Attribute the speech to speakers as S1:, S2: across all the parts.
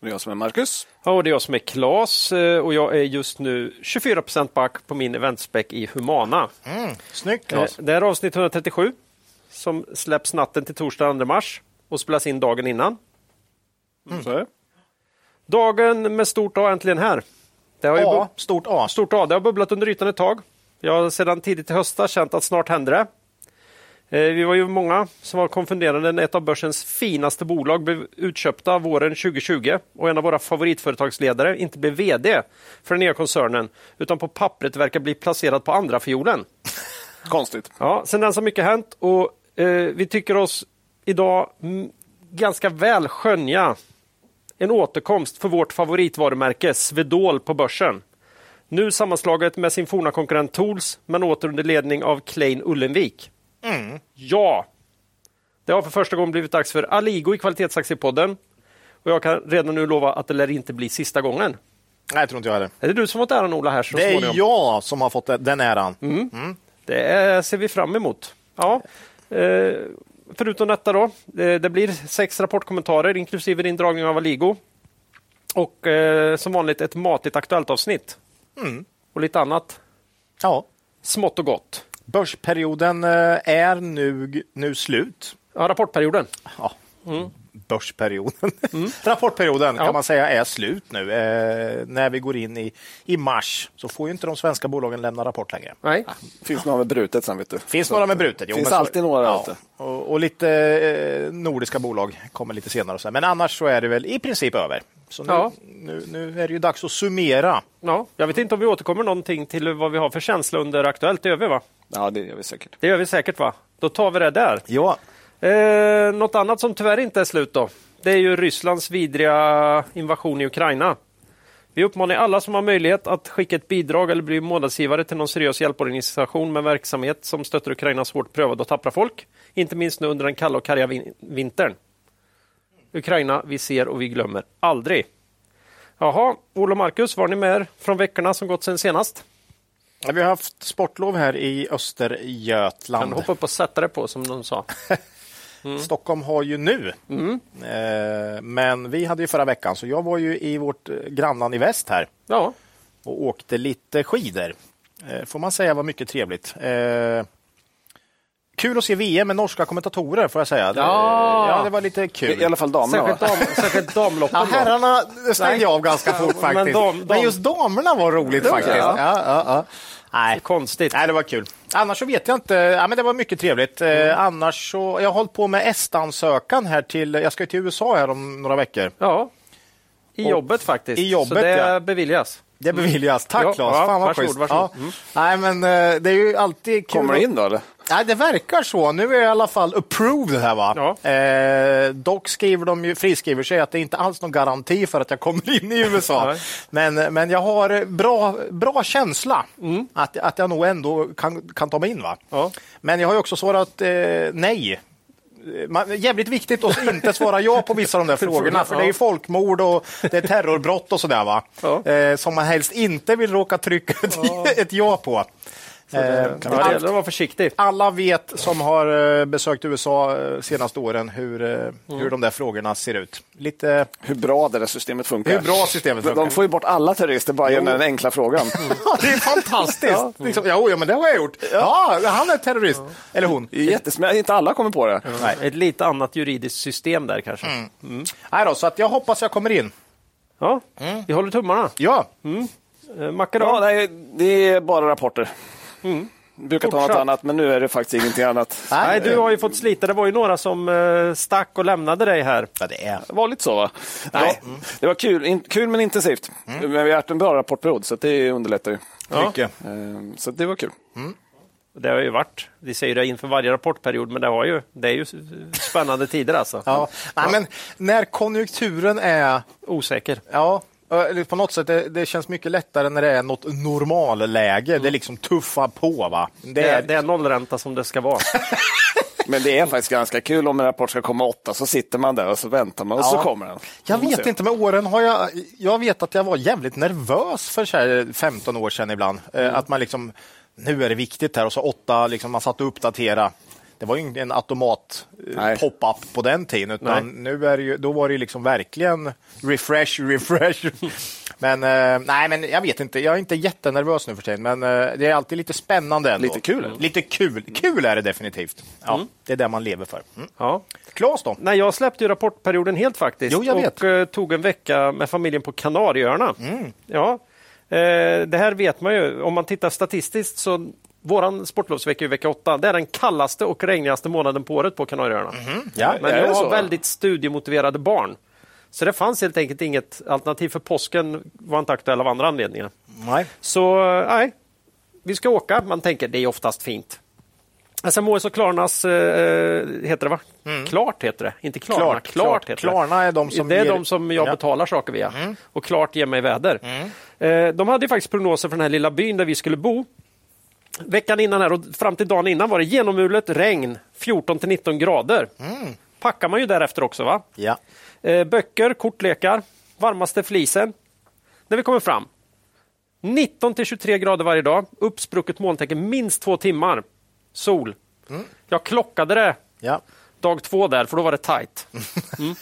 S1: Det är jag som är Marcus.
S2: Ja, och det är jag som är Klas eh, och jag är just nu 24 back på min eventspäck i Humana.
S3: Mm, snyggt
S2: Eh,
S3: Claes.
S2: Det här är avsnitt 137 som släpps natten till torsdag 2 mars och spelas in dagen innan.
S3: Mm.
S1: Så är det.
S2: Dagen med stort A äntligen här. Det har ju
S3: A,
S2: bu-
S3: stort A.
S2: stort A, det har bubblat under ytan ett tag. Jag har sedan tidigt i höstas känt att snart händer det. Eh, Vi var ju många som var konfunderade när ett av börsens finaste bolag blev utköpta våren 2020 och en av våra favoritföretagsledare inte blev VD för den nya koncernen utan på pappret verkar bli placerad på andra fiolen.
S1: Konstigt.
S2: Ja, sen dess har mycket hänt och eh, vi tycker oss idag mm, ganska väl skönja en återkomst för vårt favoritvarumärke Svedol på börsen. Nu sammanslaget med sin forna konkurrent Tools, men åter under ledning av Klein Ullenvik.
S3: Mm.
S2: Ja, det har för första gången blivit dags för Aligo i Kvalitetsaktiepodden. Och jag kan redan nu lova att det lär inte bli sista gången.
S3: Nej, jag tror inte jag heller.
S2: Är det du som fått äran Ola här så
S3: Det
S2: småningom? Mm.
S3: är jag som har fått den äran.
S2: Det eh, ser vi fram emot. Ja. Eh, förutom detta då, eh, det blir sex rapportkommentarer inklusive indragning av Aligo. Och eh, som vanligt ett matigt aktuellt avsnitt. Och lite annat
S3: Ja.
S2: smått och gott.
S3: Börsperioden eh, är nu, nu slut.
S2: Ja, rapportperioden.
S3: Ja. Börsperioden. Rapportperioden
S2: Mm. Ja.
S3: kan man säga är slut nu. Eh, när vi går in i, i mars så får ju inte de svenska bolagen lämna rapport längre.
S2: Nej.
S1: Finns några med brutet sen vet du.
S3: Finns några med brutet? Jo,
S1: Finns
S3: men så-
S1: alltid några,
S3: Ja.
S1: vet
S3: Och, och lite eh, nordiska bolag kommer lite senare. Och så här. Men annars så är det väl i princip över. Så nu,
S2: Ja.
S3: nu, nu är det ju dags att summera.
S2: Ja, jag vet inte om vi återkommer någonting till vad vi har för känsla under Aktuellt. Det gör vi va?
S1: Ja, det gör vi säkert.
S2: Det gör vi säkert va? Då tar vi det där.
S3: Ja.
S2: Eh, något annat som tyvärr inte är slut då, det är ju Rysslands vidriga invasion i Ukraina. Vi uppmanar alla som har möjlighet att skicka ett bidrag eller bli månadsgivare till någon seriös hjälporganisation med verksamhet som stöttar Ukrainas hårt prövade och tappra folk. Inte minst nu under den kalla och karga vin- vintern. Ukraina, vi ser och vi glömmer aldrig. Jaha, Olof och Marcus, var ni med er från veckorna som gått sen senast?
S3: Ja, Vi har haft sportlov här i
S2: Kan
S3: Östergötland.
S2: hoppa upp och sätta det på som de sa.
S3: Stockholm har ju nu. Eh, Men vi hade ju förra veckan, så jag var ju i vårt eh, grannland i väst här
S2: Ja,
S3: och åkte lite skidor. Eh, Får man säga var mycket trevligt. Eh, Kul att se VM med norska kommentatorer får jag säga. Det-
S2: Ja.
S3: ja det var lite kul.
S1: I alla fall damerna
S2: särskilt,
S1: va?
S2: dam, särskilt damloppen.
S3: Ja,
S2: då.
S3: herrarna stängde
S2: Nej.
S3: jag av ganska fort
S2: Men
S3: faktiskt. Men,
S2: dam- dam-
S3: just damerna var roligt faktiskt.
S1: ja.
S3: Ja, ja, ja. Nej.
S2: Konstigt.
S3: Nej, det var kul. Annars så vet jag inte. Ja, men det var mycket trevligt. Eh, annars så, jag har hållit på med EST-ansökan här till, jag ska ju till USA här om några veckor.
S2: Ja, i
S3: Och-
S2: jobbet faktiskt.
S3: i jobbet,
S2: så det
S3: ja.
S2: beviljas.
S3: Det beviljas. Tack
S2: Ja,
S3: Claes,
S2: ja,
S3: fan vad
S2: varsågod,
S3: schysst.
S2: varsågod.
S3: Ja. Nej, men eh, det är ju alltid kul.
S1: Kommer
S3: att-
S1: det in då eller?
S3: Nej, det verkar så. Nu är jag i alla fall approved här va.
S2: Ja.
S3: Eh, dock skriver de ju, friskriver sig att det är inte alls någon garanti för att jag kommer in i USA.
S2: Nej.
S3: men, men jag har bra, bra känsla att, att jag nog ändå kan, kan ta mig in va.
S2: Mm. Ja.
S3: Men jag har ju också svarat eh, nej. Man, jävligt viktigt att inte svara ja på vissa av de där frågorna, för det är ju folkmord och det är terrorbrott och sådär va.
S2: Ja.
S3: Eh, som man helst inte vill råka trycka ett, ett ja på. Eh,
S2: Ja, det gäller att vara försiktig.
S3: alla vet som har eh, besökt USA eh, senaste åren hur, eh, hur de där frågorna ser ut. Lite...
S1: Hur bra det där systemet funkar.
S3: Hur bra systemet
S1: De-
S3: funkar. Mm.
S1: De får ju bort alla terrorister bara genom den enkla frågan.
S3: det är fantastiskt! ja. Liksom, ja, ja, men det har jag gjort. Ja, han är terrorist. Eller hon.
S1: Det är jättesmäll. Inte alla kommer på det.
S3: Nej.
S2: Ett lite annat juridiskt system där kanske.
S3: Nej då, så att jag hoppas jag kommer in.
S2: Ja, Vi håller tummarna.
S3: Ja,
S2: Eh, Macke då?
S1: Ja, nej, det är bara rapporter. Brukar ta något
S2: Fortsatt.
S1: annat, men nu är det faktiskt ingenting annat.
S3: Mm. Nej.
S2: Nej, du har ju fått slita. Det var ju några som eh, stack och lämnade dig här.
S3: ja det är
S1: Det var lite så va? Nej.
S3: Mm.
S1: Det var kul, in, kul men intensivt. Men vi har haft en bra rapportperiod så att det underlättar ju.
S3: mycket.
S1: Ehm, Så att det var kul.
S2: Det har ju varit, vi säger det inför varje rapportperiod, men det, har ju, det är ju s- spännande tider alltså.
S3: Ja. Nej, men när konjunkturen är...
S2: Osäker.
S3: Ja, Ja, eller På något sätt, det, det känns mycket lättare när det är något normalläge. Det är liksom tuffa på. va?
S2: Det är, det är nollränta som det ska vara.
S1: Men det är faktiskt ganska kul om en rapport ska komma åtta så sitter man där och så väntar man och så
S3: Ja.
S1: kommer den.
S3: Jag
S1: Vi får
S3: vet
S1: se.
S3: inte, med åren har jag... Jag vet att jag var jävligt nervös för så här 15 år sedan ibland. Eh,
S1: Mm.
S3: Att man liksom, nu är det viktigt här och så åtta, liksom, man satt och uppdatera. Det var ju ingen- en automat eh,
S1: Nej.
S3: pop-up på den tiden, utan nu är det ju, då var det ju liksom verkligen refresh, refresh. men eh, nej, men jag vet inte, jag är inte jättenervös nu för tiden, men eh, det är alltid lite spännande ändå.
S1: Lite kul Mm. är det.
S3: Lite kul, kul är det definitivt. Ja, Det är det man lever för. Mm.
S2: Ja.
S3: Klas då?
S2: Nej, jag släppte ju rapportperioden helt faktiskt.
S3: Jo, jag
S2: och
S3: vet.
S2: eh, tog en vecka med familjen på Kanarieöarna. Ja. Eh, det här vet man ju. Om man tittar statistiskt så våran sportlovsvecka är ju vecka åtta. Det är den kallaste och regnigaste månaden på året på Kanarieöarna.
S3: Ja,
S2: Men
S1: Mhm. är
S2: jag
S1: det
S2: har
S1: så?
S2: väldigt studiemotiverade barn. Så det fanns helt enkelt inget alternativ för påsken var inte aktuell av andra anledningar.
S3: nej.
S2: Så eh, nej, vi ska åka. Man tänker det är oftast fint. SMHS och Klarnas, eh, heter det va? Klart heter det, inte Klarna.
S3: Mm. Klart, klart.
S2: heter
S3: Klarna
S2: det.
S3: är de som
S2: det är
S3: ger-
S2: de som jag
S3: Ja. Mm.
S2: betalar saker via. Och Klart ger mig väder. Eh, de hade ju faktiskt prognoser för den här lilla byn där vi skulle bo. Veckan innan här och fram till dagen innan var det genomulet regn, 14 till 19 grader.
S3: Mm.
S2: Packar man ju därefter också va?
S3: Ja.
S2: Eh, böcker, kortlekar, varmaste flisen. När vi kommer fram, 19 till 23 grader varje dag, uppsprucket molntäcke, minst två timmar sol. Jag klockade det
S3: Ja.
S2: dag två där, för då var det tajt. Mm.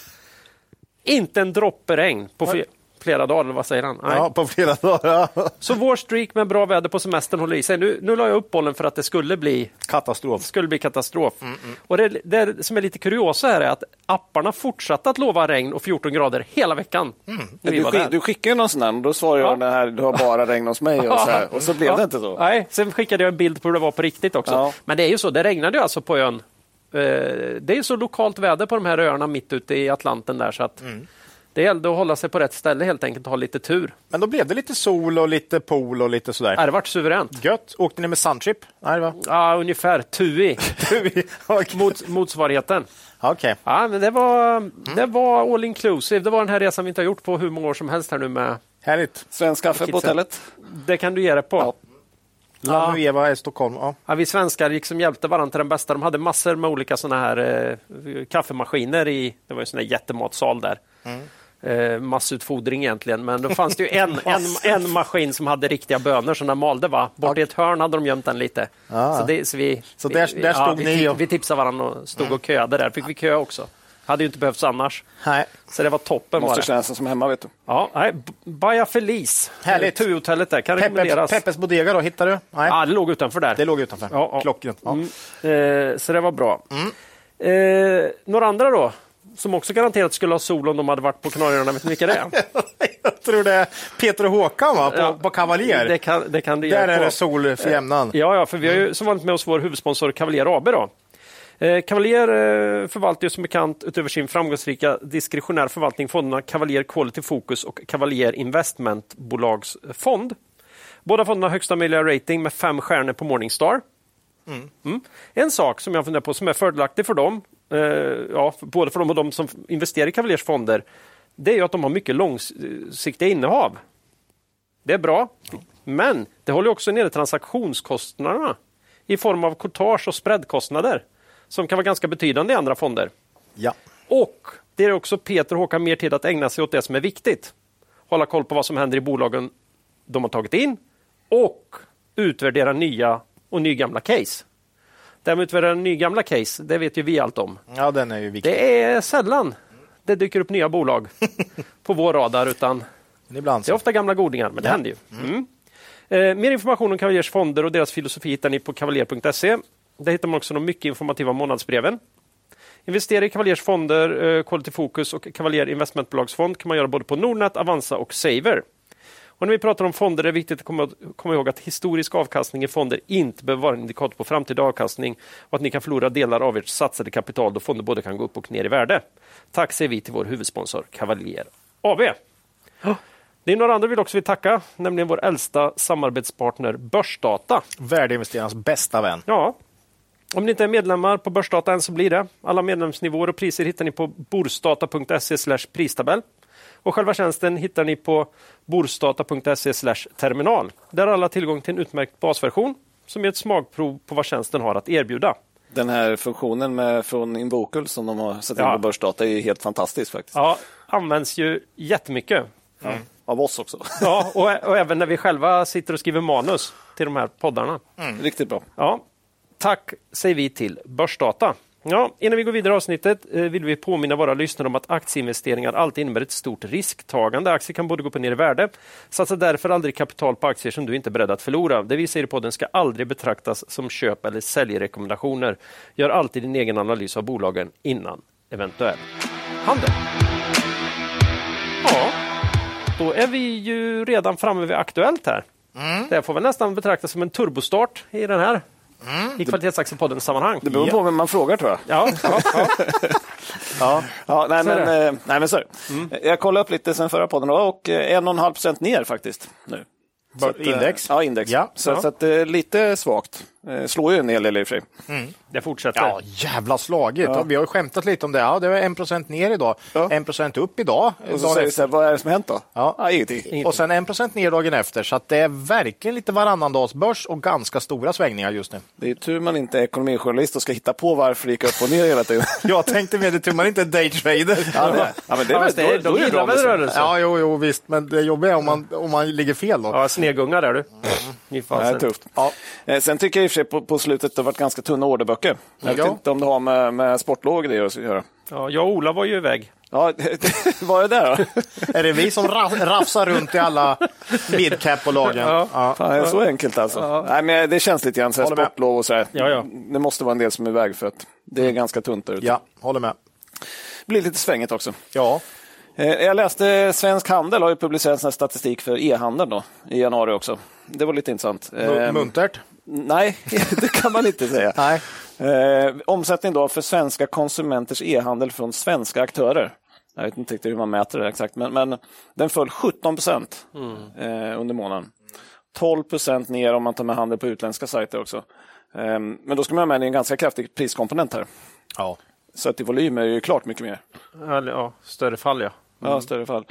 S2: Inte en droppe regn på fl- flera dagar, eller vad säger han? Nej.
S3: Ja, på flera dagar.
S2: Så vår streak med bra väder på semestern håller i sig. Nu, nu la jag upp bollen för att det skulle bli
S3: Katastrof.
S2: skulle bli katastrof.
S1: Mm,
S2: Och det, det som är lite kuriosa här är att apparna fortsatte att lova regn och 14 grader hela veckan. När vi
S1: Mm. Du,
S2: var
S1: skick,
S2: där.
S1: du skickar ju någon sån där och då svarar jag
S2: Ja.
S1: den här, du har bara regn hos mig och så här. Och så blev
S2: Ja.
S1: det inte så.
S2: Nej, sen skickade jag en bild på hur det var på riktigt också.
S1: Ja.
S2: Men det är ju så, det regnade ju alltså på ön. Eh, Det är ju så lokalt väder på de här öarna mitt ute i Atlanten där så att
S1: Mm.
S2: det gällde att hålla sig på rätt ställe helt enkelt och ha lite tur.
S3: Men då blev det lite sol och lite pool och lite sådär.
S2: Äh, Det vart suveränt.
S3: Gött. Åkte ni med Suntrip? Nej, va?
S2: Ja, ungefär, TUI,
S3: Okej.
S2: mot, motsvarigheten.
S3: Okej.
S2: Ja, men det, var,
S3: Mm.
S2: det var all inclusive. Det var den här resan vi inte har gjort på hur många år som helst här nu med
S3: Härligt.
S1: Svensk kaffe på
S2: Kidsen.
S1: hotellet.
S2: Det kan du ge dig på. Ja.
S3: La Nueva är Stockholm. Ja.
S2: vi svenskar liksom hjälpte varandra till den bästa. De hade massor med olika såna här eh, kaffemaskiner i, det var ju en sån här jättematsal där.
S3: Mm.
S2: Eh, massutfodring egentligen, men då fanns det ju en, en, en maskin som hade riktiga bönor som den malde. Va? Bort i ett hörn hade de gömt den lite. Så, det, så, vi,
S3: Så där-
S2: vi,
S3: där
S2: ja,
S3: stod
S2: vi,
S3: ni och- Mm.
S2: Vi tipsade varandra och stod och köade där. Fick vi kö också. Hade ju inte behövts annars.
S3: Nej.
S2: Så det var toppen. Var
S1: Måste
S2: det.
S1: kännas som hemma vet du.
S2: Ja, nej, B- Baja Feliz,
S3: Härligt.
S2: Tuhotellet där, kan rekommenderas.
S3: Peppes, Peppes Bodega då, hittar du? Nej,
S2: Ja, det låg utanför där.
S3: det låg utanför.
S2: Ja, ja.
S3: Klockrent. Ja.
S2: Mm. Eh, så det var bra. Eh, några andra då, som också garanterat skulle ha sol om de hade varit på Kanarieöarna, vet ni vilka det är?
S3: Jag tror det är Peter och Håkan va? på,
S2: Ja.
S3: på Cavalier.
S2: Det kan, det kan det
S3: Där
S2: göra
S3: är
S2: på.
S3: det sol för jämnan.
S2: Ja, ja, för vi har ju som vanligt med oss vår huvudsponsor Cavalier AB. Då. Eh, Cavalier eh, förvaltar ju som bekant utöver sin framgångsrika diskretionär förvaltning fonderna Cavalier Quality Focus och Cavalier Investmentbolagsfond. Båda fonderna har högsta möjliga rating med fem stjärnor på Morningstar. Mm. En sak som jag funderar på som är fördelaktig för dem, eh, ja, för- både för dem och de som investerar i Cavaliers fonder, det är ju att de har mycket långsiktiga innehav. Det är bra, men det håller ju också nere transaktionskostnaderna i form av courtage och spreadkostnader som kan vara ganska betydande i andra fonder.
S3: Ja.
S2: Och det är också Peter och Håkan mer tid att ägna sig åt det som är viktigt. Hålla koll på vad som händer i bolagen de har tagit in och utvärdera nya och nygamla case. Det här med att utvärdera nygamla case, det vet ju vi allt om.
S3: ja, den är ju viktig.
S2: Det är sällan det dyker upp nya bolag på vår radar utan
S3: Men ibland
S2: det är
S3: så.
S2: ofta gamla godingar, men det händer ju. Mm. Eh, mer information om Cavaliers fonder och deras filosofi hittar ni på kavaljer.se. Där hittar man också de mycket informativa månadsbreven. Investera i Cavaliers fonder, eh, Quality Focus och Cavalier Investmentbolagsfond kan man göra både på Nordnet, Avanza och Saver. Och när vi pratar om fonder är det viktigt att komma, komma ihåg att historisk avkastning i fonder inte behöver vara en indikator på framtida avkastning och att ni kan förlora delar av ert satsade kapital då fonder både kan gå upp och ner i värde. Tack säger vi till vår huvudsponsor Cavalier AB. Det är några andra vi också vill tacka, nämligen vår äldsta samarbetspartner Börsdata.
S3: Värdeinvesterarnas bästa vän.
S2: Ja, om ni inte är medlemmar på Börsdata än så blir det. Alla medlemsnivåer och priser hittar ni på borsdata.se pristabell. Och själva tjänsten hittar ni på borstata.se terminal. Där har alla tillgång till en utmärkt basversion som ger ett smakprov på vad tjänsten har att erbjuda.
S1: Den här funktionen med, från Invocal som de har satt in
S2: Ja.
S1: på Börsdata är ju helt fantastisk faktiskt.
S2: Ja, används ju jättemycket.
S1: Av oss också.
S2: Ja, och, och även när vi själva sitter och skriver manus till de här poddarna.
S1: Riktigt bra.
S2: Ja, tack säger vi till Börsdata. Ja, innan vi går vidare i avsnittet eh, vill vi påminna våra lyssnare om att aktieinvesteringar alltid innebär ett stort risktagande. Aktier kan både gå upp och ner i värde. Satsa därför aldrig kapital på aktier som du inte är beredd att förlora. Det vi säger i podden ska aldrig betraktas som köp eller säljrekommendationer. Gör alltid din egen analys av bolagen innan eventuell handel. Ja, då är vi ju redan framme vid Aktuellt här.
S1: Mm.
S2: Det här får väl nästan betraktas som en turbostart i den här i Kvalitetsaktiepodden sammanhang.
S1: Mm. Det beror på vem man frågar tror jag.
S2: Ja, ja, ja.
S1: Ja, ja nej,
S2: Så är Mm.
S1: men, eh, nej men så är det. Jag kollade upp lite sen förra podden då, och eh, en och en halv procent ner faktiskt nu. Så
S3: Bara
S1: att, eh,
S3: index?
S1: Ja, index.
S3: Ja.
S1: Så, så att, eh, lite svagt. Eh, Slår ju en hel del i och för sig.
S2: Det fortsätter.
S3: Ja, jävla slaget. Ja. Vi har ju skämtat lite om det. Ja, det var 1 ner idag,
S1: Ja.
S3: 1 upp idag.
S1: Och så
S3: dagen
S1: säger vi
S3: efter.
S1: så här, vad är det som hänt då?
S3: Ja.
S1: ingenting.
S3: och sen 1 ner dagen efter. Så att det är verkligen lite varannan dags börs och ganska stora svängningar just nu.
S1: Det är tur man inte är ekonomijournalist och ska hitta på varför det gick upp och ner hela tiden.
S3: Jag tänkte med det, tur man inte är daytrader.
S1: ja, men- ja, men det
S2: Ja,
S1: är
S2: fast det,
S1: väl- då-
S2: de
S1: då är det bra liksom.
S2: gillar
S1: om det
S2: väl
S1: så.
S2: rörelser?
S3: Ja,
S2: Ja.
S3: jo, jo, visst, men det jobbiga är om man, om man ligger fel då.
S2: snegunga där du. Fy
S1: Ja, Mm. det är
S2: fasen.
S1: tufft. Eh, Sen tycker jag i och för sig på, på slutet det har varit ganska tunna orderböcker. Jag vet
S3: Ja.
S1: inte om det har med, med sportlov och grejer att göra.
S2: Ja, jag och Ola var ju iväg.
S1: Ja, var det där då?
S3: Är det vi som ra- rafsar runt i alla midcap-bolagen?
S2: Ja.
S1: Fan, är det så enkelt alltså? Nej, men det känns lite grann så här,
S3: Håller med.
S1: sportlov och så här.
S2: Ja, ja.
S1: Det måste vara en del som är iväg för att det är ganska tunt där ute.
S3: ja, håller med.
S1: Det blir lite svängigt också.
S3: Ja,
S1: Eh, Jag läste Svensk Handel har ju publicerat sån här statistik för e-handeln då, i januari också. Det var lite intressant.
S3: mu-
S1: Ehm,
S3: muntert.
S1: Nej, det kan man inte säga.
S3: Nej.
S1: Eh, omsättning då för svenska konsumenters e-handel från svenska aktörer. Jag vet inte riktigt hur man mäter det exakt, men, men den föll 17 procent eh, under månaden. 12 procent ner om man tar med handel på utländska sajter också. Eh, men då ska man ha med en ganska kraftig priskomponent här.
S3: Ja.
S1: Så att i volym är det ju klart mycket mer.
S2: Eller, ja, större fall ja.
S3: Mm.
S1: Ja, större fall.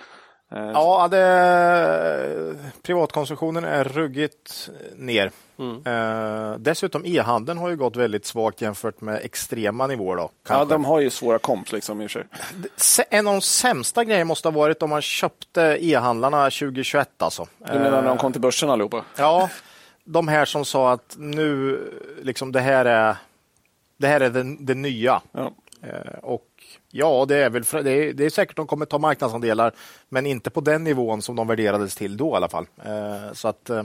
S1: Eh,
S3: Ja, det, privatkonsumtionen är ruggigt ner. Eh, dessutom e-handeln har ju gått väldigt svagt jämfört med extrema nivåer. Då,
S1: ja,
S3: kanske.
S1: de har ju svåra komps liksom i och för sig.
S3: Se- En av de sämsta grejerna måste ha varit om man köpte e-handlarna 2021. Alltså.
S1: Du menar när de kom till börsen allihopa?
S3: Ja, de här som sa att nu, liksom det här är det, här är det, det nya.
S1: Ja.
S3: Eh, Och ja, det är väl fra- det är, det är säkert de kommer ta marknadsandelar, men inte på den nivån som de värderades till då i alla fall. Eh, Så att, eh,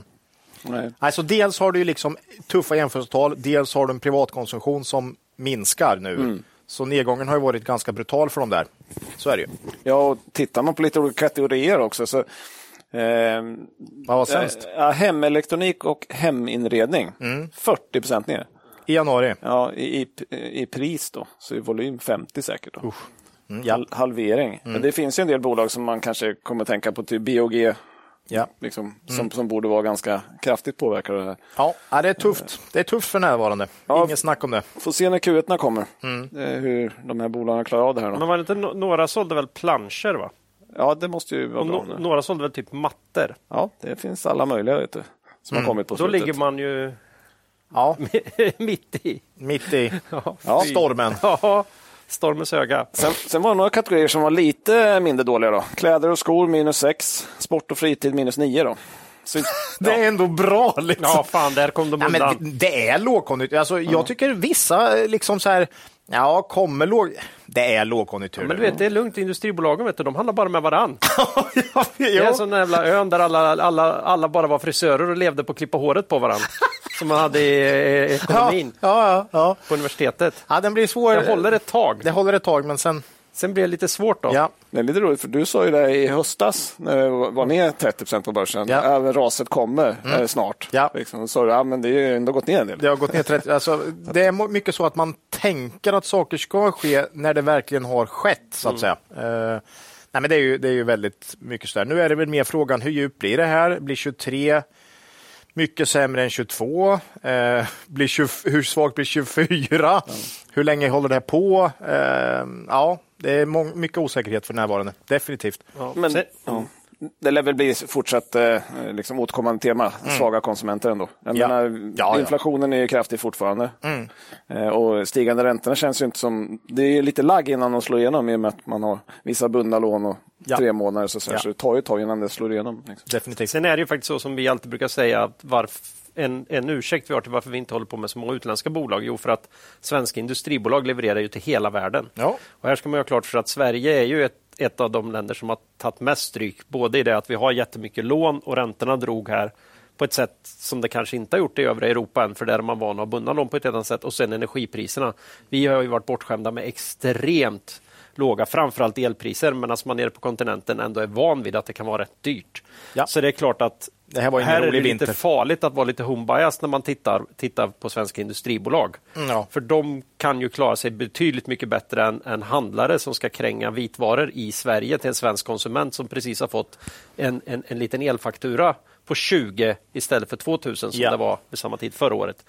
S1: Nej.
S3: alltså dels har du ju liksom tuffa jämförelsetal, dels har du en privatkonsumtion som minskar nu.
S2: Mm.
S3: Så nedgången har ju varit ganska brutal för dem där. Så är det ju.
S1: Ja, och tittar man på lite olika kategorier också så ehm,
S3: Vad var sämst?
S1: Ja, hemelektronik och heminredning. 40 procent ner.
S3: I januari?
S1: Ja, i, i, I pris då, så i volym 50 säkert. Då.
S3: Mm, ja.
S1: Hal- Halvering. Men det finns ju en del bolag som man kanske kommer tänka på, typ BOG,
S3: Ja.
S1: liksom, som, som borde vara ganska kraftigt påverkade. av det här.
S3: Ja, ja, det är tufft. Det är tufft för närvarande.
S1: Ja.
S3: Ingen snack om det.
S1: Får se när Q1 kommer, eh, hur de här bolagen klarar av det här. Då.
S2: Men var det inte, no- några sålde väl planscher? Va?
S1: Ja, det måste ju vara
S2: Och
S1: bra.
S2: no,
S1: nu.
S2: några sålde väl typ mattor?
S1: Ja, det finns alla möjliga vet du, som
S3: Mm.
S1: har kommit på
S2: Då
S1: slutet.
S2: ligger man ju
S3: Ja,
S2: mitt i.
S3: mitt i
S2: Ja,
S3: ja.
S2: fy.
S3: stormen.
S2: Ja, stormens öga.
S1: Sen, sen var det några kategorier som var lite mindre dåliga. då. Kläder och skor minus 6, sport och fritid minus 9. Då. Så,
S3: Det är ändå bra. Liksom.
S2: Ja, fan, där kom de
S3: Ja,
S2: undan.
S3: men det- det är lågkonjunktur. Alltså, Jag tycker vissa eh, liksom så här, ja, kommer låg... Det är lågkonjunktur.
S2: Men du vet, det är lugnt. Industribolagen vet du, de handlar bara med varann.
S3: Ja,
S2: Det är
S3: jo.
S2: en sån där jävla ön där alla, alla, alla bara var frisörer och levde på att klippa håret på varann. Som man hade i eh,
S3: ja,
S2: ekonomin
S3: ja, ja.
S2: på universitetet.
S3: ja, den blir svår.
S2: Det håller ett tag.
S3: Det håller ett tag, men sen...
S2: Sen blev det lite svårt då.
S3: Ja.
S1: det är lite roligt, för du sa ju det i höstas, när vi var ner 30 på börsen,
S3: Ja. Mm.
S1: ja. raset kommer eh, snart.
S3: Ja.
S1: Liksom, och så sa du, ja, men det är ju ändå gått ner en del.
S3: Det har gått ner 30. Alltså, det är mo- mycket så att man tänker att saker ska ske när det verkligen har skett, så att
S2: Mm.
S3: säga. Eh, nej, men det, är ju, det är ju väldigt mycket sådär. Nu är det väl mer frågan, hur djupt blir det här? Blir 23 Mycket sämre än 22. Eh, blir 20, hur svagt blir 24?
S2: Mm.
S3: Hur länge håller det här på? Eh, ja, det är mång- mycket osäkerhet för närvarande. Definitivt.
S1: Men,
S2: Sen-
S1: ja. Mm. Det lär väl bli fortsatt eh, liksom återkommande tema, svaga konsumenter ändå. Jag
S3: Mm. Ja.
S1: menar,
S3: Ja, Mm. ja.
S1: inflationen är ju kraftig fortfarande. Eh, och stigande räntorna känns ju inte som... Det är ju lite lagg innan de slår igenom i och med att man har vissa bundna lån och
S3: Ja.
S1: tre månader. Så, så,
S3: Ja.
S1: så det tar ju ett tag innan det slår igenom. Liksom.
S3: Definitivt.
S2: Sen är det ju faktiskt så som vi alltid brukar säga, att varf, en, en ursäkt vi har till varför vi inte håller på med så många utländska bolag, jo för att svenska industribolag levererar ju till hela världen.
S3: Ja.
S2: Och här ska man ju ha klart för att Sverige är ju ett, ett av de länder som har tagit mest stryk, både i det att vi har jättemycket lån och räntorna drog här på ett sätt som det kanske inte har gjort i övriga Europa än, för där är man van att ha bundna lån på ett annat sätt, och sen energipriserna. Vi har ju varit bortskämda med extremt låga, framförallt elpriser, medan man nere på kontinenten ändå är van vid att det kan vara rätt dyrt.
S3: Ja.
S2: Så det är klart att
S3: Det här var ingen
S2: här är det
S3: rolig
S2: lite
S3: vinter.
S2: farligt att vara lite humbias när man tittar, tittar på svenska industribolag.
S3: Mm, ja.
S2: För de kan ju klara sig betydligt mycket bättre än, än handlare som ska kränga vitvaror i Sverige till en svensk konsument som precis har fått en, en, en liten elfaktura på 20 istället för 2000 som
S3: Ja.
S2: det var vid samma tid förra året.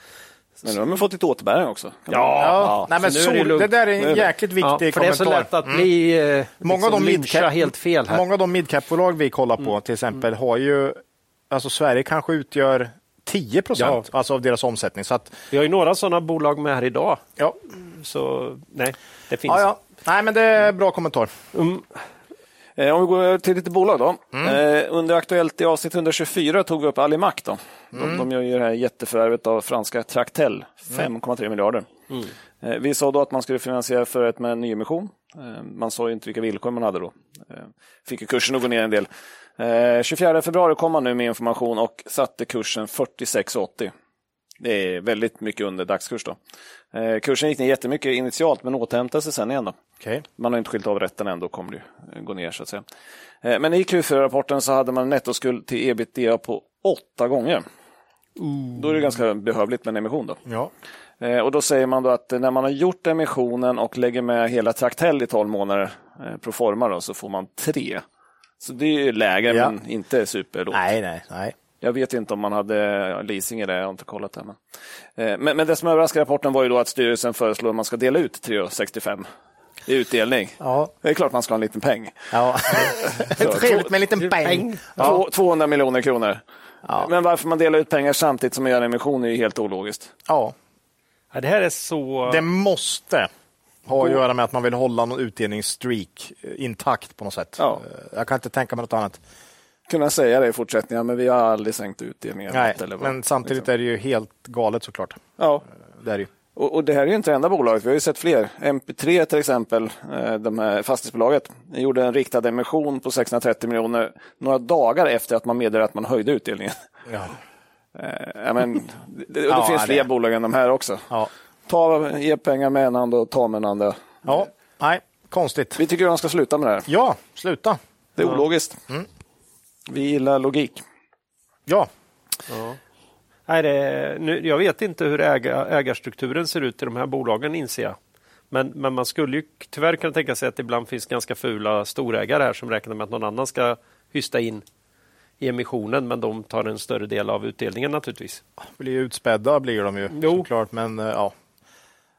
S1: Men nu har man fått lite återbäring också.
S3: Ja, Nej, men
S2: så nu är
S3: sol,
S2: det
S3: det,
S2: lugnt.
S3: där är en jäkligt viktig
S2: Ja, för
S3: kommentar. Mm.
S2: det är så lätt att bli eh,
S3: Många av de
S2: liksom lyncha
S3: midcap-
S2: helt fel här.
S3: Många av de midcap-bolag vi kollar på till exempel har ju, alltså Sverige kanske utgör 10 procent alltså av deras omsättning. Så att,
S2: Vi har ju några sådana bolag med här idag.
S3: ja.
S2: Så nej, det finns.
S3: Ja, ja. Nej, men det är bra kommentar.
S1: Eh, om vi går över till lite bolag då. Eh, under Aktuellt i avsnitt 124 tog vi upp Alimak. Då. De, de gör ju det här jätteförvärvet av franska Tractel, 5,3 miljarder. Eh, vi sa då att man skulle finansiera förvärvet med en nyemission. Eh, man sa ju inte vilka villkor man hade då. Eh, fick ju kursen att gå ner en del. Eh, 24 februari kom man nu med information och satte kursen 46,80. Det är väldigt mycket under dagskurs då. Eh, kursen gick ner jättemycket initialt men återhämtade sig sen igen. Då.
S3: Okej.
S1: Man har inte skilt av rätten än, då kommer det ju gå ner så att säga. Eh, Men i Q4-rapporten så hade man en nettoskuld till ebitda på åtta gånger. Då är det ganska behövligt med en emission. Då.
S3: Ja.
S1: Eh, Och då säger man då att eh, när man har gjort emissionen och lägger med hela Tractell i 12 månader eh, pro forma då, så får man tre. Så det är ju lägre
S3: Ja.
S1: men inte superlågt.
S3: Nej, nej, nej.
S1: Jag vet inte om man hade leasing i det, jag har inte kollat det. Men, Eh, men, men det som överraskade rapporten var ju då att styrelsen föreslår att man ska dela ut 3,65 i utdelning.
S3: Ja.
S1: Det är klart man ska ha en liten peng.
S3: Ja. Trevligt med en liten
S2: Peng.
S3: peng.
S1: Två- 200 miljoner kronor. Men varför man delar ut pengar samtidigt som man gör en emission är ju helt ologiskt.
S3: Ja.
S2: Ja, det här är så...
S3: Det måste ha att göra med att man vill hålla någon utdelningsstreak eh, intakt på något sätt.
S1: Ja.
S3: Eh, Jag kan inte tänka mig något annat.
S1: Kunna säga det i fortsättningen, men vi har aldrig sänkt utdelningen.
S3: Nej,
S1: Eller vad,
S3: men samtidigt
S1: liksom.
S3: är det ju helt galet såklart.
S1: Ja.
S3: Det är det ju.
S1: Och, och det här är ju inte det enda bolaget, vi har ju sett fler. MP3 till exempel, eh, de här fastighetsbolaget, gjorde en riktad emission på 630 miljoner några dagar efter att man meddelade att man höjde utdelningen.
S3: Ja.
S1: Eh, ja, men, det, det,
S3: Ja,
S1: det finns
S3: det-
S1: fler bolag än de här också.
S3: Ja.
S1: Ta, ge pengar med en hand och ta med en andra.
S3: ja, nej, konstigt.
S1: Vi tycker att de ska sluta med det här.
S3: Ja, sluta.
S1: Det är ologiskt. Vi gillar logik.
S3: Ja,
S2: Nej, det, nu, jag vet inte hur äga, ägarstrukturen ser ut i de här bolagen inser jag. Men, men man skulle ju tyvärr kunna tänka sig att det ibland finns ganska fula storägare här som räknar med att någon annan ska hysta in i emissionen, men de tar en större del av utdelningen naturligtvis.
S3: blir ju utspädda blir de ju
S2: Jo.
S3: såklart. Men eh, ja.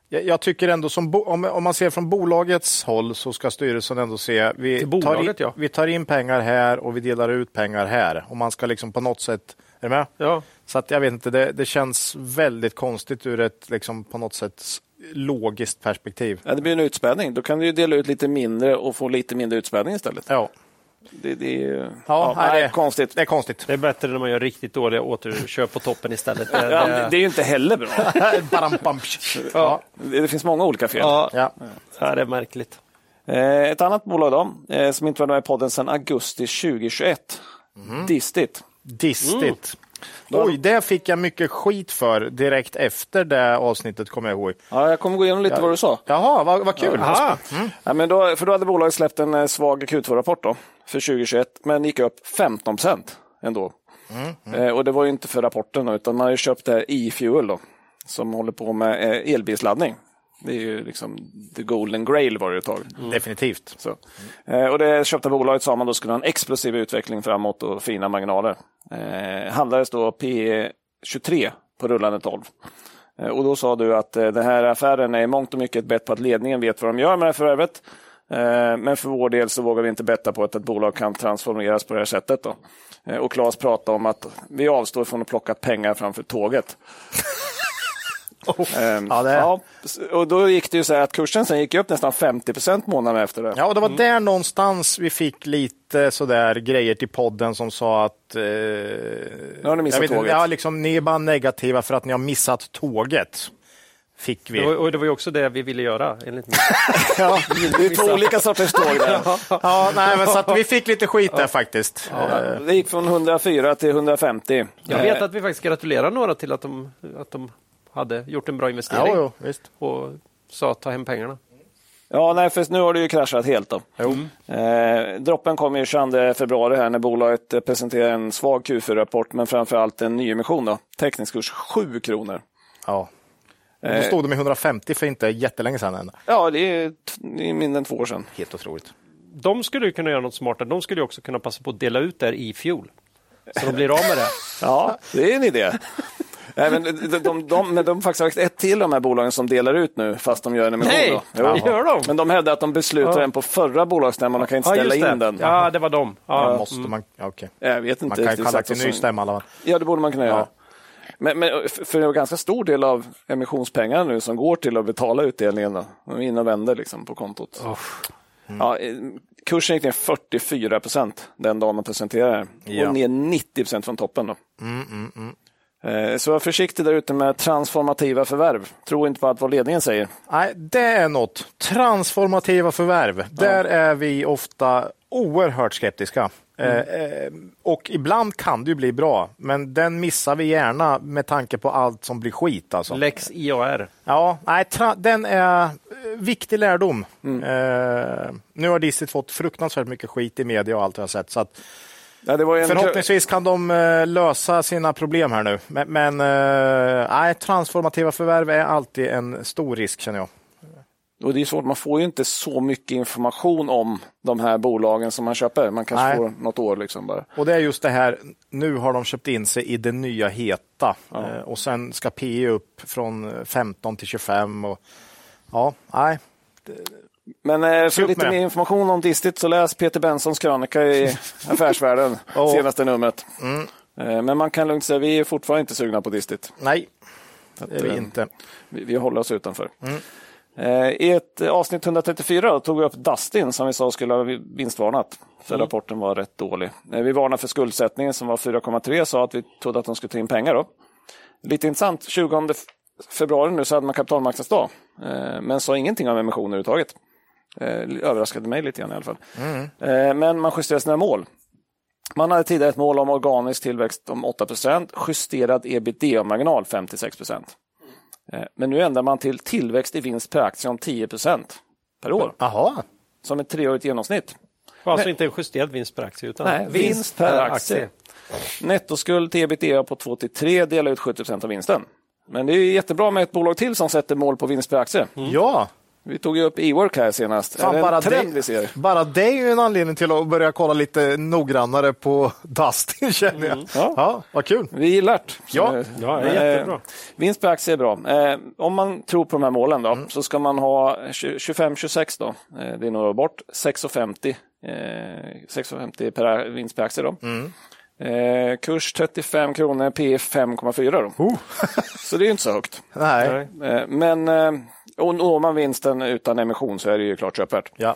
S3: Jag, jag tycker ändå som bo, om, om man ser från bolagets håll så ska styrelsen ändå se. Vi,
S2: Till
S3: tar in,
S2: bolaget, ja.
S3: vi tar in pengar här och vi delar ut pengar här. Och man ska liksom på något sätt. Är du med?
S2: Ja,
S3: Så att jag vet inte, det, det känns väldigt konstigt ur ett liksom, på något sätt s- logiskt perspektiv.
S1: Ja, det blir en utspädning. Då kan du ju dela ut lite mindre och få lite mindre utspädning istället.
S3: Ja,
S1: Det, det är ju ja,
S3: nej,
S1: nej,
S3: det-
S1: konstigt.
S3: det är konstigt.
S2: det är bättre när man gör riktigt dåliga återköp på toppen istället. Det,
S1: Ja, det- det
S2: det,
S1: är ju inte heller bra.
S3: Barampamp. ja.
S1: Det det finns många olika fel.
S2: ja,
S3: Ja.
S2: ja, det är märkligt.
S1: Eh, Ett annat bolag då, eh, som inte var med i podden sedan augusti 2021. Distit.
S3: Distigt. Mm. Oj, det fick jag mycket skit för direkt efter det avsnittet kommer jag ihåg.
S1: Ja, jag kommer gå igenom lite vad du sa.
S3: Jaha, vad, vad kul. Alltså,
S1: Aha. Ja, men då, för då hade bolaget släppt en eh, svag Q2-rapport då, för 2021, men gick upp 15 procent ändå. Eh, och det var ju inte för rapporten, då, utan man har ju köpt det här E-Fuel då, som håller på med eh, elbilsladdning. Det är ju liksom the golden grail var det ett tag.
S3: Definitivt.
S1: Så. Eh, och det köpta bolaget sa man då skulle ha en explosiv utveckling framåt och fina marginaler. Eh, handlades då P 23 på rullande 12. Eh, Och då sa du att eh, den här affären är i mångt och mycket ett bett på att ledningen vet vad de gör med det här förvärvet. Eh, Men för vår del så vågar vi inte betta på att ett bolag kan transformeras på det här sättet. Då. Eh, Och Claes pratade om att vi avstår från att plocka pengar framför tåget. Ehm,
S3: Oh. Ja, det-
S1: ja, och då gick det ju så här att kursen sen gick ju upp nästan 50 procent månaden efter det.
S3: Ja, och det var där någonstans vi fick lite sådär grejer till podden som sa att... Eh, nu
S1: har ni missat tåget.
S3: Ja, liksom, ni är bara negativa för att ni har missat tåget. Fick vi.
S2: Det var, och det var ju också det vi ville göra, enligt mig.
S1: Ja, det är två olika sorters tåg där.
S3: Ja, nej, men så att vi fick lite skit där faktiskt.
S1: Ja, Det gick från 104 till 150.
S2: Jag vet
S1: Eh,
S2: att vi faktiskt gratulerar några till att de, att de hade gjort en bra investering
S3: Ja, jo, visst.
S2: och sa ta hem pengarna.
S1: Ja, nej, för nu har det ju kraschat helt. Då. Eh, droppen kom ju 22 februari här när bolaget eh, presenterade en svag Q4-rapport, men framför allt en nyemission. Då. Teknisk kurs 7 kronor.
S3: Ja. Då
S1: Eh.
S3: stod de i 150 för inte jättelänge sedan. Än.
S1: Ja, det är, t- det är mindre än två år sedan.
S3: Helt otroligt.
S2: De skulle ju kunna göra något smartare. De skulle ju också kunna passa på att dela ut det här i fjol. Så de blir av med det.
S1: Ja, det är en idé. Nej, men de, de, de, men de har faktiskt haft ett till de här bolagen som delar ut nu, fast de gör en emission.
S2: Nej,
S1: då.
S2: det gör de.
S1: Men de hävdar att de beslutar
S2: Ja.
S1: den på förra bolagsstämman och kan inte ställa
S2: just det.
S1: in den.
S2: Ja, det var de.
S3: Ja,
S2: Ja.
S3: måste man, ja, okej.
S1: Jag vet Mm. inte
S3: man kan ju
S1: riktigt
S3: kalla
S1: exakt
S3: till
S1: vad
S3: ny
S1: som-
S3: stämma. i alla fall.
S1: Ja, det borde man kunna göra.
S3: Ja.
S1: Men, men f- för en ganska stor del av emissionspengarna nu som går till att betala utdelningen, då. de är inne och vänder liksom på kontot.
S3: Mm.
S1: Ja, eh, kursen gick ner 44 procent den dagen de presenterade det här.
S3: Ja. Mm,
S1: och ner 90 procent från toppen. Då. Eh, Så var försiktig där ute med transformativa förvärv. Tro inte på allt vad ledningen säger.
S3: Nej, det är något. Transformativa förvärv. Där är vi ofta oerhört skeptiska. Eh, eh, och ibland kan det ju bli bra, men den missar vi gärna med tanke på allt som blir skit. Alltså.
S2: Lex IAR.
S3: Ja, nej, tra- den är eh, viktig lärdom. Eh, nu har Disney fått fruktansvärt mycket skit i media och allt jag har sett. Så att
S1: Ja, det var ju en
S3: Förhoppningsvis kan de eh, lösa sina problem här nu. Men, men eh, nej, transformativa förvärv är alltid en stor risk känner jag.
S1: Och det är svårt, man får ju inte så mycket information om de här bolagen som man köper. Man kanske
S3: Nej.
S1: får något år liksom bara.
S3: Och det är just det här, nu har de köpt in sig i det nya heta Eh, och sen ska PE upp från 15 till 25. Och, ja, nej.
S1: Men eh, för
S3: upp
S1: lite
S3: med
S1: mer
S3: det.
S1: information om Distit så läs Peter Bensons krönika i Affärsvärlden,
S3: Ja. Mm.
S1: senaste numret. Eh, men man kan lugnt säga vi är fortfarande inte sugna på Distit.
S3: nej. Det är vi
S1: eh,
S3: inte.
S1: Vi, vi håller oss utanför. Eh, I ett eh, avsnitt 134 då tog vi upp Dustin som vi sa skulle ha vinstvarnat. För rapporten var rätt dålig. Eh, Vi varnade för skuldsättningen som var 4,3 sa att vi trodde att de skulle ta in pengar. Då. Lite intressant, 20 f- februari nu så hade man kapitalmarknadsdag. Eh, Men sa ingenting om emission överhuvudtaget. Eh, Överraskade mig lite grann i alla fall. Eh, Men man justerade sina mål. Man hade tidigare ett mål om organisk tillväxt om 8 justerad ebitda-marginal 56 Eh, Men nu ändrar man till tillväxt i vinst per aktie om 10 per år,
S3: Jaha,
S1: som ett treårigt genomsnitt.
S2: Det var alltså inte en justerad vinst per aktie utan
S1: Nej, vinst per aktie. Nettoskuld till ebitda på 2 till 3, dela ut 70 av vinsten. Men det är ju jättebra med ett bolag till som sätter mål på vinst per aktie.
S3: ja.
S1: Vi tog ju upp e-work här senast.
S3: Fan,
S1: är det
S3: Mm. bara,
S1: en trend vi ser?
S3: det, bara det är ju en anledning till att börja kolla lite noggrannare på Dustin känner jag.
S1: Mm. Ja.
S3: Ja. vad kul.
S1: Vi gillar det.
S3: Ja.
S1: Så, eh,
S2: Ja, det är
S1: eh,
S2: jättebra.
S1: Vinst per aktie är bra. Eh, om man tror på de här målen då, så ska man ha 25-26 då. Eh, det är några år bort. 6,50 eh, 6,50 per vinst per aktie då. Eh, kurs 35 kronor, P E 5,4 då. så det är ju inte så högt.
S3: Nej.
S2: Nej.
S1: Eh, men eh, och når man vinsten utan emission så är det ju klart köpvärt.
S3: Ja.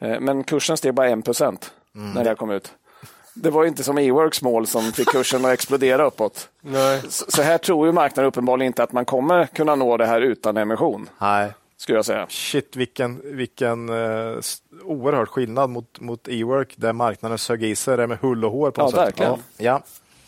S1: Eh, Men kursen steg bara 1 procent när det här kom ut. Det var ju inte som E-Works mål som fick kursen att explodera uppåt.
S2: Nej.
S1: Så så här tror ju marknaden uppenbarligen inte att man kommer kunna nå det här utan emission,
S3: Nej.
S1: skulle jag säga.
S3: Shit, vilken, vilken eh, s- oerhörd skillnad mot, mot e-work där marknaden sög i sig det med hull och hår. På
S1: Ja,
S3: något sätt.
S1: verkligen.
S3: Ja, ja.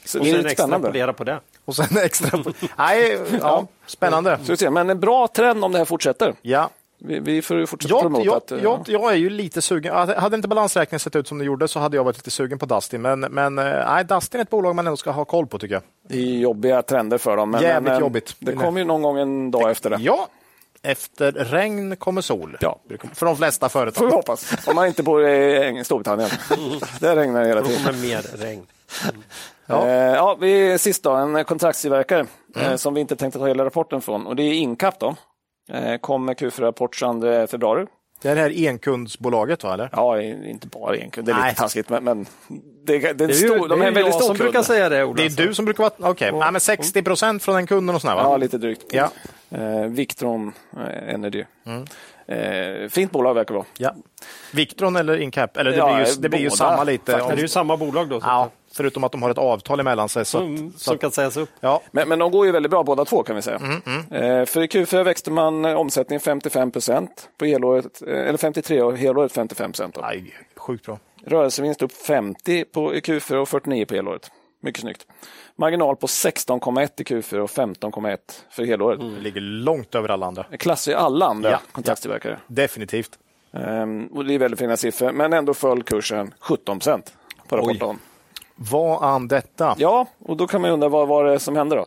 S1: Så
S2: Och
S1: det är
S2: sen
S1: lite spännande.
S2: extrapolera på det.
S3: Och sen extra. Nej, ja, spännande.
S1: Så vi ser. Men en bra trend om det här fortsätter.
S3: Ja.
S1: Vi, vi får ju fortsätta
S3: Jag,
S1: promota
S3: jag,
S1: att... eh,
S3: jag, jag är ju lite sugen. Alltså, Hade hade inte balansräkningen sett ut som det gjorde så hade jag varit lite sugen på Dustin. Men, men eh, nej, Dustin är ett bolag man ändå ska ha koll på tycker jag.
S1: Det är jobbiga trender för dem. Men,
S3: Jävligt
S1: men, eh,
S3: jobbigt.
S1: Det kom ju någon gång en dag efter det.
S3: Ja, efter regn kommer sol.
S1: Ja.
S3: För de flesta
S1: Får vi
S3: företag.
S1: hoppas. Om man inte bor i Eng- Storbritannien. Där regnar det hela tiden.
S2: Kommer mer regn.
S1: Ja. Eh, ja, vi, sist då, en kontraktstillverkare
S3: Mm.
S1: eh, som vi inte tänkte ta hela rapporten från och det är Incap. Då. Eh, kommer Q4-rapport 22 februari.
S3: Det är det här enkundsbolaget, va? Eller?
S1: Ja, i- inte bara en kund, det är
S3: Nej.
S1: lite taskigt, men, men det, det, är en
S2: Det är ju,
S1: stor, de
S2: det
S1: är
S2: är
S1: en
S2: ju
S1: väldigt
S2: jag
S1: stor
S2: som
S1: kund.
S2: brukar säga det, Ola.
S3: Det är du som brukar vara... Okej, Nej, men 60 procent från den kunden och sådär, va?
S1: Alltså. Ja, lite drygt.
S3: Ja.
S1: Eh, Victron eh, Energy.
S2: Mm.
S1: Eh, fint bolag verkar det vara.
S3: Ja. Victron eller Incap? Eller det,
S1: Ja,
S3: blir, ju, det blir ju
S1: båda
S3: samma lite.
S2: Det är ju samma bolag då. så
S3: ja,
S2: att- Mm,
S3: förutom att de har ett avtal emellan sig. Så,
S1: Mm.
S2: som,
S3: så,
S2: som kan sägas upp.
S3: ja.
S1: Men, men de går ju väldigt bra båda två kan vi säga.
S2: Mm,
S1: Eh, för i Q4 växte man eh, omsättningen 55 procent, på helåret, eh, eller 53 och helåret 55 procent.
S3: Aj, sjukt bra.
S1: Rörelsevinst upp 50 på i Q4 och 49 på helåret. Mycket snyggt. Marginal på 16,1 i Q4 och 15,1 för helåret.
S2: Mm.
S3: Det ligger långt över alla andra.
S1: Klass i alla andra
S3: Ja,
S1: kontraktstillverkare.
S3: Definitivt.
S1: Ehm, och det är väldigt fina siffror, men ändå föll kursen 17 procent på rapporten.
S3: Vad an detta?
S1: Ja, och då kan man ju undra vad var det som hände då?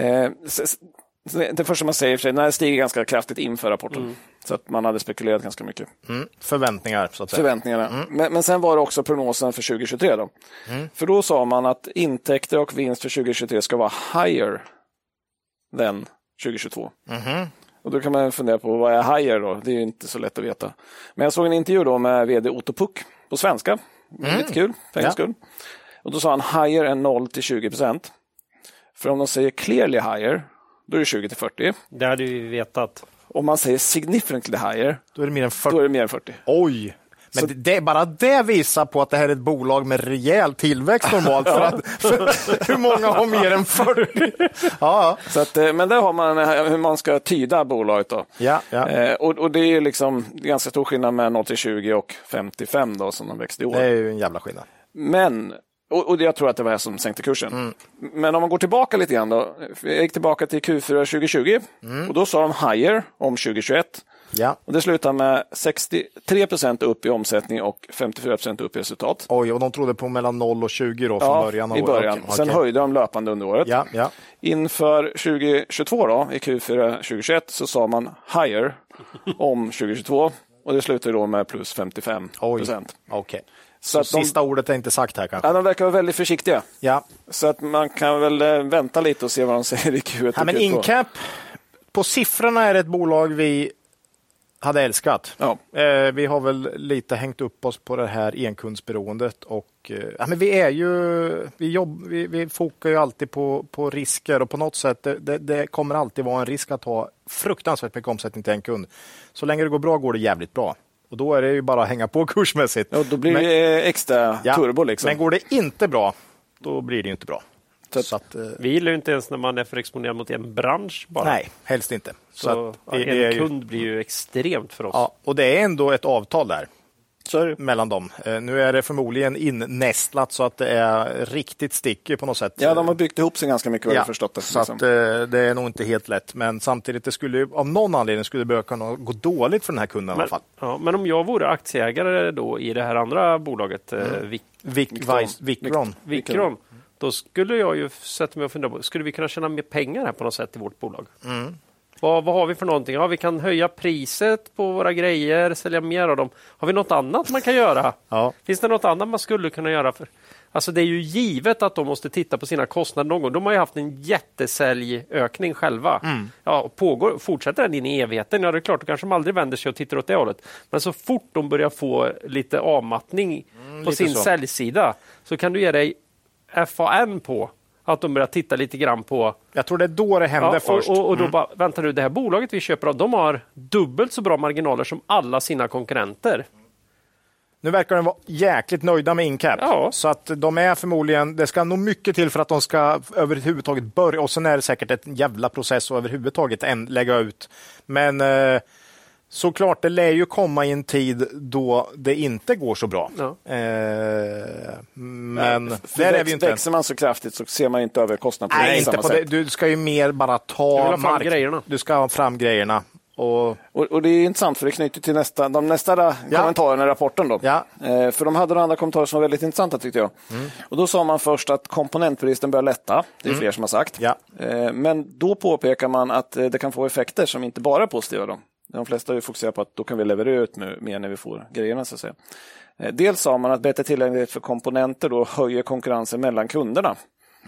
S1: Eh, s- s- det första man säger för sig, den här stiger ganska kraftigt inför rapporten. Så att man hade spekulerat ganska mycket.
S3: Mm, förväntningar, så att säga.
S1: Förväntningarna.
S3: Mm.
S1: Men, men sen var det också prognosen för 2023. Då. För då sa man att intäkter och vinst för 2023 ska vara higher than 2022.
S3: Mm-hmm.
S1: Och då kan man fundera på vad är higher då? Det är ju inte så lätt att veta. Men jag såg en intervju då med vd Otto Puck på svenska. Lite kul, för
S3: Mm. Ja.
S1: en gångs skull. Och då sa han higher än 0 till 20 procent. För om de säger clearly higher, då är det 20 till 40.
S2: Det hade vi vetat.
S1: Om man säger significantly higher,
S3: Då är det mer än
S1: då
S3: 40.
S1: är det mer än 40.
S3: Oj! Men det, det, bara det visar på att det här är ett bolag med rejäl tillväxt normalt. för att, för, hur många har mer än 40? Ja, ja.
S1: Så att, eh, men där har man eh, hur man ska tyda bolaget. Då.
S3: Ja, ja.
S1: Eh, och, och det är ju liksom ganska stor skillnad mellan 80-20 och 55 då, som de växte i år.
S3: det är ju en jävla skillnad.
S1: Men, och, och jag tror att det var det som sänkte kursen.
S3: Mm.
S1: Men om man går tillbaka lite grann då. Jag gick tillbaka till Q4 2020
S3: Mm.
S1: och då sa de higher om 2021.
S3: Ja.
S1: Och det slutar med 63 procent upp i omsättning och 54 procent upp i resultat.
S3: Oj, och de trodde på mellan 0 och 20 då, från början av
S1: i
S3: året.
S1: början.
S3: Okej.
S1: Sen
S3: Okej.
S1: höjde de löpande under året.
S3: Ja, ja.
S1: Inför 2022, då, i Q4 2021, så sa man higher om 2022. Och det slutar då med plus 55 procent.
S3: Okej.
S1: Så att de,
S3: Sista ordet är inte sagt här kanske.
S1: ja, de verkar vara väldigt försiktiga.
S3: Ja.
S1: Så att man kan väl eh, vänta lite och se vad de säger i Q1 och
S3: Ja, men
S1: Q2.
S3: Incap, på siffrorna är det ett bolag vi hade älskat.
S1: Ja.
S3: Eh, vi har väl lite hängt upp oss på det här enkundsberoendet. Och, eh, ja, men vi, är ju, vi, jobb, vi, vi fokar ju alltid på, på risker och på något sätt det, det, det kommer alltid vara en risk att ha fruktansvärt mycket omsättning till en kund. Så länge det går bra går det jävligt bra. Och då är det ju bara att hänga på kursmässigt.
S1: Ja, då blir
S3: Men-
S1: det eh, extra
S3: Ja,
S1: turbo. Liksom.
S3: Men går det inte bra, då blir det ju inte bra.
S1: Så
S3: Så
S1: att-
S3: att, eh,
S2: Vi gillar ju inte ens när man är för exponerad mot en bransch bara.
S3: nej, helst inte. Så
S2: Så
S3: att
S2: en
S3: det, det är ju,
S2: kund blir ju extremt för oss.
S3: ja, och det är ändå ett avtal där
S2: Så är det.
S3: mellan dem. Eh, Nu är det förmodligen innästlat så att det är riktigt sticky på något sätt. Eh,
S1: Ja, de har byggt ihop sig ganska mycket vad jag
S3: Ja,
S1: har förstått det.
S3: så
S1: Liksom.
S3: att, eh, det är nog inte helt lätt. Men samtidigt, det skulle ju, av någon anledning skulle det börja kunna gå dåligt för den här kunden i alla
S2: Men,
S3: fall.
S2: ja, men om jag vore aktieägare då i det här andra bolaget, mm. Vic,
S3: Vic, Vice- Vicron.
S2: Vicron, då skulle jag ju sätta mig och fundera på, skulle vi kunna tjäna mer pengar här på något sätt i vårt bolag?
S3: Mm.
S2: Vad, vad har vi för någonting? Ja, vi kan höja priset på våra grejer, sälja mer av dem. Har vi något annat man kan göra?
S3: Ja.
S2: Finns det något annat man skulle kunna göra? för? Alltså det är ju givet att de måste titta på sina kostnader någon gång. De har ju haft en jättesäljökning själva.
S3: Mm.
S2: Ja, och pågår, fortsätter den in i evigheten, ja det är klart, då kanske de aldrig vänder sig och tittar åt det hållet. Men så fort de börjar få lite avmattning på
S3: Mm, lite
S2: sin
S3: så.
S2: säljsida så kan du ge dig FAN på att de börjar titta lite grann på
S3: Jag tror det är då det hände
S2: Ja,
S3: först. Mm.
S2: Och, och, och då bara, vänta nu, det här bolaget vi köper av, de har dubbelt så bra marginaler som alla sina konkurrenter.
S3: Nu verkar de vara jäkligt nöjda med Incap.
S2: Ja.
S3: Så att de är förmodligen, det ska nog mycket till för att de ska överhuvudtaget börja. Och sen är det säkert en jävla process att överhuvudtaget än lägga ut. Men eh, såklart, det lär ju komma i en tid då det inte går så bra.
S2: Ja.
S3: Eh, men
S1: För
S3: där är
S1: väx-
S3: vi ju inte än.
S1: Växer man så kraftigt så ser man inte över kostnaderna på
S3: Nej,
S1: samma
S3: inte på det.
S1: sätt.
S3: Du ska ju mer bara
S2: Jag vill
S3: ta
S2: ha fram grejerna. Mm.
S3: Du ska ha fram grejerna. Och
S1: Och, och det är intressant för det knyter till nästa, de nästa ra-
S3: Ja.
S1: kommentarerna i rapporten. Då.
S3: Ja. Mm.
S1: Eh, för de hade några andra kommentarer som var väldigt intressanta tyckte jag. Och då sa man först att komponentbristen börjar lätta, det är fler som har sagt.
S3: Ja.
S1: Eh, men då påpekar man att eh, det kan få effekter som inte bara är positiva. Då. De flesta har ju fokuserat på att då kan vi leverera ut nu, mer när vi får grejerna. Så att säga. Eh, Dels sa man att bättre tillgänglighet för komponenter då höjer konkurrensen mellan kunderna.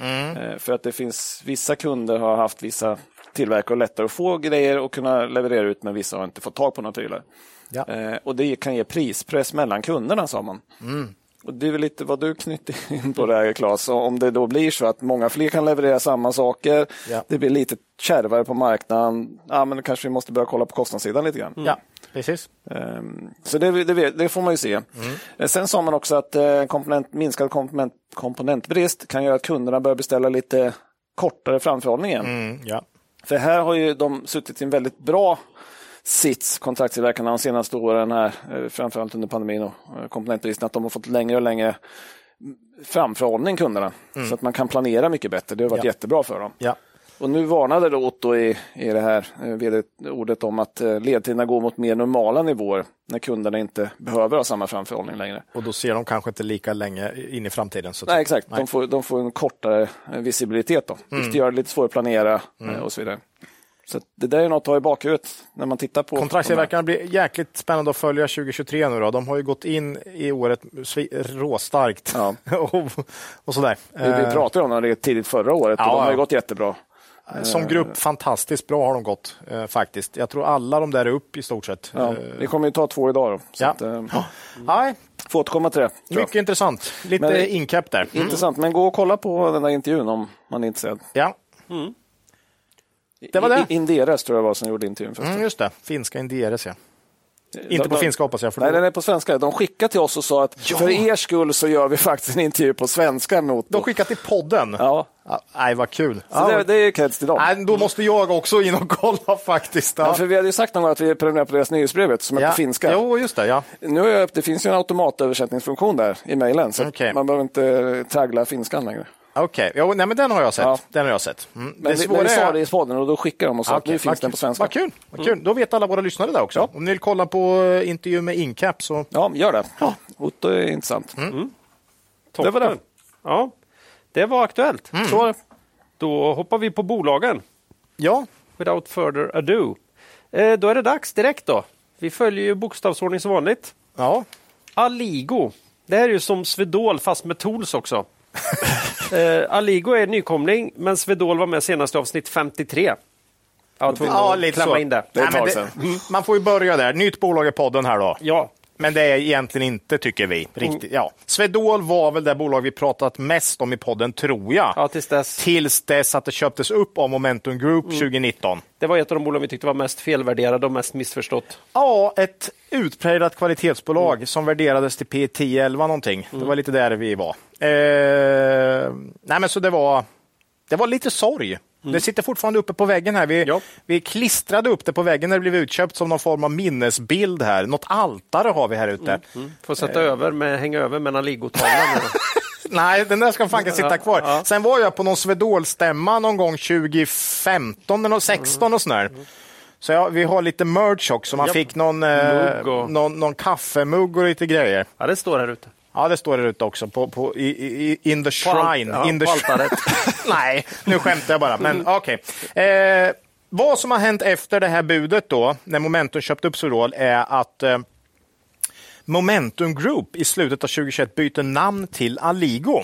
S3: Mm.
S1: Eh, För att det finns vissa kunder har haft vissa tillverkare lättare att få grejer och kunna leverera ut men vissa har inte fått tag på några prylar.
S3: Ja.
S1: Eh, Och det kan ge prispress mellan kunderna sa man.
S3: Mm.
S1: Och det är väl lite vad du knyter in på det här Claes. Och Om det då blir så att många fler kan leverera samma saker,
S3: Ja.
S1: det blir lite kärvare på marknaden, ja, men då kanske vi måste börja kolla på kostnadssidan lite grann.
S3: Ja, precis.
S1: Ehm, Så det, det, vet- det får man ju se.
S3: Mm.
S1: Eh, Sen sa man också att eh, komponent, minskad komponent, komponentbrist kan göra att kunderna börjar beställa lite kortare framförhållning igen.
S3: Mm, ja.
S1: För här har ju de suttit i en väldigt bra sits, kontraktstillverkarna, de senaste åren här, eh, framförallt under pandemin och eh, komponentbristen, att de har fått längre och längre framförhållning, kunderna. Så att man kan planera mycket bättre. Det har varit
S3: Mm. Ja.
S1: jättebra för dem.
S3: ja.
S1: Och nu varnade då Otto i, i det här eh, vd-ordet om att eh, ledtiderna går mot mer normala nivåer när kunderna inte behöver ha samma framförhållning längre.
S3: Och då ser de kanske inte lika länge in i framtiden. Så att
S1: Nej,
S3: säga.
S1: exakt. De får, de får en kortare eh, visibilitet
S3: Mm.
S1: då, vilket gör det lite svårare att planera eh, och så vidare. Så att det där är något att ha i bakhuvudet när man tittar på...
S3: Kontraktstillverkarna blir jäkligt spännande att följa 2023 nu då. De har ju gått in i året svi- råstarkt
S1: Ja.
S3: och, och sådär.
S1: de här- Vi, vi
S3: Eh,
S1: pratade om det tidigt förra året och
S3: Ja,
S1: de har ju
S3: ja.
S1: gått jättebra.
S3: Eh, Som grupp fantastiskt bra har de gått eh, faktiskt. Jag tror alla de där är upp i stort sett.
S1: Ja.
S3: Eh,
S1: Det kommer ju ta två idag då. Så
S3: ja.
S1: att, eh,
S3: Nej,
S1: får återkomma till det. tror jag.
S3: mycket Mm. intressant. Lite
S1: Men- Mm.
S3: inkapp där.
S1: Intressant, men gå och kolla på den där intervjun om man är intresserad.
S3: Ja, Det var det.
S1: I- Inderes tror jag var som gjorde intervjun. förresten.
S3: mm, just det. Finska Indieres ja.
S1: De-
S3: Inte på
S1: de-
S3: finska hoppas jag. För
S1: Nej,
S3: då,
S1: den är på svenska. De skickade till oss och sa att för er skull så gör vi faktiskt en intervju på svenska med Otto.
S3: de skickar till podden.
S1: Ja,
S3: Ja, nej, vad kul.
S1: så
S3: Ja,
S1: det, det är kreds till dem.
S3: nej, då måste jag också in och kolla faktiskt.
S1: Ja,
S3: Ja.
S1: för vi hade ju sagt någon gång att vi prenumererar på deras nyhetsbrevet som är
S3: Ja.
S1: på finska.
S3: Jo, just det. Ja.
S1: Nu har jag, upp- det finns ju en automatöversättningsfunktion där i mejlen, så att
S3: Okej.
S1: man behöver inte traggla finskan längre.
S3: Okej, jo, nej, men den har jag sett.
S1: Ja.
S3: Den har jag sett. Mm.
S1: Men vi, men vi sa det i podden och då skickade de och sa
S3: Ja,
S1: att nu
S3: okej,
S1: finns
S3: vad
S1: den
S3: kul.
S1: på svenska. Mm.
S3: Vad kul. Vad kul. Då vet alla våra lyssnare där också. Om ni vill kolla på eh, intervju med Incap så
S1: Ja, gör det. Otto är intressant.
S3: Mm.
S2: Toppen.
S1: Det var det.
S2: Ja, det var aktuellt.
S3: Mm.
S1: Så var det.
S2: Då hoppar vi på bolagen.
S3: ja,
S2: Without further ado. Eh, då är det dags direkt då. Vi följer ju bokstavsordning som vanligt.
S3: ja.
S2: Aligo. Det här är ju som Svedol fast med tools också. eh, Aligo är nykomling, men Svedol var med senast i avsnitt 53. Ja, tvungen
S3: Ja,
S2: att
S3: lite
S2: klämma
S3: så.
S2: in det.
S1: Det är ett
S3: Nej,
S1: tag
S3: men
S1: sedan.
S3: Mm, Man får ju börja där. Nytt bolag i podden här då.
S2: Ja,
S3: Men det är egentligen inte, tycker vi.
S1: Mm.
S3: Riktigt. Ja. Swedol var väl det bolag vi pratat mest om i podden, tror jag.
S2: ja, tills dess.
S3: Tills dess att det köptes upp av Momentum Group
S1: Mm.
S3: 2019.
S2: Det var ett av de bolag vi tyckte var mest felvärderade och mest missförstått.
S3: Ja, ett utpräglat kvalitetsbolag som värderades till P 10 11 någonting. Det var lite där vi var. Eh, nej, men så det var, det var lite sorg. Det sitter fortfarande uppe på väggen här. Vi,
S2: Ja.
S3: vi klistrade upp det på väggen när det blev utköpt som någon form av minnesbild här. Något altare har vi här ute.
S2: Får sätta
S3: Eh.
S2: över med, hänga över med en Aligo-tavla. nu.
S3: Nej, den där ska fan inte sitta kvar.
S2: Ja.
S3: Sen var jag på någon Swedol-stämma någon gång 2015 eller 2016 och sådär. Så ja, vi har lite merch också. Man
S2: Japp.
S3: fick någon, eh,
S2: Mugg och-
S3: någon, någon kaffemugg och lite grejer.
S2: Ja, det står här ute.
S3: Ja, det står där ute också. På, på, i, i, in the
S2: På alt-
S3: shrine.
S2: ja,
S3: in the
S2: på
S3: shr-
S2: altaret.
S3: Nej, nu skämtar jag bara. Men okej. Eh, vad som har hänt efter det här budet då, när Momentum köpte upp Swedol, är att eh, Momentum Group i slutet av 2021 byter namn till Aligo.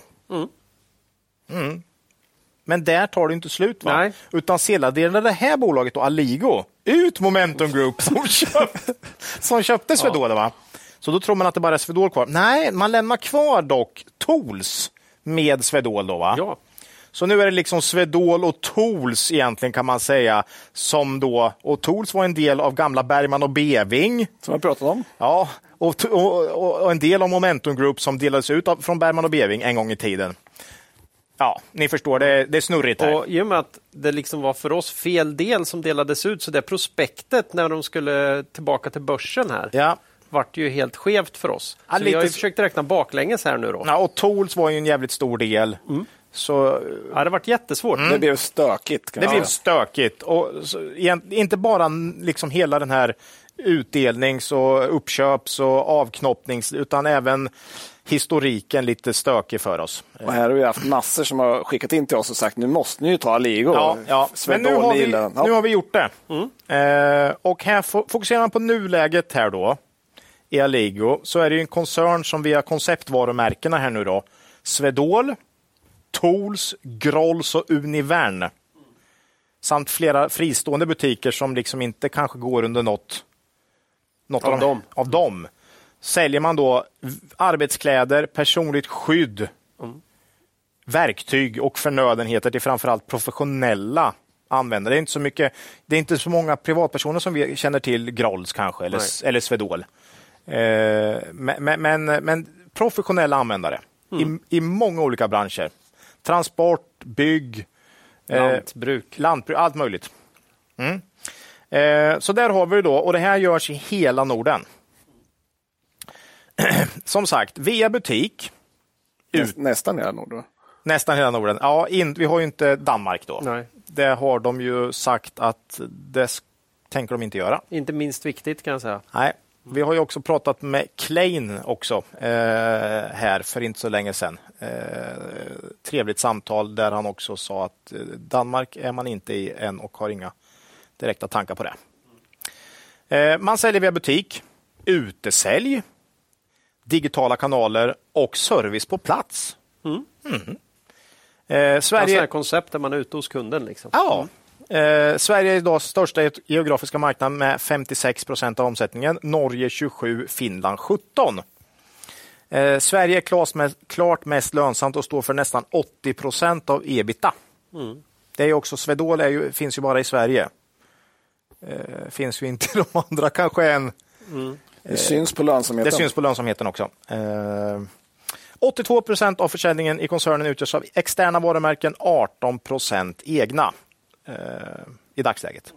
S3: Mm. Men där tar det inte slut. Va?
S2: Nej.
S3: Utan sedan delade det här bolaget, då, Aligo, ut Momentum Group som, köpt, som köpte Swedol. Va? Så då tror man att det bara är Swedol kvar. Nej, man lämnar kvar dock Tools med Swedol. Då, va?
S2: Ja.
S3: Så nu är det liksom Swedol och Tools egentligen kan man säga. Som då, och Tools var en del av gamla Bergman och Beving.
S1: Som jag pratade om.
S3: Ja, och, och, och, och en del av Momentum Group som delades ut av, från Bergman och Beving en gång i tiden. Ja, ni förstår, det, det är snurrigt här.
S2: Och I och med att det liksom var för oss fel del som delades ut, så det prospektet när de skulle tillbaka till börsen här,
S3: Ja.
S2: vart ju helt skevt för oss.
S3: Ja,
S2: så
S3: lite
S2: vi har ju
S3: så-
S2: försökt räkna baklänges här nu då. Ja.
S3: ja, och Tools var ju en jävligt stor del. Så
S2: det har varit jättesvårt.
S3: Mm.
S1: Det blev stökigt. Kan
S3: det
S1: jag
S3: blev
S1: säga.
S3: stökigt. Och så, egent- inte bara n- liksom hela den här utdelnings och uppköps och avknoppnings, utan även historiken lite stökig för oss.
S1: Och här har vi haft massor som har skickat in till oss och sagt nu måste ni ju ta Aligo.
S3: Ja, ja. men
S1: Swedol,
S3: nu har,
S1: ni
S3: vi,
S1: gillar den. Ja.
S3: Mm. nu har vi gjort det. Eh, och här fo- fokuserar man på nuläget här då. i Alligo så är det ju en koncern som via konceptvarumärkena här nu då. Swedol, Tools, Grolls och Univern. Samt flera fristående butiker som liksom inte kanske går under något, något av,
S2: Av
S3: de-
S2: dem.
S3: av dem. Säljer man då v- arbetskläder, personligt skydd, verktyg och förnödenheter till framförallt professionella användare. Det är inte så, mycket, det är inte så många privatpersoner som vi känner till Grolls kanske, eller, eller Swedol. Eh, men, men- men, men professionella användare
S2: Mm.
S3: i, i många olika branscher. Transport, bygg, eh,
S2: Lantbruk.
S3: lantbruk, allt möjligt. Mm. Eh, så där har vi det då, och det här görs i hela Norden. Som sagt, via butik,
S1: Näst, nästan hela Norden.
S3: nästan hela Norden. Ja, in, vi har ju inte Danmark då.
S2: Nej.
S3: Det har de ju sagt att det s- tänker de inte göra.
S2: Inte minst viktigt kan jag säga.
S3: Nej, vi har ju också pratat med Klein också eh, här för inte så länge sedan. Eh, trevligt samtal där han också sa att eh, Danmark är man inte i än och har inga direkta tankar på det. Eh, man säljer via butik, utesälj, digitala kanaler och service på plats. Mm. Eh,
S2: Alltså det
S3: Sverige...
S2: här koncept där man är ute hos kunden. Liksom.
S3: Ja. Eh, Sverige är idag största ge- geografiska marknad med 56 procent av omsättningen. Norge 27, Finland 17. Eh, Sverige är klart mest, klart mest lönsamt och står för nästan 80 procent av ebita. Det är också, Swedol är ju, finns ju bara i Sverige. Eh, finns ju inte i de andra kanske än.
S1: Det syns på lönsamheten.
S3: Eh, Det syns på lönsamheten också. Eh, 82 procent av försäljningen i koncernen utgörs av externa varumärken, 18 procent egna eh, i dagsläget.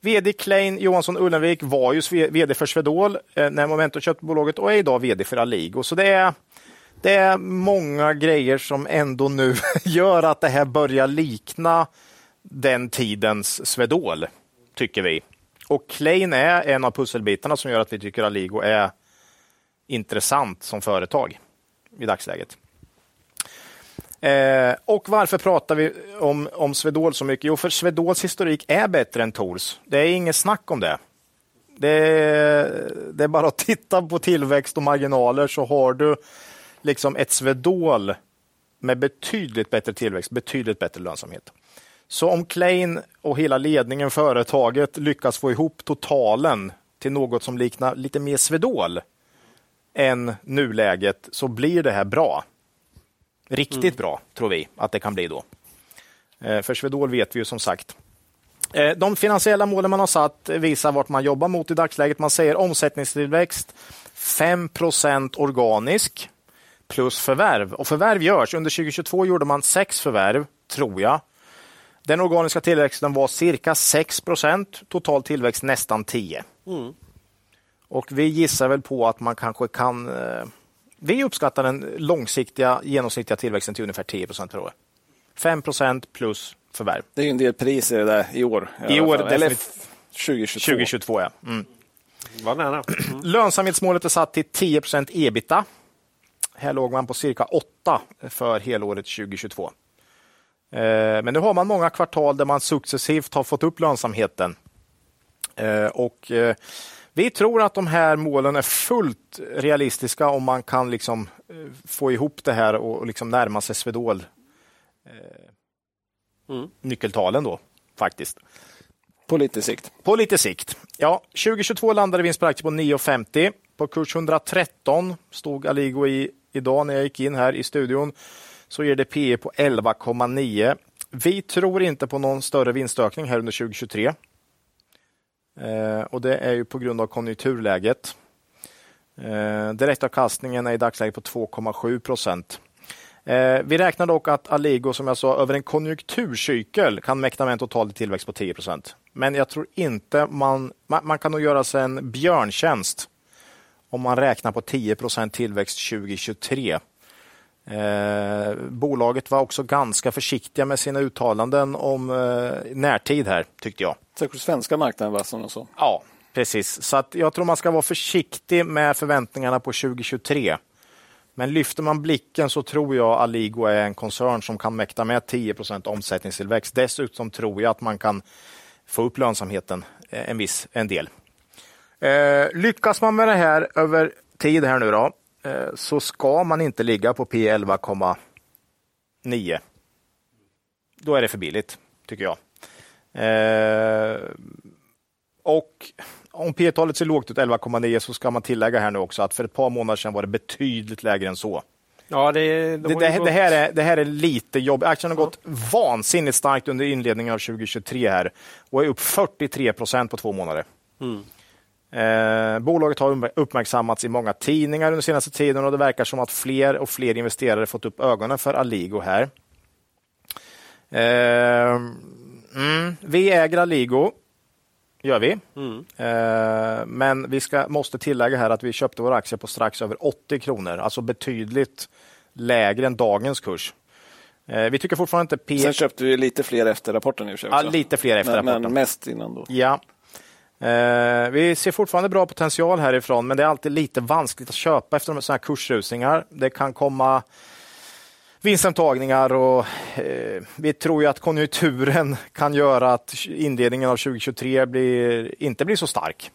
S3: VD Klein Johansson Ullenvik var ju sve- VD för Swedol eh, när Momentum köpte bolaget och är idag VD för Alligo. Så det är, det är många grejer som ändå nu gör att det här börjar likna den tidens Swedol, tycker vi. Och Klein är en av pusselbitarna som gör att vi tycker Alligo är intressant som företag i dagsläget. Eh, och varför pratar vi om, om Swedol så mycket? Jo, för Svedols historik är bättre än Tors. Det är inget snack om det. Det är, det är bara att titta på tillväxt och marginaler så har du liksom ett Svedol med betydligt bättre tillväxt, betydligt bättre lönsamhet. Så om Klein och hela ledningen, företaget, lyckas få ihop totalen till något som liknar lite mer Svedol än nuläget så blir det här bra. Riktigt bra, tror vi att det kan bli då. Eh, För Svedol vet vi ju som sagt. Eh, De finansiella målen man har satt visar vart man jobbar mot i dagsläget. Man säger omsättningstillväxt 5 organisk plus förvärv. Och förvärv görs. Under 2022 gjorde man sex förvärv, tror jag. Den organiska tillväxten var cirka 6 total tillväxt nästan 10. Och vi gissar väl på att man kanske kan... eh, Vi uppskattar den långsiktiga genomsnittliga tillväxten till ungefär 10 per år. 5 plus förvärv.
S1: Det är ju en del pris i det där i år. i
S3: I
S1: alla
S3: år,
S1: fall. Eller
S3: definitivt.
S1: 2022.
S3: 2022, ja. Mm.
S2: Var nära. Mm.
S3: Lönsamhetsmålet är satt till 10 ebita. Här låg man på cirka 8 för helåret 2022. Eh, Men nu har man många kvartal där man successivt har fått upp lönsamheten. Eh, Och eh, vi tror att de här målen är fullt realistiska om man kan liksom eh, få ihop det här och och liksom närma sig Swedol. eh,
S2: Mm.
S3: Nyckeltalen då, faktiskt.
S1: På lite sikt.
S3: På lite sikt. Ja, 2022 landade vinst per aktie på 9,50. På kurs 113 stod Aligo i idag när jag gick in här i studion. Så ger det PE på 11,9. Vi tror inte på någon större vinstökning här under 2023. Eh, och det är ju på grund av konjunkturläget. Eh, direktavkastningen är i dagsläget på 2,7 procent. Eh, vi räknar dock att Alligo, som jag sa, över en konjunkturcykel kan mäkta med en total tillväxt på 10 procent. Men jag tror inte man, man... Man kan nog göra sig en björntjänst om man räknar på 10 procent tillväxt 2023. Eh, bolaget var också ganska försiktiga med sina uttalanden om eh, närtid här, tyckte jag.
S1: Särskilt på svenska marknaden, va, som de sa.
S3: Ja, precis. Så att jag tror man ska vara försiktig med förväntningarna på 2023. Men lyfter man blicken så tror jag Aligo är en koncern som kan mäkta med 10 omsättningstillväxt. Dessutom tror jag att man kan få upp lönsamheten eh, en viss en del. Eh, lyckas man med det här över tid här nu då, eh, så ska man inte ligga på P11,9. Då är det för billigt, tycker jag. Eh, och om P-talet ser lågt ut, 11,9, så ska man tillägga här nu också att för ett par månader sedan var det betydligt lägre än så.
S2: Ja, det, de
S3: Det,
S2: har ju
S3: det,
S2: gått-
S3: det, här är, det här är lite jobbigt. Aktien har gått vansinnigt starkt under inledningen av 2023 här och är upp 43 procent på två månader.
S2: Mm.
S3: Eh, bolaget har um- uppmärksammats i många tidningar under senaste tiden och det verkar som att fler och fler investerare fått upp ögonen för Aligo här. Eh, mm, vi äger Aligo, gör vi. Eh, men vi ska, måste tillägga här att vi köpte våra aktier på strax över 80 kronor, alltså betydligt lägre än dagens kurs. Eh, vi tycker fortfarande inte P...
S1: Sen köpte vi lite fler efter rapporten i och för sig
S3: Ja,
S1: också.
S3: lite fler efter
S1: men,
S3: rapporten.
S1: men mest innan då.
S3: Ja. Eh, vi ser fortfarande bra potential härifrån, men det är alltid lite vanskligt att köpa efter de- sådana här kursrusningar. Det kan komma vinstintagningar och eh, vi tror ju att konjunkturen kan göra att inledningen av 2023 blir, inte blir så stark.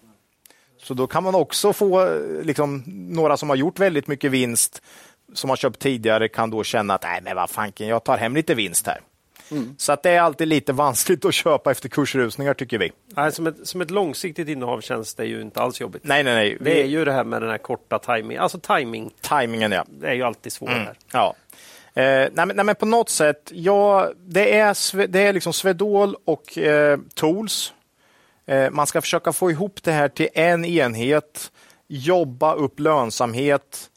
S3: Så då kan man också få eh, liksom, några som har gjort väldigt mycket vinst som har köpt tidigare kan då känna att nej, men vad fanken, jag tar hem lite vinst här. Så att det är alltid lite vanskligt att köpa efter kursrusningar tycker vi.
S2: Nej, som, ett, som ett långsiktigt innehav känns det ju inte alls jobbigt.
S3: Nej, nej, nej.
S2: Det är ju det här med den här korta timing. Alltså timing
S3: Timingen, ja.
S2: det är ju alltid svårt
S3: Mm.
S2: här.
S3: ja. Eh, nej, men, nej, men på något sätt, ja, det, är, Sve- det är liksom Swedol och eh, Tools. Eh, man ska försöka få ihop det här till en enhet, jobba upp lönsamhet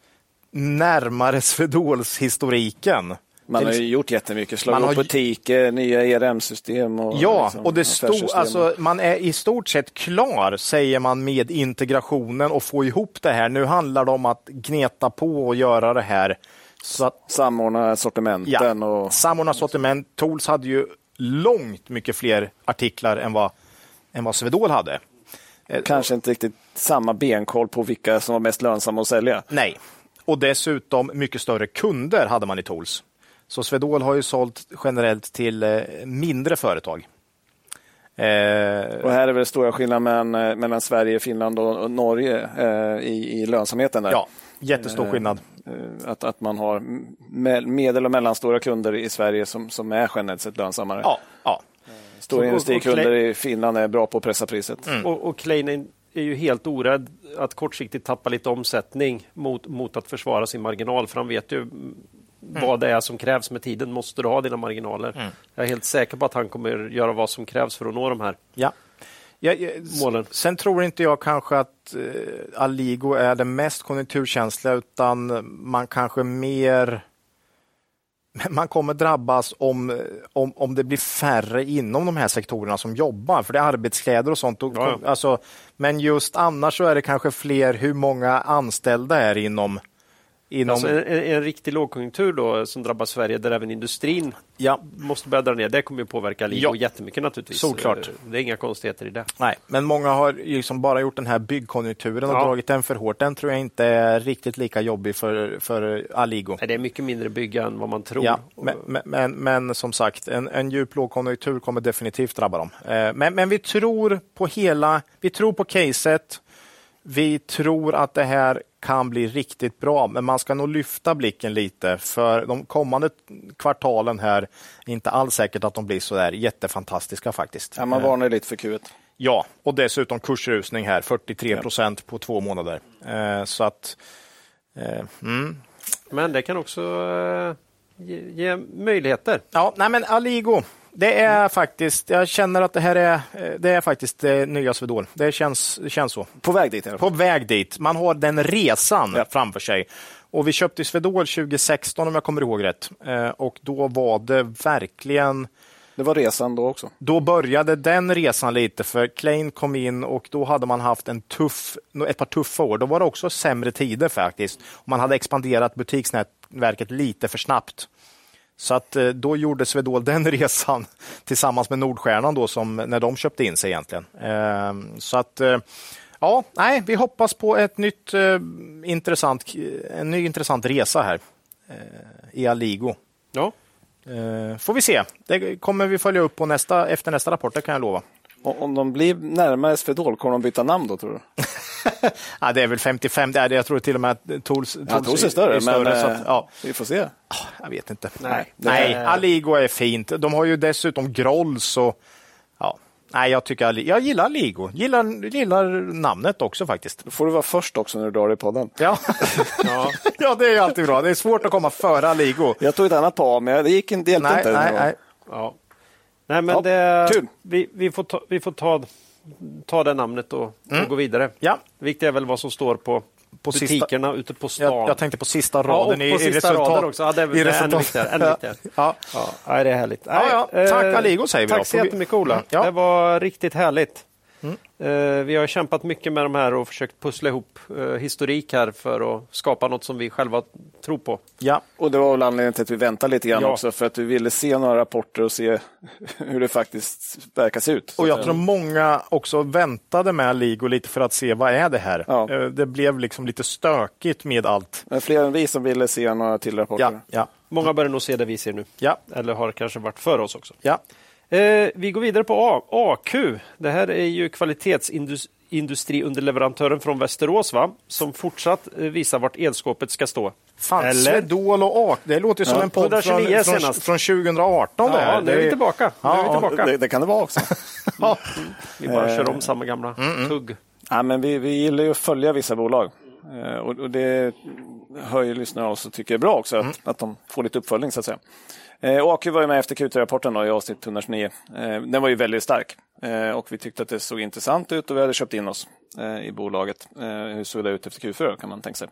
S3: närmare Swedols historiken.
S1: Man har
S3: Till-
S1: ju gjort jättemycket, slagit
S3: Man har ju-
S1: ihop butiker, nya ERM-system och
S3: Ja,
S1: liksom
S3: och det stod,
S1: affärssystem.
S3: alltså, man är i stort sett klar, säger man, med integrationen och få ihop det här. Nu handlar det om att gneta på och göra det här så att
S1: Samordna sortimenten och
S3: Samordna sortiment. Tools hade ju långt mycket fler artiklar än vad, än vad Swedol hade. Eh,
S1: kanske inte riktigt samma benkoll på vilka som var mest lönsamma att sälja.
S3: Nej. Och dessutom mycket större kunder hade man i Tools. Så Swedol har ju sålt generellt till eh, mindre företag. Eh,
S1: Och här är väl stora skillnaden mellan, eh, mellan Sverige, Finland och och Norge eh, i, i lönsamheten. Där.
S3: ja, jättestor skillnad.
S1: Eh, Att, att man har m- me- medel och mellanstora kunder i Sverige som, som är generellt sett lönsammare.
S3: Ja, ja.
S1: Stora
S2: Och- och
S1: industrikunder
S2: klä-
S1: i Finland är bra på att pressa priset.
S3: Mm.
S2: Och, och Klein är- är ju helt orädd att kortsiktigt tappa lite omsättning mot, mot att försvara sin marginal. För han vet ju mm, Mm. vad det är som krävs med tiden. Måste du ha dina marginaler? Jag är helt säker på att han kommer göra vad som krävs för att nå de här.
S3: ja. Jag, jag, s-
S2: Målen.
S3: Sen tror inte jag kanske att eh, Aligo är det mest konjunkturkänsliga utan man kanske mer... Man kommer drabbas om, eh, om, om det blir färre inom de här sektorerna som jobbar, för det är arbetskläder och sånt. Och,
S2: Ja, ja.
S3: Alltså, men just annars så är det kanske fler, hur många anställda är inom... inom
S2: Alltså en, en, en riktig lågkonjunktur då, som drabbar Sverige där även industrin
S3: ja,
S2: måste börja dra ner. Det kommer ju påverka Aligo
S3: Ja.
S2: jättemycket naturligtvis.
S3: Solklart.
S2: Eh, Det är inga konstigheter i det.
S3: nej, men många har ju liksom bara gjort den här byggkonjunkturen och
S2: Ja.
S3: dragit den för hårt. Den tror jag inte är riktigt lika jobbig för, för Aligo.
S2: Nej, det är mycket mindre bygga än vad man tror.
S3: Ja, men, men- men, men som sagt, en, en djup lågkonjunktur kommer definitivt drabba dem. Eh, Men, men vi tror på hela, vi tror på caset. Vi tror att det här kan bli riktigt bra, men man ska nog lyfta blicken lite för de kommande kvartalen här är inte alls säkert att de blir så där jättefantastiska faktiskt.
S1: Ja, man
S3: Eh,
S1: varnar ju lite för Q1.
S3: Ja, och dessutom kursrusning här, 43 procent på två månader. Eh, Så att, eh, mm,
S2: Men det kan också eh, ge, ge möjligheter.
S3: Ja, nej men Aligo. Det
S1: Mm.
S3: är faktiskt, jag känner att det här är, eh, det är faktiskt det nya Swedol. Det känns, det känns så.
S1: På väg dit i alla fall.
S3: På väg dit. Man har den resan
S1: Ja.
S3: framför sig. Och vi köpte Swedol 2016 om jag kommer ihåg rätt. Eh, Och då var det verkligen
S1: Det var resan då också.
S3: då började den resan lite, för Klein kom in och då hade man haft en tuff, ett par tuffa år. Då var det också sämre tider faktiskt. Man hade expanderat butiksnätverket lite för snabbt. Så att eh, då gjorde Swedol den resan tillsammans med Nordstjärnan då, som, när de köpte in sig egentligen. Ehm, Så att eh, ja, nej, vi hoppas på ett nytt, eh, intressant, en ny intressant resa här eh, i Aligo.
S2: Ja.
S3: Eh, får vi se. Det kommer vi följa upp på nästa, efter nästa rapport, det kan jag lova.
S1: Och om de blir närmare Swedol, kommer de byta namn då tror du?
S3: ja, det är väl 55, det är det. jag tror till och med att Tools,
S1: Ja, Tools är större, men
S3: så
S1: eh,
S3: att, ja, Ah,
S1: vi får se.
S3: jag vet inte.
S2: Nej.
S3: Nej,
S2: Det-
S3: Aligo är fint. De har ju dessutom Grolls och ja. Nej, jag tycker Ali, jag gillar Aligo. Gillar, gillar namnet också faktiskt.
S1: Då får du vara först också när du drar i podden.
S3: Ja. ja. det är ju alltid bra. Det är svårt att komma före Aligo.
S1: Jag tog ett annat par av, men det gick inte, det hjälpte
S3: Nej,
S1: inte.
S3: nej, nej.
S2: Ja. Nej, men
S1: Ja,
S2: det,
S1: kul.
S2: Vi, vi får, ta, vi får ta, ta det namnet och, och gå vidare.
S3: Mm. Ja.
S2: Det viktiga är väl vad som står på,
S3: På sista-
S2: butikerna ute på stan.
S3: Jag, jag tänkte på sista
S2: Ja, och
S3: raden
S2: på
S3: i, i
S2: sista
S3: resultat.
S2: raden också. Ja, det är väl-
S3: i
S2: det är ännu
S3: resultat.
S2: viktigare, ännu viktigare.
S3: Ja.
S2: Ja, nej, det är härligt.
S3: Ja, ja.
S2: Nej,
S3: Tack,
S2: eh,
S3: Aligo, säger vi då.
S2: Tack så
S3: Får vi-
S2: jättemycket Ola.
S3: Mm, ja. Mm.
S2: Det var riktigt härligt. Eh, Vi har kämpat mycket med de här och försökt pussla ihop eh, historik här för att skapa något som vi själva tror på.
S3: Ja.
S1: Och det var väl anledningen till att vi väntade lite grann
S2: Ja.
S1: också, för att vi ville se några rapporter och se hur det faktiskt verkar se ut.
S3: Och jag tror många också väntade med Aligo lite för att se vad är det här.
S1: Ja.
S3: Eh, Det blev liksom lite stökigt med allt.
S1: Men fler än vi som ville se några till rapporter.
S3: Ja, ja,
S2: Många börjar nog se det vi ser nu.
S3: ja,
S2: Eller har kanske varit för oss också.
S3: ja.
S2: Eh, vi går vidare på A- AQ. Det här är ju kvalitetsindustriunderleverantören från Västerås va? som fortsatt eh, visar vart elskåpet ska stå.
S3: Fan,
S2: Eller?
S3: Swedol och AK. Det låter ju som en podd från,
S2: 129
S3: från,
S2: senast.
S3: från 2018. det
S2: Ja,
S3: här.
S2: nu är vi
S3: Det-
S2: tillbaka. Nu är vi
S3: Ja,
S2: tillbaka.
S1: Det, det kan det vara också.
S3: Ja.
S2: Vi bara kör om samma gamla tugg.
S1: ja, men vi, vi gillar ju att följa vissa bolag. Eh, Och, och det hör ju lyssnare av oss och tycker är bra också, att,
S2: Mm.
S1: att de får lite uppföljning så att säga. Eh, och AQ var ju med efter Q3-rapporten då, i avsnitt 129. Eh, den var ju väldigt stark eh, och vi tyckte att det såg intressant ut och vi hade köpt in oss eh, i bolaget. Eh, hur såg det ut efter Q4 kan man tänka sig.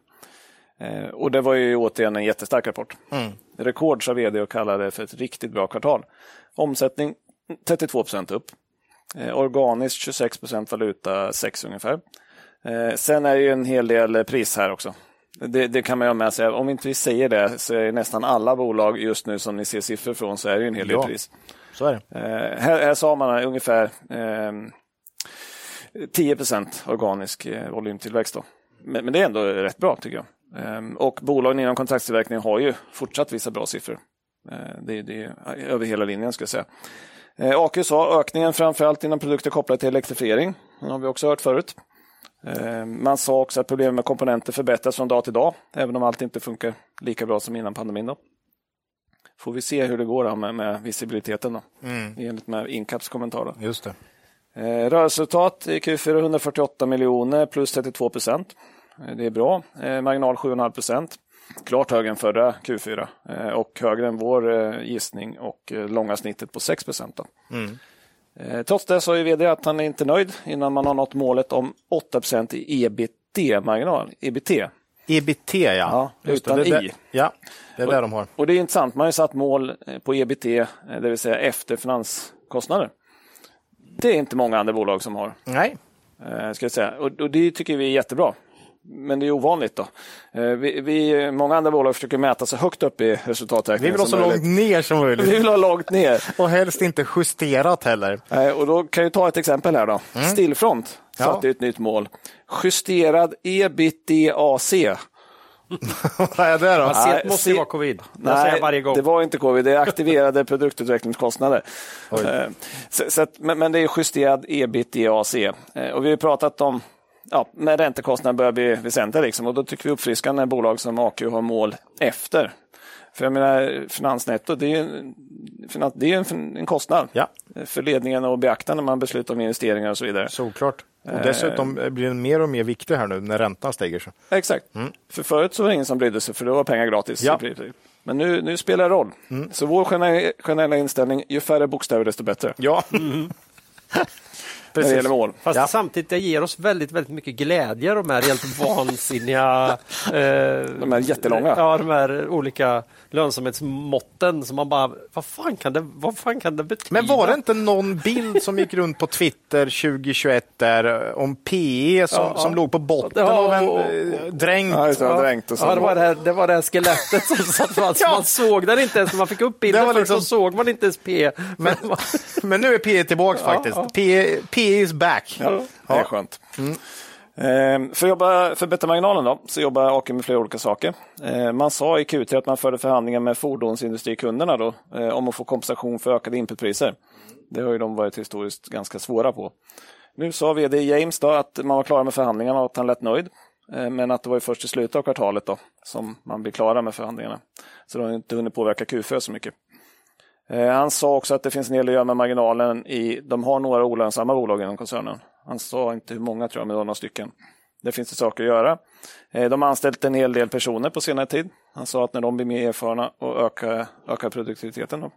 S1: Eh, och det var ju återigen en jättestark rapport. Rekord sa vd och kallade det för ett riktigt bra kvartal. Omsättning 32 procent upp. Eh, organiskt 26 procent, valuta 6 ungefär. Eh, sen är det ju en hel del eh, pris här också. Det, det kan man ju ha med sig. Om inte vi säger det så är det nästan alla bolag just nu som ni ser siffror från så är det ju en hel del
S3: Ja.
S1: pris.
S3: Så är det.
S1: Eh, här, här sa man ungefär eh, 10 organisk eh, volymtillväxt. Då. Men, men det är ändå rätt bra tycker jag. Eh, och bolagen inom kontraktstillverkning har ju fortsatt vissa bra siffror. Eh, det, det är över hela linjen ska jag säga. Eh, AQ sa ökningen framförallt inom produkter kopplade till elektrifiering. Den har vi också hört förut. Eh, Man sa också att problemen med komponenter förbättras från dag till dag, även om allt inte funkar lika bra som innan pandemin. Då. Får vi se hur det går då med, med visibiliteten då, Mm. enligt med Incaps kommentar. Då.
S3: Just det.
S1: Eh, Rörelseresultat i Q4 148 miljoner plus 32 procent. Eh, Det är bra. Eh, Marginal 7,5 procent. Klart högre än förra Q4 eh, och högre än vår eh, gissning och eh, långa snittet på 6 procent. Eh, Trots det så är vd att han är inte nöjd innan man har nått målet om 8 procent i E EBT-marginal. EBT.
S3: EBT, E ja.
S1: Ja,
S3: Just
S1: utan
S3: det. Det är
S1: i.
S3: där- Ja, det är där de har.
S1: Och det är intressant, man har ju satt mål eh, på EBT, eh, det vill säga efter finanskostnader. Det är inte många andra bolag som har.
S3: Nej,
S1: Eh, ska jag säga. Och, och det tycker vi är jättebra. Men det är ovanligt. då. Eh, vi, vi, många andra bolag försöker mäta så högt upp i
S3: vi
S1: resultaträkningen
S3: vill ha så
S1: som
S3: långt
S1: möjligt.
S3: ner som möjligt.
S1: Vi vill ha långt ner.
S3: Och helst inte justerat heller.
S1: Eh, och då kan jag ta ett exempel här. då.
S3: Mm.
S1: Stillfront satte ett nytt mål. Justerad ebitac.
S3: Vad är det då?
S2: Alltså,
S1: Nej,
S2: det måste ju
S1: se-
S2: vara covid. jag säger jag varje gång.
S1: det var inte covid. Det är aktiverade produktutvecklingskostnader. Eh, Så, så att, men, men det är justerad ebitac. Eh, Och vi har pratat om Ja, när räntekostnaden börjar bli väsentlig liksom, och då tycker vi uppfriskande när bolag som AQ har mål efter. För jag menar, finansnetto, det är ju en, finans, det är ju en, fin- en kostnad
S3: Ja.
S1: för ledningen att beakta när man beslutar om investeringar och så vidare.
S3: Såklart. Och dessutom blir den mer och mer viktig här nu när räntan stiger. Så.
S1: Exakt. För förut så var det ingen som brydde sig för det var pengar gratis.
S3: Ja.
S1: i princip. Men nu, nu spelar det roll. Så vår gene- generella inställning, ju färre bokstäver desto bättre.
S3: Ja,
S1: När det gäller mål.
S2: Fast
S3: Ja.
S2: samtidigt, det ger oss väldigt, väldigt mycket glädje, de här helt vansinniga... Eh,
S1: De här jättelånga.
S2: Ja, de här olika lönsamhetsmåtten som man bara, vad fan kan det, vad fan kan det betyda?
S3: Men var det inte någon bild som gick runt på Twitter 2021 där eh, om PE som, som låg på botten
S2: Ja,
S3: av en
S2: och-
S3: eh, dräng?
S1: Ja, just det,
S2: Ja,
S1: dränkt och så.
S2: ja, det, var det, här, det var det här skelettet som satt fast.
S3: Ja.
S2: Man såg den inte ens, man fick upp bilden
S3: Det var
S2: först
S3: liksom-
S2: så såg man inte ens P. Men,
S3: Men nu är PE tillbaka faktiskt. PE, PE E is back.
S1: Ja, det är skönt. Ehm, För att jobba, förbättra marginalen då, så jobbar AK med flera olika saker. Ehm, Man sa i Q3 att man förde förhandlingar med fordonsindustrikunderna då, eh, om att få kompensation för ökade inputpriser. Det har ju de varit historiskt ganska svåra på. Nu sa vd James då att man var klara med förhandlingarna och att han lät nöjd. Eh, Men att det var ju först i slutet av kvartalet då som man blir klara med förhandlingarna. Så det har inte hunnit påverka Q4 så mycket. Eh, Han sa också att det finns en hel del att göra med marginalen. I, de har några olönsamma bolag inom koncernen. Han sa inte hur många tror jag, men det var några stycken. Det finns det saker att göra. Eh, De har anställt en hel del personer på senare tid. Han sa att när de blir mer erfarna och ökar, ökar produktiviteten. Då.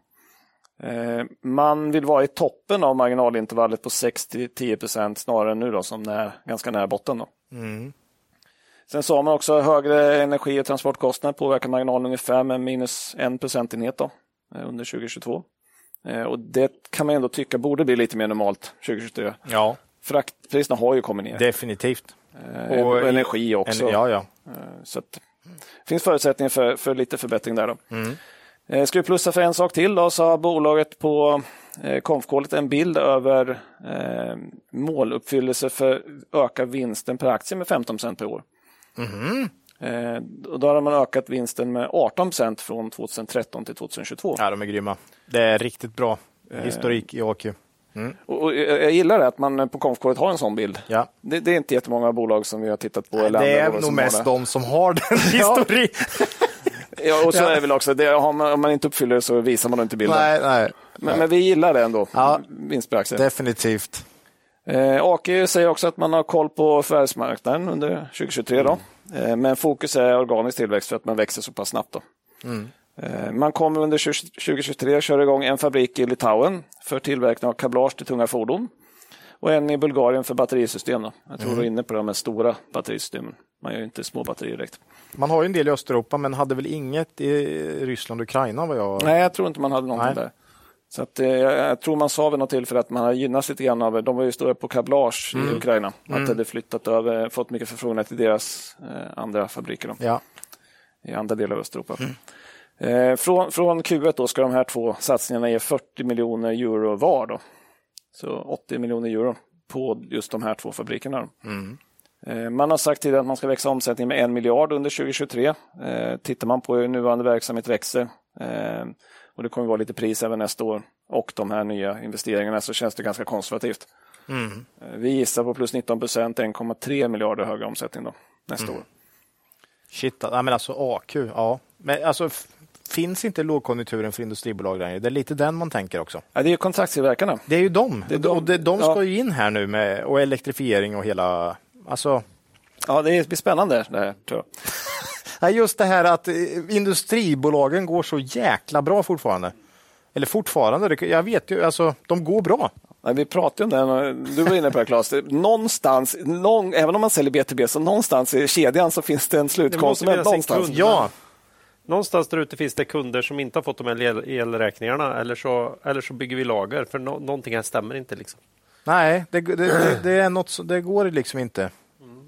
S1: Eh, Man vill vara i toppen av marginalintervallet på 6-10 snarare än nu då, som när, ganska nära botten. Då.
S3: Mm.
S1: Sen sa man också högre energi och transportkostnader påverkar marginalen ungefär med minus 1 procentenhet då, eh, under 2022. Eh, Och det kan man ändå tycka borde bli lite mer normalt 2023.
S3: Ja,
S1: Fraktpriserna har ju kommit ner.
S3: definitivt.
S1: Eh, och, energi också.
S3: En, ja, ja.
S1: Så att, det finns förutsättningar för, för lite förbättring där. Då.
S3: Mm.
S1: Eh, Ska vi plussa för en sak till då, så har bolaget på eh, konfkålet en bild över eh, måluppfyllelse för öka vinsten per aktie med 15 per år.
S3: Mm-hmm.
S1: Eh, och då har man ökat vinsten med 18 från 2013 till 2022.
S3: ja, de är grymma. Det är riktigt bra eh,
S1: Eh.
S3: historik i AQ.
S1: Och, och jag jag gillar det att man eh, på konfkålet har en sån bild.
S3: Ja.
S1: Det, det är inte jättemånga bolag som vi har tittat på. eller
S3: Det
S1: andra
S3: är
S1: bolag
S3: nog
S1: som har
S3: mest
S1: det.
S3: de som har den historiken.
S1: Ja, och så är det väl också, det, om, man, om man inte uppfyller det så visar man inte bilden.
S3: nej, nej,
S1: Men, men vi gillar det ändå,
S3: Ja.
S1: vinst per aktie.
S3: definitivt.
S1: Eh, AQ säger också att man har koll på förvärvsmarknaden under 2023. Då. Eh, men fokus är organisk tillväxt för att man växer så pass snabbt. Då. Eh, man kommer under 20, 2023 köra igång en fabrik i Litauen för tillverkning av kablage till tunga fordon. Och en i Bulgarien för batterisystem. Då. Jag tror du är inne på de här stora batterisystemen. Man gör ju inte små batterier direkt.
S3: Man har ju en del i Östeuropa, men hade väl inget i Ryssland och Ukraina vad jag...
S1: Nej, jag tror inte man hade
S3: Nej.
S1: någonting där. Så att, eh, jag jag tror man sa vid något tillfälle att man har gynnats lite grann av, de var ju stora på kablage
S3: Mm.
S1: i Ukraina, att det hade flyttat över, fått mycket förfrågningar till deras eh, andra fabriker då,
S3: Ja.
S1: i andra delar av Östeuropa. Eh, från, från Q1 då ska de här två satsningarna ge 40 miljoner euro var. Då. Så 80 miljoner euro på just de här två fabrikerna. Då. Eh, Man har sagt tidigare att man ska växa omsättningen med en miljard under 2023. Eh, Tittar man på hur nuvarande verksamhet växer eh, och det kommer vara lite pris även nästa år och de här nya investeringarna så känns det ganska konservativt. Eh, Vi gissar på plus 19 procent, 1,3 miljarder högre omsättning då, nästa år.
S3: Shit, ja, men alltså AQ, ja. Men alltså, f- finns inte lågkonjunkturen för industribolag längre? Det är lite den man tänker också.
S1: Ja, det är ju kontraktstillverkarna.
S3: Det är ju dem.
S1: är de-
S3: och de, de
S1: ja.
S3: ska ju in här nu med och elektrifiering och hela... Alltså,
S1: Ja, det blir spännande det här tror jag.
S3: nej, just det här att eh, industribolagen går så jäkla bra fortfarande. Eller fortfarande, det- jag vet ju, alltså de går bra.
S1: Nej, vi pratade ju om det, du var inne på det här, Claes. Det- Någonstans, någon, även om man säljer B2B, så någonstans i kedjan så finns det en slutkonsument.
S2: finnas en
S1: någonstans.
S2: kund.
S3: Ja,
S2: Någonstans där ute finns det kunder som inte har fått de här el- elräkningarna eller så, eller så bygger vi lager för no- någonting här stämmer inte. Liksom.
S3: nej, det, det, det, det är något, så- det går liksom inte.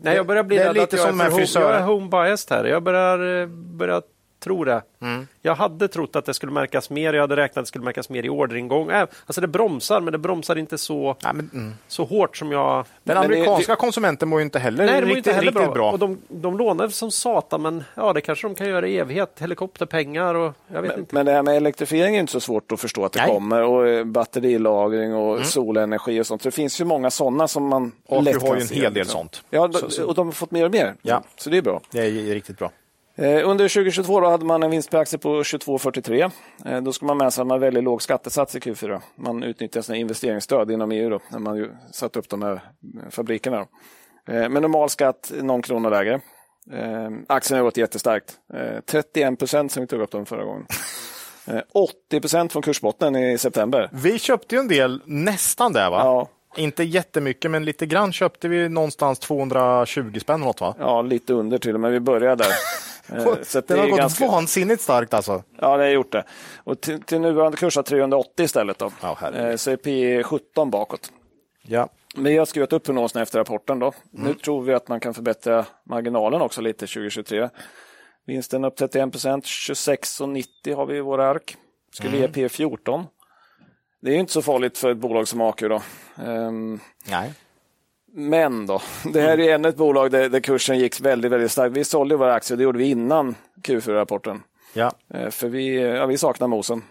S2: Nej, jag börjar bli
S3: Det är
S2: rädd
S3: lite
S2: att jag
S3: som
S2: är
S3: en
S2: för home,
S3: frisör.
S2: jag är home biased här. Jag börjar, eh, börjar tro det.
S3: Mm.
S2: Jag hade trott att det skulle märkas mer. Jag hade räknat att det skulle märkas mer i orderingång. Äh, Alltså det bromsar, men det bromsar inte så,
S3: Ja, men, mm.
S2: så hårt som jag...
S3: Den
S1: Men det-
S3: amerikanska konsumenten mår ju inte heller
S2: Nej, det var
S3: riktigt,
S2: ju inte heller
S3: riktigt
S2: bra.
S3: bra.
S2: Och de, de lånar som satan, men ja, det kanske de kan göra i evighet. Helikopterpengar och jag vet inte.
S1: Men det här med elektrifiering är inte så svårt att förstå att det
S3: Nej. Mm.
S1: kommer och eh, batterilagring och solenergi och sånt. Så det finns ju många sådana som man
S3: Och vi
S1: lätt
S3: har
S1: kan
S3: ju en
S1: se,
S3: hel del
S1: liksom.
S3: sånt.
S1: Ja, d- och de har fått mer och mer.
S3: Ja.
S1: Så det är bra.
S3: Det är ju riktigt bra.
S1: Eh, Under 2022 då hade man en vinst per aktie på 22,43. Eh, Då ska man med sig att man väljer låg skattesats i Q4. Man utnyttjar sina investeringsstöd inom EU då, när man ju satt upp de här eh, fabrikerna. Då. Eh, Men normal skatt någon krona lägre. Eh, Aktien har gått jättestarkt. Eh, 31 procent som vi tog upp dem förra gången. Eh, 80 procent från kursbotten i september.
S3: Vi köpte ju en del, nästan där va?
S1: Ja,
S3: Inte jättemycket, men lite grann köpte vi någonstans 220 spänn eller något va?
S1: ja, lite under till och med. Vi börjar där. Eh, så att
S3: det har
S1: är
S3: gått
S1: ganska-
S3: vansinnigt starkt alltså.
S1: Ja, det har gjort det. Och till, till nuvarande kurs har 380 istället. Då.
S3: Ja, herregud.
S1: Eh, så är P 17 bakåt.
S3: Ja.
S1: Vi har skrivit upp prognosen efter rapporten. Då.
S3: Mm.
S1: Nu tror vi att man kan förbättra marginalen också lite 2023. Vinsten upp 31 procent, 26,90 har vi i våra ark. Skulle
S3: Mm.
S1: ge P 14. Det är ju inte så farligt för ett bolag som AQ. Då. Ehm,
S3: Nej.
S1: men då, det här är ännu ett bolag där, där kursen gick väldigt, väldigt starkt. Vi sålde ju våra aktier, det gjorde vi innan Q4-rapporten.
S3: Ja.
S1: Eh, För vi, ja, vi saknar mosen.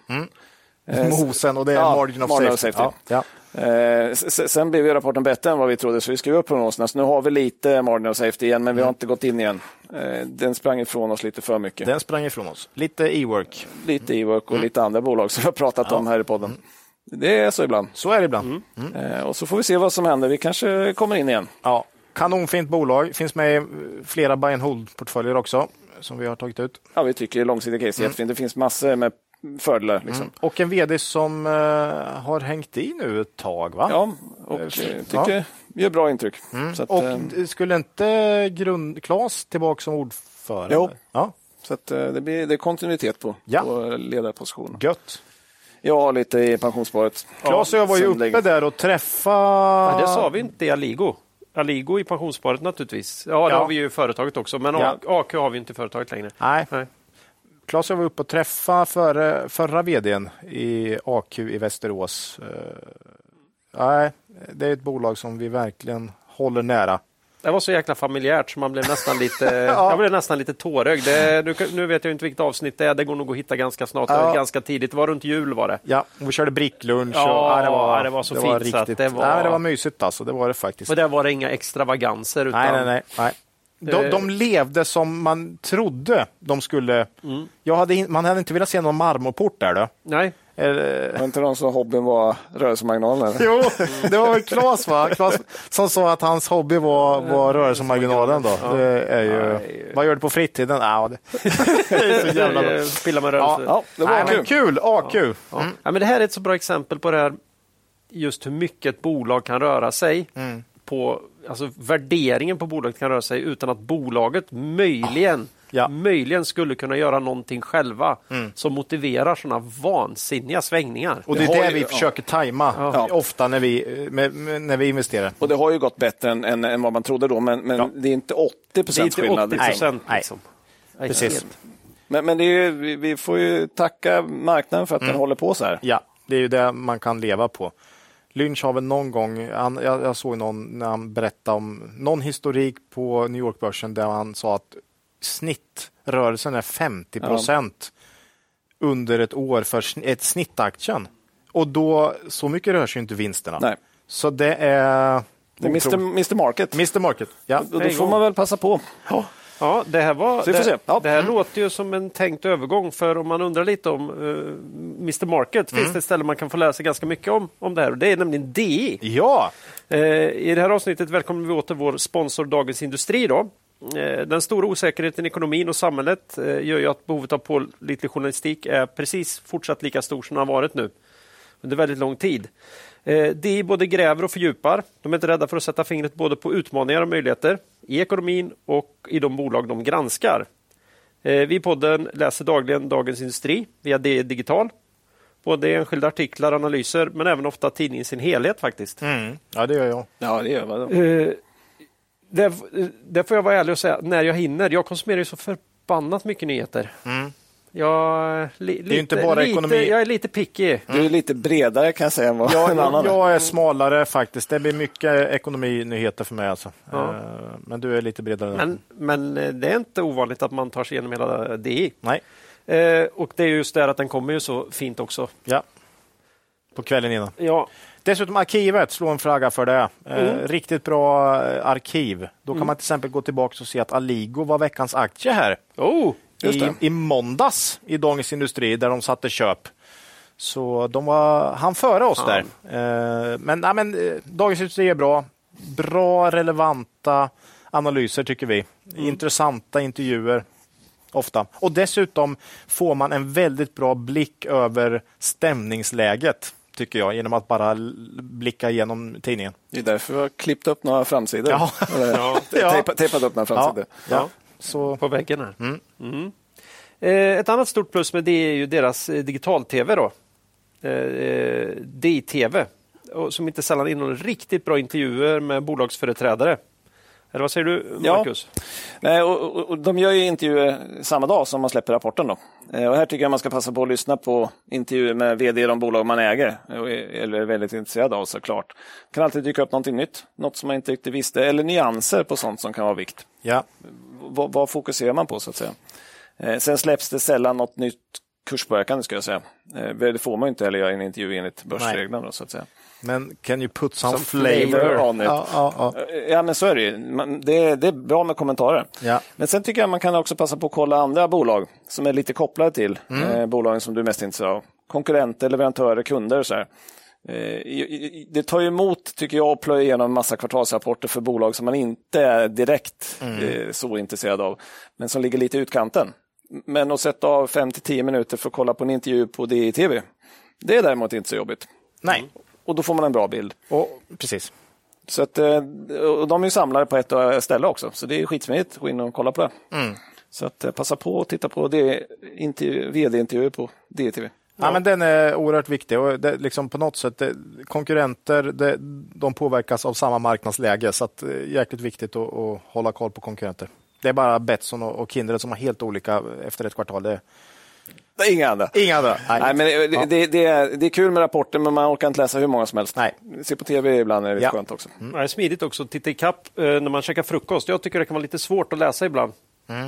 S3: Mosen och det är
S1: Eh, Ja,
S3: margin of
S1: margin
S3: safety.
S1: of safety.
S3: Ja. Ja.
S1: Eh, s- s- sen blev ju rapporten bättre än vad vi trodde, så vi skrev upp prognoserna. Så nu har vi lite margin of safety igen,
S3: Mm.
S1: men vi har inte gått in igen. Eh, den sprang ifrån oss lite för mycket.
S3: Den Mm. sprang ifrån oss. Lite e-work.
S1: Lite E-work och lite andra bolag som vi har pratat om här i podden.
S3: Mm.
S1: Det är så ibland.
S3: Så är det ibland.
S1: Eh, och så får vi se vad som händer. Vi kanske kommer in igen.
S3: Ja, kanonfint bolag. Finns med i eh, flera buy and hold-portföljer också som vi har tagit ut.
S1: Ja, vi tycker långsiktiga case är
S3: Mm.
S1: jättefint. Det finns massor med fördelar. Liksom.
S3: Och en vd som eh, har hängt i nu ett tag. va?
S1: Ja, och eh, tycker gör bra intryck. Så att,
S3: Mm. Och
S2: Ehm.
S1: eh,
S3: d- skulle inte grund... Claes tillbaka som ordförande?
S1: Jo.
S3: Ja,
S1: Så att eh, det, blir, det är kontinuitet på,
S3: Ja.
S1: på ledarpositionen.
S3: gött.
S1: Ja, lite i pensionssparet.
S3: Claes och jag var ju
S1: sen
S3: uppe
S1: länge.
S3: där och träffa...
S2: Ja, det sa vi inte i Aligo. Aligo i pensionssparet naturligtvis. Ja, det
S3: Ja.
S2: har vi ju i företaget också, men
S3: Ja.
S2: AK har vi inte i företaget längre.
S3: Nej,
S2: Nej.
S3: Claes och jag var uppe och träffa före, förra vdn i AQ i Västerås. Eh, nej, det är ett bolag som vi verkligen håller nära.
S2: Det var så jäkla familjärt så man blev nästan lite, jag blev nästan lite tårögd. Det, nu, nu vet jag inte vilket avsnitt det är, det går nog att hitta ganska snart. Det var Ganska tidigt, det var runt jul var det.
S3: Ja, och vi körde bricklunch.
S2: Ja,
S3: och, nej, det, var,
S2: ja, det var så fint så att
S3: riktigt,
S2: det var-
S3: Nej, men det var mysigt alltså, det var det faktiskt.
S2: Och där var det inga extravaganser. Utan,
S3: Nej, nej, nej. nej. De, de levde som man trodde de skulle. Jag hade in, man hade inte velat se någon marmorport där. Då.
S2: nej.
S3: Eller-
S1: Var inte någon som hobbyn var rörelsemagnalen?
S3: Jo, det var väl Claes, va? Claes som sa att hans hobby var, var rörelsemarginalen. Då. Det är ju, vad gör du på fritiden? Ja, det, det är så jävla bra.
S2: Eh, Pilla med
S3: Ja,
S2: rörelser.
S1: Ja, det var
S3: Nej,
S1: kul.
S3: men kul. AQ.
S2: Ja. Mm. Ja, men det här är ett så bra exempel på det här, just hur mycket ett bolag kan röra sig. På, alltså värderingen på bolaget kan röra sig utan att bolaget möjligen,
S3: Ja.
S2: möjligen skulle kunna göra någonting själva som motiverar sådana vansinniga svängningar.
S3: Och det
S1: Det har
S3: är det
S1: ju-
S3: vi
S1: ja.
S3: försöker tajma ofta när vi, med, med, när vi investerar.
S1: Och det har ju gått bättre än, än, än vad man trodde då, men, men det är inte 80
S2: det är
S1: procents
S2: inte
S1: skillnad.
S2: 80
S1: liksom.
S2: procent.
S3: nej.
S2: Liksom. Nej,
S3: Precis.
S2: helt.
S1: Men, men det är ju, vi, vi får ju tacka marknaden för att
S2: Mm.
S1: den håller på så här.
S3: Ja, det är ju det man kan leva på. Lynch har väl någon gång, han, jag, jag såg någon när han berättade om någon historik på New York-börsen där han sa att snittrörelsen är 50 procent under ett år för sn- ett snittaktien. Och då, så mycket rör sig ju inte vinsterna.
S1: Nej.
S3: Så det är...
S1: Det är Mr. Mr. Market.
S3: Mr. Market. Ja.
S1: Och då får man väl passa på.
S2: Ja, det här, var,
S1: Så vi får
S2: det,
S1: se. Ja.
S2: det här låter ju som en tänkt övergång för om man undrar lite om eh, Mr Market finns det ett ställe man kan få lära sig ganska mycket om, om det här och det är nämligen E. DI.
S3: ja,
S2: Eh, I det här avsnittet välkomnar vi åter vår sponsor Dagens Industri. Då. Eh, Den stora osäkerheten i ekonomin och samhället eh, gör ju att behovet av pålitlig journalistik är precis fortsatt lika stor som det har varit nu under väldigt lång tid. Eh, DI både gräver och fördjupar. De är inte rädda för att sätta fingret både på utmaningar och möjligheter i ekonomin och i de bolag de granskar. Eh, Vi i podden läser dagligen Dagens Industri via DI Digital. Både enskilda artiklar, analyser, men även ofta tidningen i sin helhet faktiskt.
S3: Mm. ja, det gör jag.
S1: Ja, det gör man.
S2: Eh, där, där får jag vara ärlig och säga, när jag hinner. Jag konsumerar ju så förbannat mycket nyheter. Jag, li, lite,
S3: Mm. ju inte bara
S2: lite,
S3: ekonomi. Mm.
S2: Jag är lite picky.
S1: Du är lite bredare kan jag säga än vad en
S3: Jag,
S1: annan är.
S3: jag är smalare faktiskt. Det blir mycket ekonominyheter för mig. Alltså. Eh, Men du är lite bredare.
S2: Men, men eh, det är inte ovanligt att man tar sig igenom hela DI.
S3: Nej,
S2: Eh, och det är just det här att den kommer ju så fint också.
S3: ja. På kvällen innan.
S2: Ja,
S3: Dessutom arkivet, slå en flagga för det. Eh, Riktigt bra eh, arkiv. Då kan man till exempel gå tillbaka och se att Aligo var veckans aktie här
S2: oh,
S3: i, i måndags i Dagens Industri där de satte köp. Så de var han före oss
S2: Fan.
S3: där. Eh, Men, nej, men eh, Dagens Industri är bra. Bra, relevanta analyser tycker vi. Intressanta intervjuer ofta. Och dessutom får man en väldigt bra blick över stämningsläget tycker jag genom att bara l- blicka igenom tidningen.
S1: Det är därför vi har klippt upp några framsidor.
S3: Ja.
S1: Eller,
S2: Ja.
S1: Tejpat, tejpat upp några framsidor.
S3: ja. Så,
S2: på väggen här. Mm. Eh, ett annat stort plus med det är ju deras eh, digital-tv. då. Eh, Eh, DI-tv, och som inte sällan innehåller riktigt bra intervjuer med bolagsföreträdare. Eller vad säger du,
S1: Ja.
S2: Marcus?
S1: Nej, och, och, och de gör ju intervjuer samma dag som man släpper rapporten. Då. Eh, Och här tycker jag man ska passa på att lyssna på intervjuer med vd i de bolag man äger eh, och är- eller är väldigt intresserad av såklart. Det kan alltid dyka upp någonting nytt, något som man inte riktigt visste eller nyanser på sånt som kan vara vikt.
S3: ja.
S1: Vad, vad fokuserar man på så att säga? Eh, Sen släpps det sällan något nytt kurspåverkande ska jag säga. Eh, Det får man ju inte heller göra i en intervju enligt börsreglerna. Då, så att säga.
S3: Men can you put some,
S2: Some
S3: flavor,
S2: flavor
S1: on it.
S3: Ja, ja, ja.
S1: Ja, men så är det ju. Man- Det är, det är bra med kommentarer.
S3: Ja.
S1: Men sen tycker jag man kan också passa på att kolla andra bolag som är lite kopplade till eh, bolagen som du är mest intresserad av. Konkurrenter, leverantörer, kunder och så här. Eh, i- i- Det tar ju emot, tycker jag, att plöja igenom massa kvartalsrapporter för bolag som man inte är direkt eh, så intresserad av, men som ligger lite i utkanten. Men att sätta av 5-10 minuter för att kolla på en intervju på DI-TV, det är däremot inte så jobbigt.
S3: Nej,
S1: Och då får man en bra bild.
S3: och, precis.
S1: Så att, eh, och de är ju samlare på ett eh, ställe också, så det är skitsmidigt att gå in och kolla på det.
S3: Mm.
S1: Så att, eh, passa på att titta på det- intervju- vd-intervjuer på DTV.
S3: Ja. men den är oerhört viktig och det, liksom på något sätt, det, konkurrenter det, de påverkas av samma marknadsläge så att, eh, jäkligt viktigt att, att hålla koll på konkurrenter. Det är bara Betsson och, och Kindred som har helt olika efter ett kvartal. Det,
S1: Nej, Inga andra.
S3: inga andra.
S1: Nej, men eh, det,
S3: Ja.
S1: det, det, är, det är kul med rapporter, men man orkar inte läsa hur många som helst.
S3: Nej.
S1: Se på TV ibland är det
S3: Ja.
S1: skönt också.
S2: Det är smidigt också att titta ikapp eh, när man käkar frukost. Jag tycker det kan vara lite svårt att läsa ibland.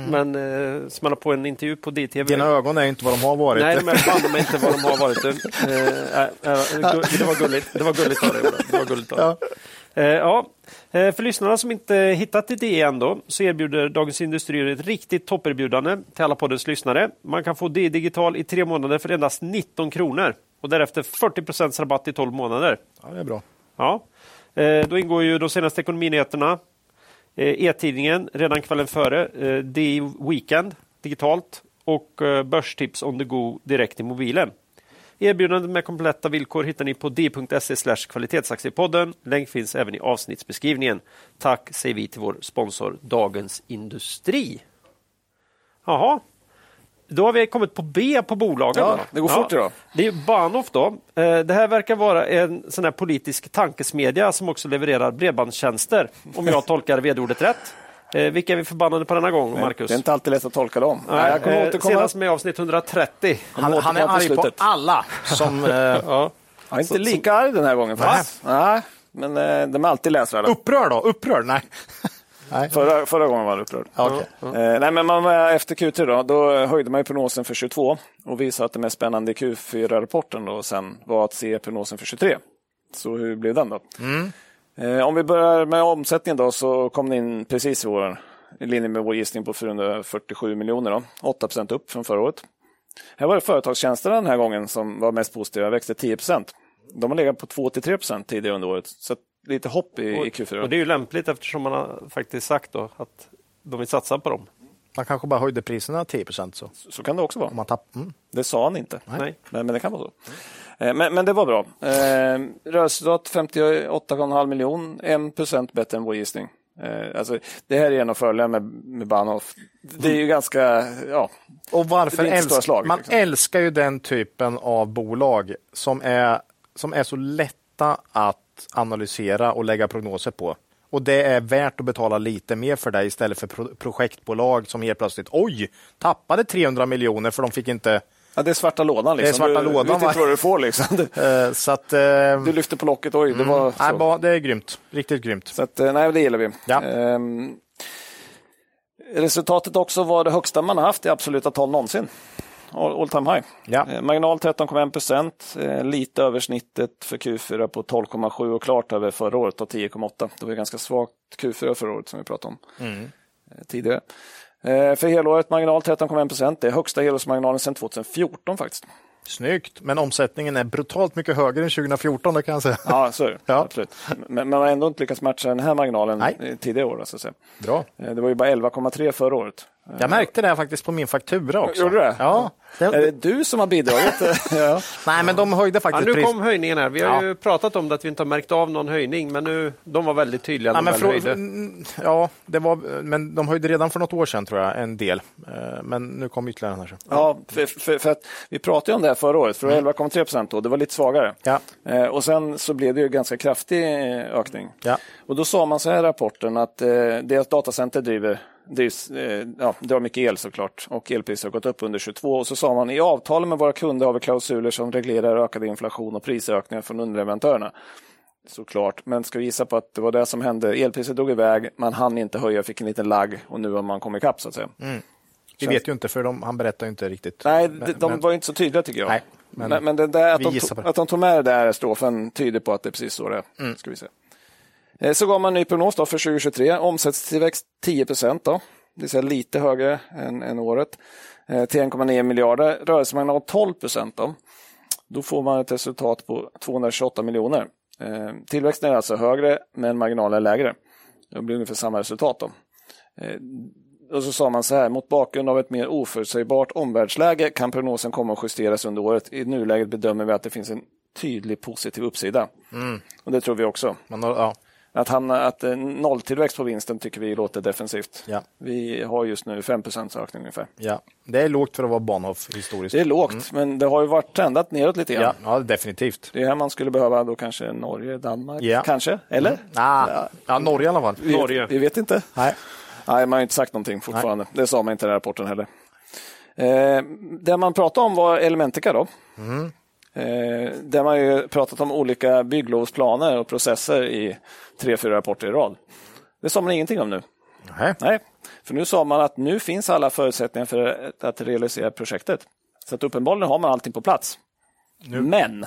S2: Men eh, smälla på en intervju på DTV.
S3: Dina ögon är ju inte vad de har varit.
S2: Nej, men banne mig inte vad de har varit. Du. Eh, eh, eh, gu- det var gulligt. Det var gulligt av dig, Ola. Det var gulligt av dig. Eh, ja. Eh, För lyssnarna som inte hittat till DE än då, så erbjuder Dagens Industrier ett riktigt topperbjudande till alla poddens lyssnare. Man kan få DE Digital i tre månader för endast 19 kronor och därefter 40 rabatt i 12 månader.
S3: Ja, det är bra.
S2: Ja. Eh, Då ingår ju de senaste ekonominyheterna, eh, E-tidningen redan kvällen före, eh, DI Weekend digitalt och eh, Börstips on the go direkt i mobilen. Erbjudandet med kompletta villkor hittar ni på d.se slash kvalitetsaktiepodden. Länk finns även i avsnittsbeskrivningen. Tack säger vi till vår sponsor Dagens Industri. Jaha, då har vi kommit på B på bolagen.
S1: Ja,
S2: då.
S1: det går fort idag.
S2: Det är ju Bahnhof då. Eh, Det här verkar vara en sån här politisk tankesmedja som också levererar bredbandstjänster, om jag tolkar vd-ordet rätt. Eh, Vilka är vi förbannade på denna gång, Marcus?
S1: Det är inte alltid lätt att tolka dem.
S2: Nej,
S1: Nej, jag kommer
S2: eh,
S1: återkomma.
S2: Senast med avsnitt 130.
S3: Han, han är
S1: återkomma på
S3: arg på
S1: slutet.
S3: alla som eh,
S2: Ja.
S1: Jag är inte lika arg den här gången faktiskt. Nej, men eh, de är alltid läsvärda.
S3: upprör då. Upprör? Nej. Nej.
S1: Förra, förra gången var han upprörd.
S3: Okej.
S1: Eh, nej, men man, var- efter Q3 då, då höjde man ju prognosen för 22 och visade att det mest spännande i Q4-rapporten då sen var att se prognosen för 23. Så hur blev den då?
S2: Mm.
S1: Eh, om vi börjar med omsättningen då så kom den in precis i, vår, i linje med vår gissning på 447 miljoner. Då, 8 procent upp från förra året. Här var det företagstjänsterna den här gången som var mest positiva, växte 10 procent. De har legat på 2-3 procent tidigare under året. Så att lite hopp i, i Q4.
S2: Och det är ju lämpligt eftersom man har faktiskt sagt då att de vill satsa på dem.
S3: Man kanske bara höjde priserna 10 procent så.
S1: Så kan det också vara.
S3: Om man tapp... mm.
S1: Det sa han inte.
S2: Nej.
S1: Men, men det kan vara så. Eh, Men, men det var bra. Eh, Rörelseresultat 58,5 miljon, 1 procent bättre än vår gissning. Eh, alltså, det här är en av fördelarna med, med Bahnhof. Det är ju ganska, ja,
S3: Och varför
S1: Det är inte stora
S3: älsk-
S1: slag,
S3: man
S1: liksom.
S3: älskar ju den typen av bolag som är, som är så lätta att analysera och lägga prognoser på. Och det är värt att betala lite mer för det istället för pro- projektbolag som helt plötsligt, oj, tappade 300 miljoner för de fick inte...
S1: ja, det är svarta lådan. Liksom.
S3: Det är svarta
S1: du,
S3: lådan,
S1: Du vet
S3: va?
S1: inte vad du får liksom. Du,
S3: Eh, så att... Eh,
S1: du lyfter på locket, oj, det var
S3: Mm. nej,
S1: så.
S3: ba- det är grymt. Riktigt grymt.
S1: Så att, eh, nej, det gillar vi.
S3: Ja.
S1: Ehm, resultatet också var det högsta man har haft i absoluta tal någonsin. All, all time high.
S3: Ja.
S1: Eh, marginal 13,1 procent, eh, lite över snittet för Q4 på 12,7 och klart över förra året på 10,8. Det var ju ganska svagt Q4 förra året som vi pratade om
S3: Mm.
S1: eh, tidigare. Eh, för helåret marginal 13,1 procent, det är högsta helårsmarginalen sedan 2014 faktiskt.
S3: Snyggt. Men omsättningen är brutalt mycket högre än 2014, det kan jag säga.
S1: Ja, så är det.
S3: Ja.
S1: Absolut. Men, men man har ändå inte lyckats matcha den här marginalen
S3: Nej.
S1: eh, tidigare år. Så att säga.
S3: Bra.
S1: Eh, Det var ju bara 11,3 förra året.
S3: Jag märkte det här faktiskt på min faktura också.
S1: Gjorde du det?
S3: Ja.
S1: Eh, Är
S3: Det,
S1: det du som har bidragit? ja.
S3: nej, men de höjde
S2: Ja,
S3: faktiskt
S2: nu
S3: pris-
S2: kom höjningen här. Vi har
S3: Ja.
S2: ju pratat om det att vi inte har märkt av någon höjning, men nu, de var väldigt tydliga när
S3: Ja,
S2: de
S3: men,
S2: väl
S3: frå-
S2: höjde.
S3: mm, ja, det var, men de höjde redan för något år sedan tror jag, en del. Eh, Men nu kom ytterligare en här.
S1: Ja, för, för, för att vi pratade ju om det här förra året, för det var 11,3 procent då, det var lite svagare.
S3: Mm. Ja.
S1: Eh, och sen så blev det ju ganska kraftig eh, ökning.
S3: Ja.
S1: Och då sa man så här i rapporten att eh, deras datacenter driver, drivs, eh, ja, drar mycket el såklart och elpriser har gått upp under 22 och så sa man i avtalen med våra kunder har vi klausuler som reglerar ökad inflation och prisökningar från underleverantörerna. Såklart, men ska vi gissa på att det var det som hände? Elpriset drog iväg, man hann inte höja, fick en liten lagg och nu har man kommit ikapp så att säga.
S3: Vi vet ju inte, för de, han berättar ju inte riktigt.
S1: Nej,
S3: Men-
S1: de, de
S3: men-
S1: var ju inte så tydliga tycker jag.
S3: Nej, men-
S1: men, men, det där att,
S3: vi
S1: de
S3: gissar
S1: tog,
S3: på det. Mm.
S1: att de tog med det där strofen tyder på att det är precis så det är. Ska vi se. Eh, Så gav man en ny prognos då för 2023. Omsättningstillväxt 10 procent, det vill säga lite högre än, än året, eh, till 1,9 miljarder. Rörelsemarginal 12 procent. Då. då får man ett resultat på 228 miljoner. Eh, Tillväxten är alltså högre, men marginalen är lägre. Det blir ungefär samma resultat. Då. Eh, och så sa man så här, mot bakgrund av ett mer oförutsägbart omvärldsläge kan prognosen komma att justeras under året. I nuläget bedömer vi att det finns en tydlig positiv uppsida.
S3: Mm.
S1: Och det tror vi också.
S3: Men, ja,
S1: Att, hamna, att eh, nolltillväxt på vinsten tycker vi låter defensivt.
S3: Ja.
S1: Vi har just nu 5 ökning ungefär.
S3: ja. Det är lågt för att vara Bonhoff historiskt.
S1: Det är lågt, men det har ju varit trendat neråt lite grann.
S3: Mm. ja. ja, definitivt.
S1: Det är här man skulle behöva då kanske Norge, Danmark,
S3: Ja.
S1: kanske? Eller?
S3: Ah, ja, Norge i alla fall.
S1: Vi-
S2: Norge.
S1: Vi vet inte.
S3: Nej.
S1: Nej, man har inte sagt någonting fortfarande. Det sa man inte i den här rapporten heller. Eh, det man pratade om var Elementica då. Eh, där man ju pratat om olika bygglovsplaner och processer i tre, fyra rapporter i rad. Det sa man ingenting om nu.
S3: Nej.
S1: Nej, för nu sa man att nu finns alla förutsättningar för att realisera projektet. Så att uppenbarligen har man allting på plats. Men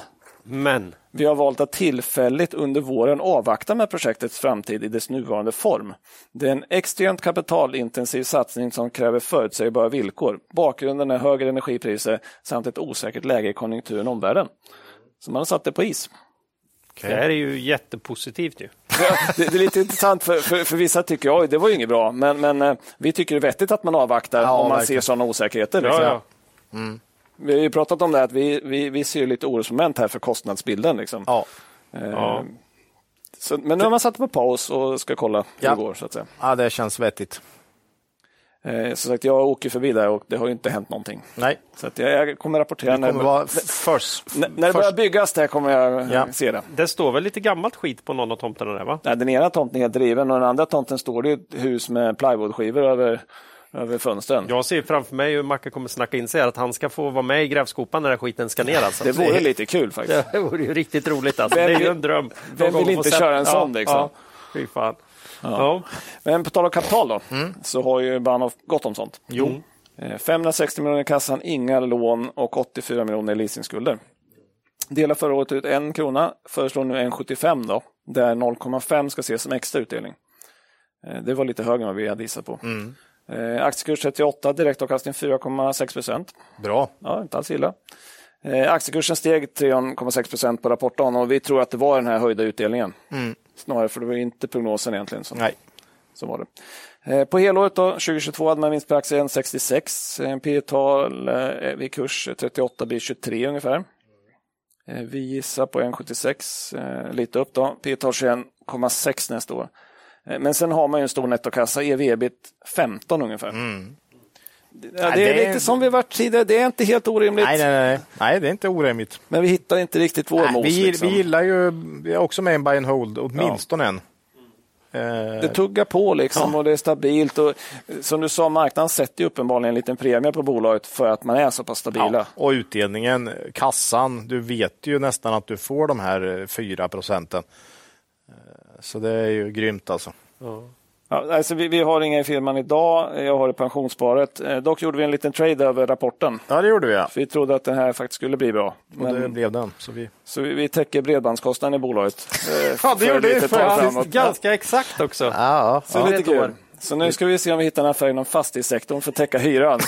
S2: Men
S1: vi har valt att tillfälligt under våren avvakta med projektets framtid i dess nuvarande form. Det är en extremt kapitalintensiv satsning som kräver förutsägbara villkor. Bakgrunden är högre energipriser samt ett osäkert läge i konjunkturen och omvärlden. Så man har satt det på is.
S2: det här är ju jättepositivt ju.
S1: Det, det är lite intressant, för, för, för vissa tycker oj, det var ju inget bra, men, men eh, vi tycker det är vettigt att man avvaktar
S3: Ja,
S1: om man
S3: verkligen.
S1: ser sådana osäkerheter.
S2: Ja,
S1: liksom.
S2: ja.
S1: Vi har ju pratat om det, här, att vi, vi, vi ser ju lite orosmoment här för kostnadsbilden. Liksom.
S3: Ja.
S2: Ja.
S1: Så, men nu har man satt på paus och ska kolla hur
S3: Ja.
S1: det går. Så att säga.
S3: ja, det känns vettigt.
S1: Eh, som sagt, jag åker förbi där och det har ju inte hänt någonting.
S3: Nej,
S1: Så att jag, jag kommer rapportera
S3: det
S1: när,
S3: kommer vara f- först.
S1: när, när det börjar byggas. Där kommer jag eh,
S3: Ja.
S1: se det.
S2: Det står väl lite gammalt skit på någon av tomterna där va?
S1: Nej, den ena tomten är driven och den andra tomten står det ju ett hus med plywoodskivor över, över fönstren.
S2: Jag ser framför mig hur Macke kommer snacka in sig här, att han ska få vara med i grävskopan när den här skiten ska ner. Alltså.
S1: Det vore lite kul faktiskt.
S2: Det vore ju riktigt roligt. Alltså. Det
S1: Vem
S2: är ju
S1: vill-
S2: en dröm.
S1: vem
S2: Någon
S1: vill
S2: gång
S1: inte
S2: få
S1: köra en
S2: sätta-
S1: sån, liksom?
S2: Ja, fy fan. Ja.
S1: Men på tal om kapital då, så har ju Bahnhof gott om sånt.
S2: Jo.
S1: Eh, 560 miljoner i kassan, inga lån och 84 miljoner i leasingskulder. Delar förra året ut en krona, föreslår nu 1,75 då, där 0,5 ska ses som extra utdelning. Eh, Det var lite högre än vad vi hade gissat på. Eh, Aktiekurs 38, direktavkastning 4,6 procent.
S3: Bra.
S1: Ja, inte alls illa. Eh, aktiekursen steg 3,6 procent på rapportdagen och vi tror att det var den här höjda utdelningen. Snarare för det var inte prognosen egentligen som,
S3: Nej.
S1: så var det. Eh, På helåret då, 2022 hade man vinst per aktie 1,66. Eh, P tal eh, vid kurs 38 blir 23 ungefär. Eh, Vi gissar på 1,76, eh, lite upp då. P tal 21,6 nästa år. Eh, Men sen har man ju en stor nettokassa, E ev ebit 15 ungefär. Det, ja, det
S3: Mm. det
S1: är
S3: är-
S1: lite som vi varit tidigare, det är inte helt orimligt.
S3: Nej, nej, nej. nej, det är inte orimligt.
S1: Men vi hittar inte riktigt vår
S3: Nej,
S1: mos.
S3: vi, gill-
S1: liksom.
S3: vi gillar ju, vi är också med i en buy and hold, åtminstone en. Eh,
S1: Det tuggar på liksom och det är stabilt. Och, eh, som du sa, marknaden sätter ju uppenbarligen en liten premie på bolaget för att man är så pass stabila.
S3: ja. Och utdelningen, kassan, du vet ju nästan att du får de här eh, 4 procenten. Eh, Så det är ju grymt alltså.
S1: Ja, alltså vi, vi har inga i firman idag. Jag har det pensionssparet. Eh, dock gjorde vi en liten trade över rapporten.
S3: Ja, det gjorde vi ja.
S1: För vi trodde att den här faktiskt skulle bli bra.
S3: Och
S1: Men,
S3: det blev den. Så vi...
S1: Så vi, vi täcker bredbandskostnaden i bolaget. eh,
S3: Ja, det
S1: ett
S3: gjorde vi
S1: litet tag
S3: faktiskt.
S1: framåt.
S2: Ganska exakt också.
S3: ja,
S1: Så
S2: Ja.
S1: lite
S2: Ett år.
S1: kul. Så nu ska vi se om vi hittar en affär inom fastighetssektorn för att täcka hyran.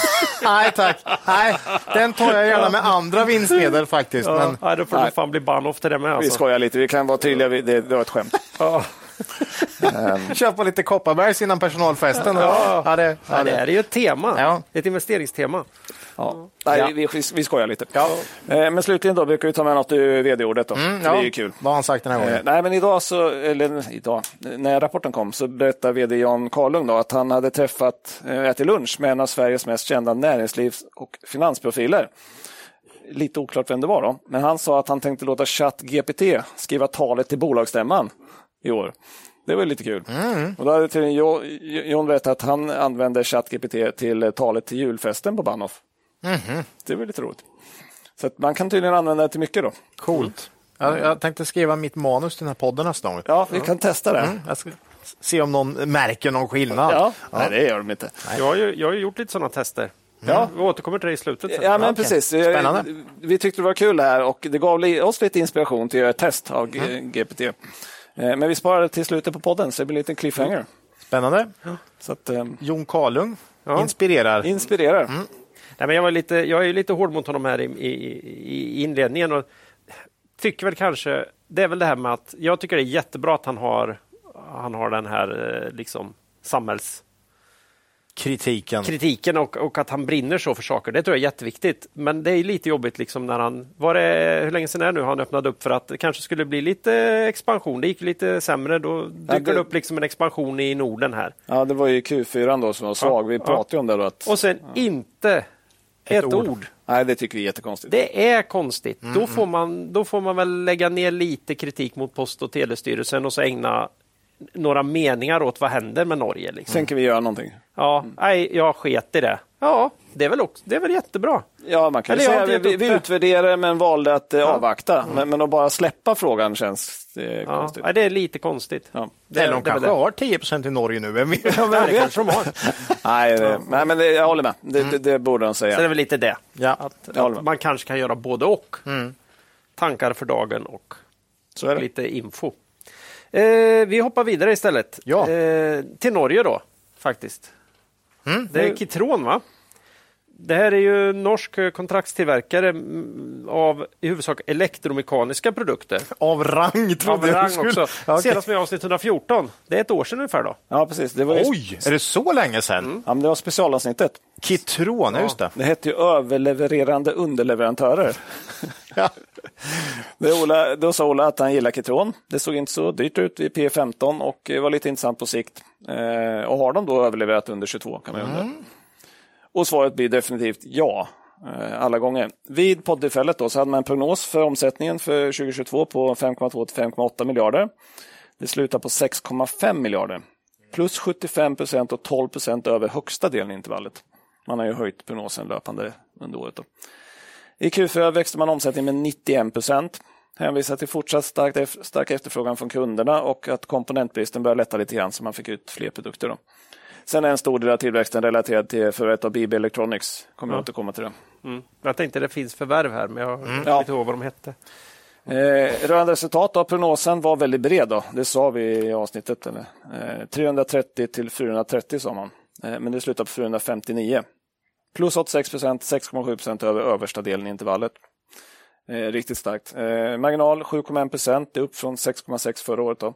S3: Nej tack, nej, den tar jag gärna med andra vinstmedel faktiskt. Men...
S2: Nej, då får du
S1: Nej.
S2: fan bli Bahnhof till det med.
S1: Vi
S2: Alltså.
S1: skojar lite, vi kan vara tydliga. Vi- Det, det var ett skämt.
S3: Köpa lite Kopparbergs innan personalfesten.
S2: Ja.
S3: Ja, det, ja,
S2: Ja, det
S3: det.
S2: här är ju ett tema,
S3: Ja.
S2: ett investerings-tema.
S1: Ja. Nej,
S3: Ja.
S1: vi, vi, vi skojar lite. Eh, Men slutligen då brukar vi ta med något ur vd-ordet. Då.
S3: Mm, Ja,
S1: Det är ju kul.
S3: Vad har han sagt den här
S1: Eh,
S3: gången?
S1: nej, men idag, så, eller idag, när rapporten kom så berättade vd Jan Karlung då att han hade träffat, eh, ätit lunch med en av Sveriges mest kända näringslivs och finansprofiler. Lite oklart vem det var då, men han sa att han tänkte låta ChatGPT skriva talet till bolagsstämman i år. Det var ju lite kul. Och då hade till Jo- Jo- John berättat att han använde ChatGPT till eh, talet till julfesten på Bahnhof. Det var lite roligt. Så att man kan tydligen använda det till mycket då.
S3: Coolt. Jag, jag tänkte skriva mitt manus till den här podden nästa gång.
S1: Ja, vi kan testa det.
S3: Jag ska se om någon märker någon skillnad.
S1: Ja.
S3: Ja.
S1: Nej, det gör de inte.
S2: Jag har ju, jag har ju gjort lite sådana tester.
S1: Ja.
S2: Vi återkommer till det i slutet. sen.
S1: Ja, men
S3: Okej.
S1: precis. Jag-
S3: Spännande.
S1: Vi tyckte det var kul det här och det gav li- oss lite inspiration till att göra ett test av G-
S2: Mm.
S1: GPT. Eh, Men vi sparade det till slutet på podden, så det blir en liten
S2: Mm.
S1: cliffhanger.
S3: Spännande.
S1: Så att, eh,
S3: Jon Kalung
S2: Ja.
S3: inspirerar.
S1: inspirerar.
S2: Mm. Nej, men jag, var lite, jag är ju lite hård mot honom här i, i, i inledningen och tycker väl kanske, det är väl det här med att jag tycker det är jättebra att han har, han har den här eh, liksom samhällskritiken
S3: Kritiken.
S2: och, och att han brinner så för saker. Det tror jag är jätteviktigt. Men det är lite jobbigt liksom när han, var det, hur länge sedan är det nu han öppnade upp för att det kanske skulle bli lite expansion. Det gick ju lite sämre, då dyker
S1: det-
S2: det upp liksom en expansion i Norden här.
S1: Ja, det var ju Q4 då som var svag. Vi
S2: Ja.
S1: pratade ju om det då. Att,
S2: Och sen inte ett,
S3: ord.
S2: ord.
S1: nej, det tycker vi är jättekonstigt.
S2: Det är konstigt. Då, får man, då får man väl lägga ner lite kritik mot Post och telestyrelsen och så ägna några meningar åt vad händer med Norge. Liksom.
S3: Mm.
S1: Sen kan vi göra någonting.
S2: Ja, nej, jag sket i det. Ja, det är väl, också, det är väl jättebra.
S1: Ja, man kan ju
S2: Eller jag har
S1: säga
S2: inte
S1: vi,
S2: gett
S1: vi,
S2: upp
S1: vi
S2: det. Mm.
S1: utvärderade men valde att eh, avvakta. Men, men att bara släppa frågan känns eh,
S2: Ja,
S1: konstigt.
S2: nej, det är lite konstigt.
S1: Ja.
S2: Det är
S3: Eller de
S2: det är väl
S3: kanske
S2: det.
S3: har 10 i Norge nu. Vem vet?
S2: det kanske de har.
S1: Nej, det, nej, men det, jag håller med. Det, det, det borde de
S2: Mm. Så det är
S1: säga.
S2: väl lite det.
S3: Ja. Mm.
S2: Att,
S1: Jag håller
S2: att
S1: med.
S2: man kanske kan göra både och. Tankar för dagen och
S1: Så är det.
S2: lite info. Eh, vi hoppar vidare istället.
S3: Ja.
S2: Eh, till Norge då, faktiskt.
S3: Mm.
S2: Det är Kitron, va? Det här är ju norsk eh, kontraktstillverkare mm, av i huvudsak elektromekaniska produkter.
S3: Av rang
S2: Av
S3: trodde jag
S2: rang
S3: du skulle-
S2: också.
S3: Ja, okej.
S2: Senast med avsnitt 114. Det är ett år sedan ungefär. då.
S1: Ja, precis. Det var, ju,
S3: Oj, är det så länge sedan?
S1: ja, men det var specialavsnittet.
S3: Kitron, ja. just det.
S1: Det hette ju överlevererande underleverantörer.
S3: Ja.
S1: Det är Ola, då sa Ola att han gillar Kitron. Det såg inte så dyrt ut vid P15 och eh, var lite intressant på sikt. Eh, och har de då överleverat under 22 kan man ju undra. Och svaret blir definitivt ja, eh, alla gånger. Vid poddtillfället då så hade man en prognos för omsättningen för 2022 på 5,2 till 5,8 miljarder. Det slutar på 6,5 miljarder. Plus 75 procent och 12 procent över högsta delen i intervallet. Man har ju höjt prognosen löpande under året. Då. I Q4 växte man omsättningen med 91 procent. Hänvisar till fortsatt starkt ef- stark efterfrågan från kunderna och att komponentbristen börjar lätta lite grann så man fick ut fler produkter. Då. Sen är en stor del av tillväxten relaterad till förvärvet av BB Electronics. Kommer jag återkomma till det.
S2: Mm. Jag tänkte det finns förvärv här, men jag
S3: Mm.
S2: kommer inte
S1: Ja.
S2: ihåg vad de hette.
S1: Eh, rörande resultat av prognosen var väldigt bred. Då. Det sa vi i avsnittet. Eller? Eh, 330 till 430 sa man. Eh, men det slutade på 459. Plus 86 procent, 6,7 procent över översta delen i intervallet. Eh, riktigt starkt. Eh, marginal 7,1 procent, det är upp från 6,6 förra året. Då.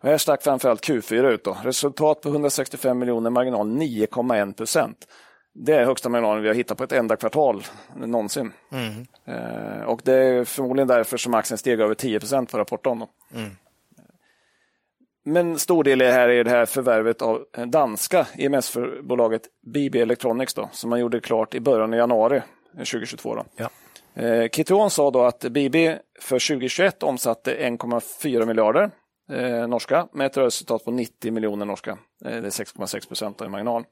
S1: Och här stack framförallt Q4 ut. Då. Resultat på 165 miljoner, marginal 9,1 procent. Det är högsta marginalen vi har hittat på ett enda kvartal någonsin. Eh, och det är förmodligen därför som aktien steg över 10 på rapporten. Då. Men stor del i det här är det här förvärvet av danska E EMS-bolaget BB Electronics då, som man gjorde klart i början av januari 2022. Då.
S3: Ja.
S1: Eh, Kitron sa då att BB för 2021 omsatte 1,4 miljarder eh, norska med ett rörelseresultat på 90 miljoner norska. Eh, det är 6,6 procent i marginal.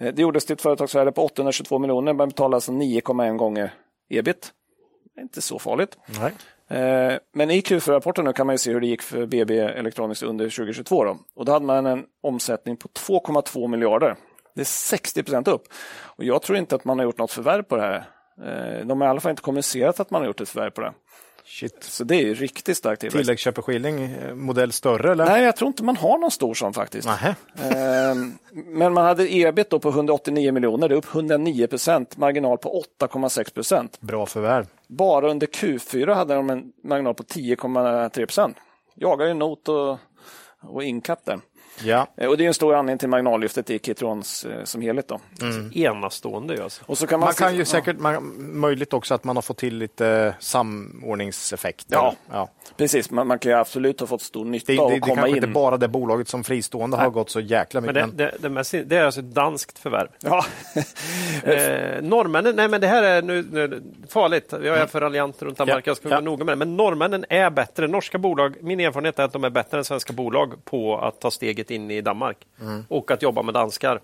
S1: Eh, det gjordes till ett företagsvärde på 822 miljoner. Man betalade alltså 9,1 gånger ebit. Inte så farligt.
S3: Nej.
S1: Eh, Men i Q4-rapporten nu kan man ju se hur det gick för BB Electronics under 2022. Då. Och då hade man en omsättning på 2,2 miljarder. Det är 60 procent upp. Och jag tror inte att man har gjort något förvärv på det här. Eh, De har i alla fall inte kommunicerat att man har gjort ett förvärv på det.
S3: Shit.
S1: Så det är ju riktigt starkt tillväxt.
S3: Tilläggsköpeskilling, eh, modell större eller?
S1: Nej, jag tror inte man har någon stor sån faktiskt.
S3: Nähä.
S1: Ehm, Men man hade E ebit då på 189 miljoner, det är upp 109 procent, marginal på 8,6 procent.
S3: Bra förvärv.
S1: Bara under Q4 hade de en marginal på 10,3 procent. Jagar ju not och, och inkapp där.
S3: Ja.
S1: Eh, Och det är en stor anledning till marginallyftet i Kitrons eh, som helhet. Då.
S3: Mm.
S2: Enastående ju alltså.
S1: Och så kan man,
S3: Man
S1: se-
S3: kan ju säkert, man, möjligt också att man har fått till lite samordningseffekter.
S1: Ja.
S3: ja.
S1: Precis, man, man kan ju absolut ha fått stor nytta
S3: Det,
S1: av
S3: det,
S1: att
S3: det kanske
S1: komma in.
S3: inte bara det bolaget som fristående har gått så jäkla
S2: Men
S3: mycket.
S2: det,
S3: Men
S2: det, det, mest, det är alltså ett danskt förvärv.
S1: Ja.
S2: Eh, norrmännen, nej men det här är nu, nu farligt. Jag är för raljant runt Danmark,
S3: Ja,
S2: jag ska vara
S3: ja.
S2: noga med det. Men norrmännen är bättre. Norska bolag, min erfarenhet är att de är bättre än svenska bolag på att ta steget in i Danmark och att jobba med danskar.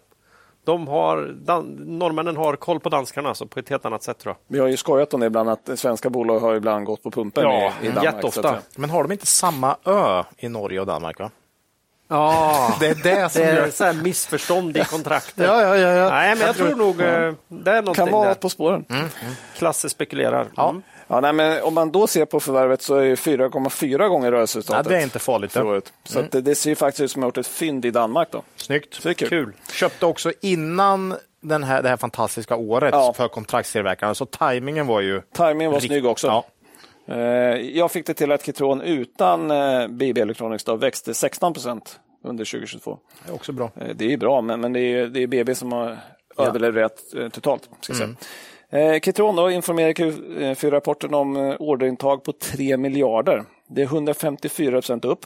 S2: De har, dan, norrmännen har koll på danskarna alltså, på ett helt annat sätt tror jag.
S1: Vi har ju skojat om det ibland, att svenska bolag har ibland gått på pumpen
S2: Ja,
S1: i, i Danmark.
S2: jätteofta.
S1: så att säga.
S3: men har de inte samma ö i Norge och Danmark? Va?
S2: Ja,
S3: Det är det
S2: det
S3: som
S2: är
S3: gör...
S2: så här missförstånd i kontraktet.
S3: Ja, ja, ja. ja.
S2: Nej, men jag tror nog eh, det är någonting
S1: Kan vara
S2: där.
S1: På spåren.
S3: Mm.
S2: Klasse spekulerar. Mm.
S1: Ja, nej, men om man då ser på förvärvet så är ju 4,4 gånger
S3: ja,
S1: rörelseresultatet.
S3: det är inte Mm. farligt.
S1: för
S3: Det.
S1: året. Så att det, det ser ju faktiskt ut som att man gjort ett fynd i Danmark. Då.
S3: Snyggt.
S1: Så det är kul.
S2: Kul.
S3: Köpte också innan den här, det här fantastiska året
S1: Ja.
S3: för kontraktstillverkarna, så tajmingen var ju...
S1: Timingen var
S3: Rikt-
S1: snygg också.
S3: Ja.
S1: Eh, Jag fick det till att Kitron utan eh, BB Electronics då växte 16 procent under 2022.
S3: Det är också bra.
S1: Eh, Det är ju bra, men, men det, är, det är BB som har överlevererat eh, totalt. Ska jag säga. Eh, Kitron då informerar Q4-rapporten om eh, orderintag på 3 miljarder. Det är 154 procent upp.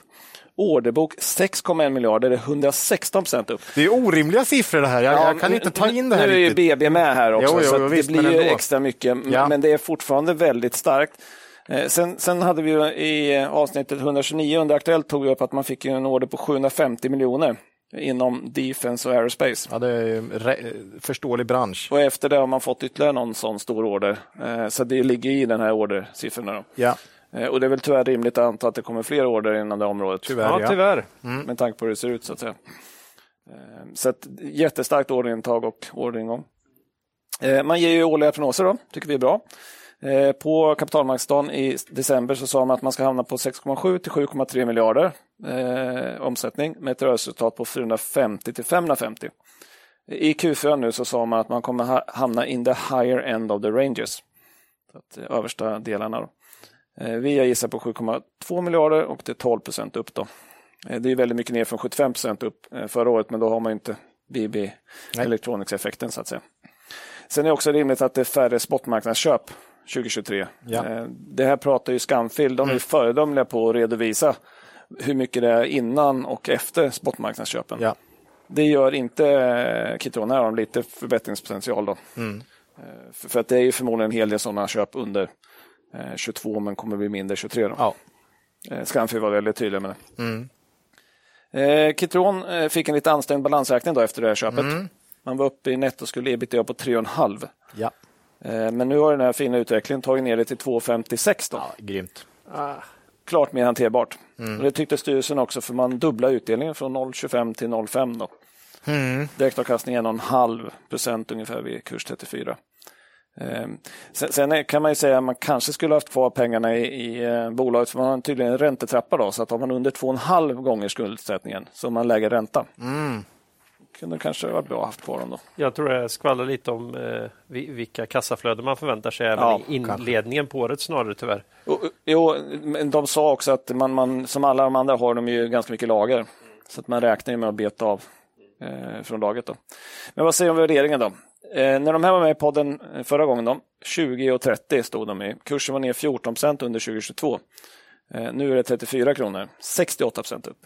S1: Orderbok 6,1 miljarder, det är 116 procent upp.
S3: Det är orimliga siffror det här. Jag, jag kan
S1: nu-
S3: inte ta in det här
S1: Nu är ju
S3: riktigt.
S1: BB med här också,
S3: Jo, jo,
S1: så att
S3: jo,
S1: det
S3: visst,
S1: blir
S3: men
S1: ju
S3: ändå.
S1: extra mycket. m-
S3: Ja.
S1: Men det är fortfarande väldigt starkt. Eh, Sen, sen hade vi ju i eh, avsnittet 129 under Aktuellt tog vi upp att man fick ju en order på 750 miljoner inom Defense och Aerospace.
S3: Ja, det är ju en re- förståelig bransch.
S1: Och efter det har man fått ytterligare någon sån stor order. Eh, Så det ligger i den här ordersiffrorna. Då.
S3: Ja,
S1: Eh, Och det är väl tyvärr rimligt att anta att det kommer fler order inom det området.
S3: tyvärr.
S2: Ja, tyvärr.
S1: Mm. Med tanke på hur det ser ut så att säga. Eh, Så ett jättestarkt orderintag och orderingång. Eh, Man ger ju årliga prognoser då, tycker vi är bra. Eh, På kapitalmarknadsdagen i december så sa man att man ska hamna på 6,7 till 7,3 miljarder eh, omsättning med ett rörelseresultat på 450 till 550. I Q4 nu så sa man att man kommer ha- hamna in the higher end of the ranges. Så att eh, översta delarna då. Eh, Vi har gissat på 7,2 miljarder och det är 12 procent upp då. Eh, Det är väldigt mycket ner från 75 procent upp eh, förra året, men då har man ju inte BB Electronics-effekten så att säga. Sen är det också rimligt att det är färre spotmarknadsköp 2023.
S3: Ja.
S1: Eh, Det här pratar ju Scanfil, de är föredömliga på att redovisa hur mycket det är innan och efter spotmarknadsköpen.
S3: ja.
S1: Det gör inte eh, Kitron, här har de lite förbättringspotential. Då.
S3: Mm.
S1: Eh, För, för att det är ju förmodligen en hel del sådana köp under eh, 22 men kommer bli mindre 23. Då.
S3: ja. Mm.
S1: Eh, Scanfil var väldigt tydlig med det. Eh, Kitron eh, fick en lite ansträngd balansräkning då efter det här köpet.
S3: Mm.
S1: Man var uppe i netto skulle ebitda på 3,5.
S3: ja.
S1: Eh, men nu har den här fina utvecklingen tagit ner det till 2,56. Då.
S3: ja grymt.
S1: Klart mer hanterbart. Och det tyckte styrelsen också för man dubblar utdelningen från 0,25 till 0,5. Då. Direktavkastning är 1,5 procent ungefär vid kurs 34. Ehm, Sen, sen är- kan man ju säga att man kanske skulle haft kvar pengarna i, i eh, bolaget för man har tydligen en räntetrappa då så att har man under 2,5 gånger skuldsättningen så har man lägre ränta. Kunde kanske varit bra att haft kvar dem då.
S2: Jag tror det skvallrar lite om eh, vi- vilka kassaflöden man förväntar sig även
S1: Ja,
S2: i inledningen på året snarare tyvärr.
S1: Jo, Jo, men de sa också att man, man, som alla de andra har de ju ganska mycket lager. Så att man räknar ju med att beta av eh, från lagret. Då. Men vad säger du om värderingen då? Eh, när de här var med i podden eh, förra gången, då, 20 och 30 stod de i. Kursen var ner 14 procent under 2022. Eh, nu är det 34 kronor, 68 procent upp.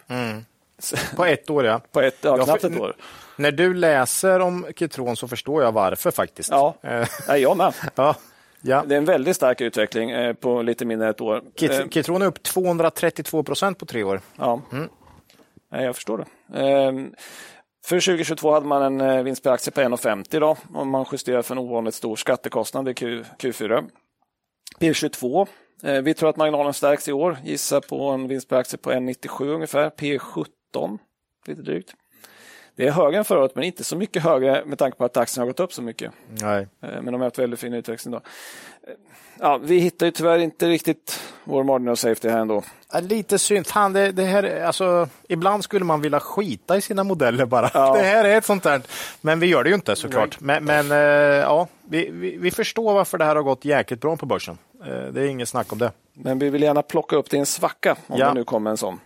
S3: På ett år, ja.
S1: På ett, ja,
S3: Ja,
S1: knappt
S3: för-
S1: ett år.
S3: När du läser om Kitron så förstår jag varför faktiskt.
S1: Ja,
S3: Eh,
S1: Nej, jag med.
S3: ja. ja.
S1: Det är en väldigt stark utveckling eh, på lite mindre än ett år. Eh,
S3: Kit- Kitron är upp 232 procent på tre år.
S1: Ja, Nej, jag förstår det. Ehm, För 2022 hade man en eh, vinst per aktie på 1,50 då, om man justerar för en ovanligt stor skattekostnad i Q, Q4. P22. eh, Vi tror att marginalen stärks i år. Gissa på en vinst per aktie på 1,97 ungefär. P17, lite drygt. Det är högre än förra året, men inte så mycket högre med tanke på att aktien har gått upp så mycket.
S3: Nej.
S1: Eh, Men de har haft väldigt fin utväxling. Då. Eh, Ja, vi hittar ju tyvärr inte riktigt vår margin of safety här ändå.
S3: Ja, Lite synd. Fan, det, det här, alltså, ibland skulle man vilja skita i sina modeller bara.
S1: Ja.
S3: Det här är ett sånt där. Men vi gör det ju inte såklart. Men, men eh, ja, vi, vi, vi förstår varför det här har gått jäkligt bra på börsen. Eh, Det är inget snack om det.
S1: Men vi vill gärna plocka upp det i en svacka om
S3: Ja. Mm.
S1: det nu kommer en sån.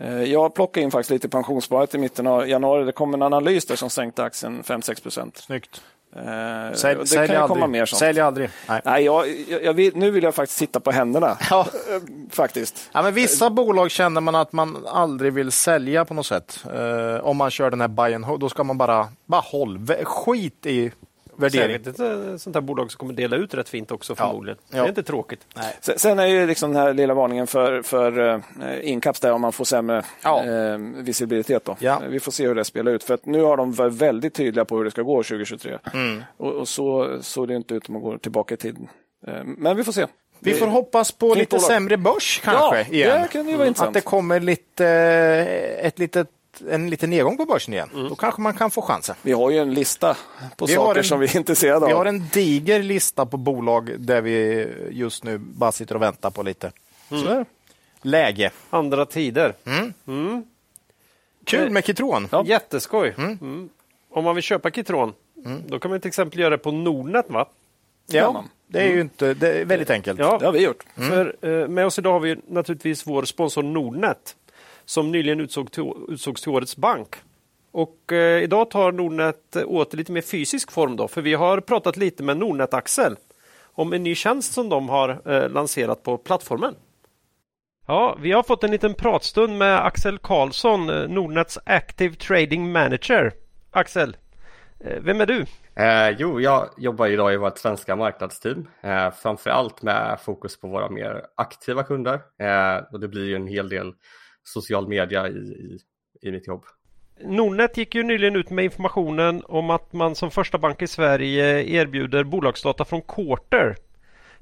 S1: Eh, Jag plockade in faktiskt lite pensionssparat i mitten av januari. Det kom en analys där som sänkte aktien 5-6 procent.
S3: Snyggt.
S1: Eh,
S3: Sälj,
S1: och det
S3: sälj
S1: kan ju
S3: aldrig.
S1: komma mer sånt.
S3: Sälj aldrig. Nej.
S1: Nej, jag, jag, jag, vill- nu vill jag faktiskt sitta på händerna.
S3: Ja.
S1: Eh, Faktiskt.
S3: Ja, men vissa bolag känner man att man aldrig vill sälja på något sätt. Eh, om man kör den här buy and hold, då ska man bara, bara håll, vä- skit i värdering.
S2: Säkert ett eh, sånt här bolag som kommer dela ut rätt fint också förmodligen.
S3: Ja.
S2: Det är inte tråkigt.
S1: Sen, sen är ju liksom den här lilla varningen för, för eh, inkaps där om man får sämre
S3: Ja.
S1: eh, visibilitet. Då.
S3: Ja.
S1: Eh, Vi får se hur det spelar ut. För att nu har de varit väldigt tydliga på hur det ska gå
S3: Mm.
S1: 2023. Och, och så såg det ju inte ut om man går tillbaka i tiden. Eh, Men vi får se.
S3: Vi får hoppas på
S1: Fint
S3: lite
S1: bolag.
S3: sämre börs kanske.
S1: ja,
S3: igen. Mm.
S1: det kan ju vara
S3: Att
S1: intressant.
S3: det kommer lite, eh, ett litet, en liten nedgång på börsen igen.
S2: Mm.
S3: Då kanske man kan få chansen.
S1: Vi har ju en lista på
S3: Vi har
S1: saker
S3: en-
S1: som vi är intresserade
S3: Vi
S1: av.
S3: har en diger lista på bolag där vi just nu bara sitter och väntar på lite
S2: Mm.
S3: Så är det. läge.
S2: Andra tider. Eh,
S3: Kul med Kitron.
S1: Ja.
S2: Jätteskoj. Mm. Om man vill köpa Kitron, då kan man till exempel göra det på Nordnet. va?
S1: gör
S3: Ja,
S1: man.
S3: det är ju inte, det är väldigt enkelt.
S2: Mm. Ja,
S1: Det har vi gjort.
S2: För, eh, med oss idag har vi ju naturligtvis vår sponsor Nordnet som nyligen utsåg till, utsågs till årets bank. Och eh, idag tar Nordnet eh, åter lite mer fysisk form då, för vi har pratat lite med Nordnet-Axel om en ny tjänst som de har eh, lanserat på plattformen. Ja, vi har fått en liten pratstund med Axel Karlsson, eh, Nordnets Active Trading Manager. Axel, eh, vem är du?
S4: Eh, jo, jag jobbar idag i vårt svenska marknadsteam, eh, framför allt med fokus på våra mer aktiva kunder. Eh, och det blir ju en hel del social media i, i, i mitt jobb.
S2: Nordnet gick ju nyligen ut med informationen om att man som första bank i Sverige erbjuder bolagsdata från Quarter.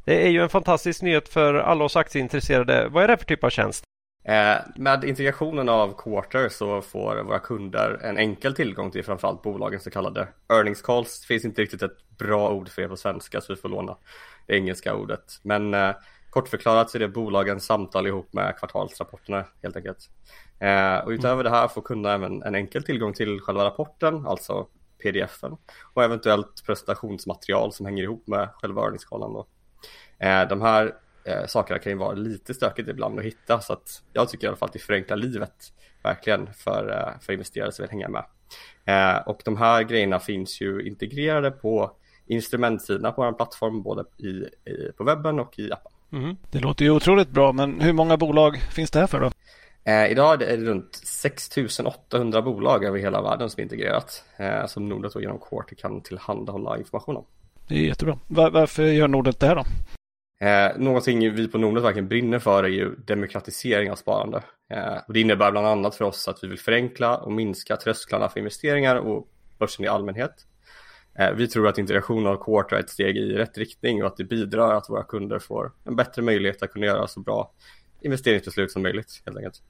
S2: Det är ju en fantastisk nyhet för alla oss aktieintresserade. Vad är det för typ av tjänst?
S4: Eh, med integrationen av Quarter så får våra kunder en enkel tillgång till framförallt bolagens så kallade earnings calls. Det finns inte riktigt ett bra ord för det på svenska så vi får låna det engelska ordet. Men eh, kortförklarat så är det bolagens samtal ihop med kvartalsrapporterna helt enkelt. Eh, och utöver det här får kunderna även en enkel tillgång till själva rapporten, alltså pdf-en och eventuellt presentationsmaterial som hänger ihop med själva earnings callen då. Eh, de här eh, sakerna kan ju vara lite stökigt ibland att hitta så att jag tycker i alla fall att det förenklar livet verkligen för, eh, för investerare som vill hänga med. Eh, och de här grejerna finns ju integrerade på instrumentsidorna på vår plattform både i, i, på webben och i appen.
S5: Det låter ju otroligt bra, men hur många bolag finns det här för då?
S4: Eh, idag är det runt 6800 bolag över hela världen som är integrerat eh, som Nordnet och genom Quarter kan tillhandahålla information om.
S5: Det är jättebra. Var, varför gör Nordnet det här då?
S4: Eh, någonting vi på Nordnet verkligen brinner för är ju demokratisering av sparande. Eh, och det innebär bland annat för oss att vi vill förenkla och minska trösklarna för investeringar och börsen i allmänhet. Eh, vi tror att integration av Quarter är ett steg i rätt riktning och att det bidrar att våra kunder får en bättre möjlighet att kunna göra så bra investeringsbeslut som möjligt helt enkelt.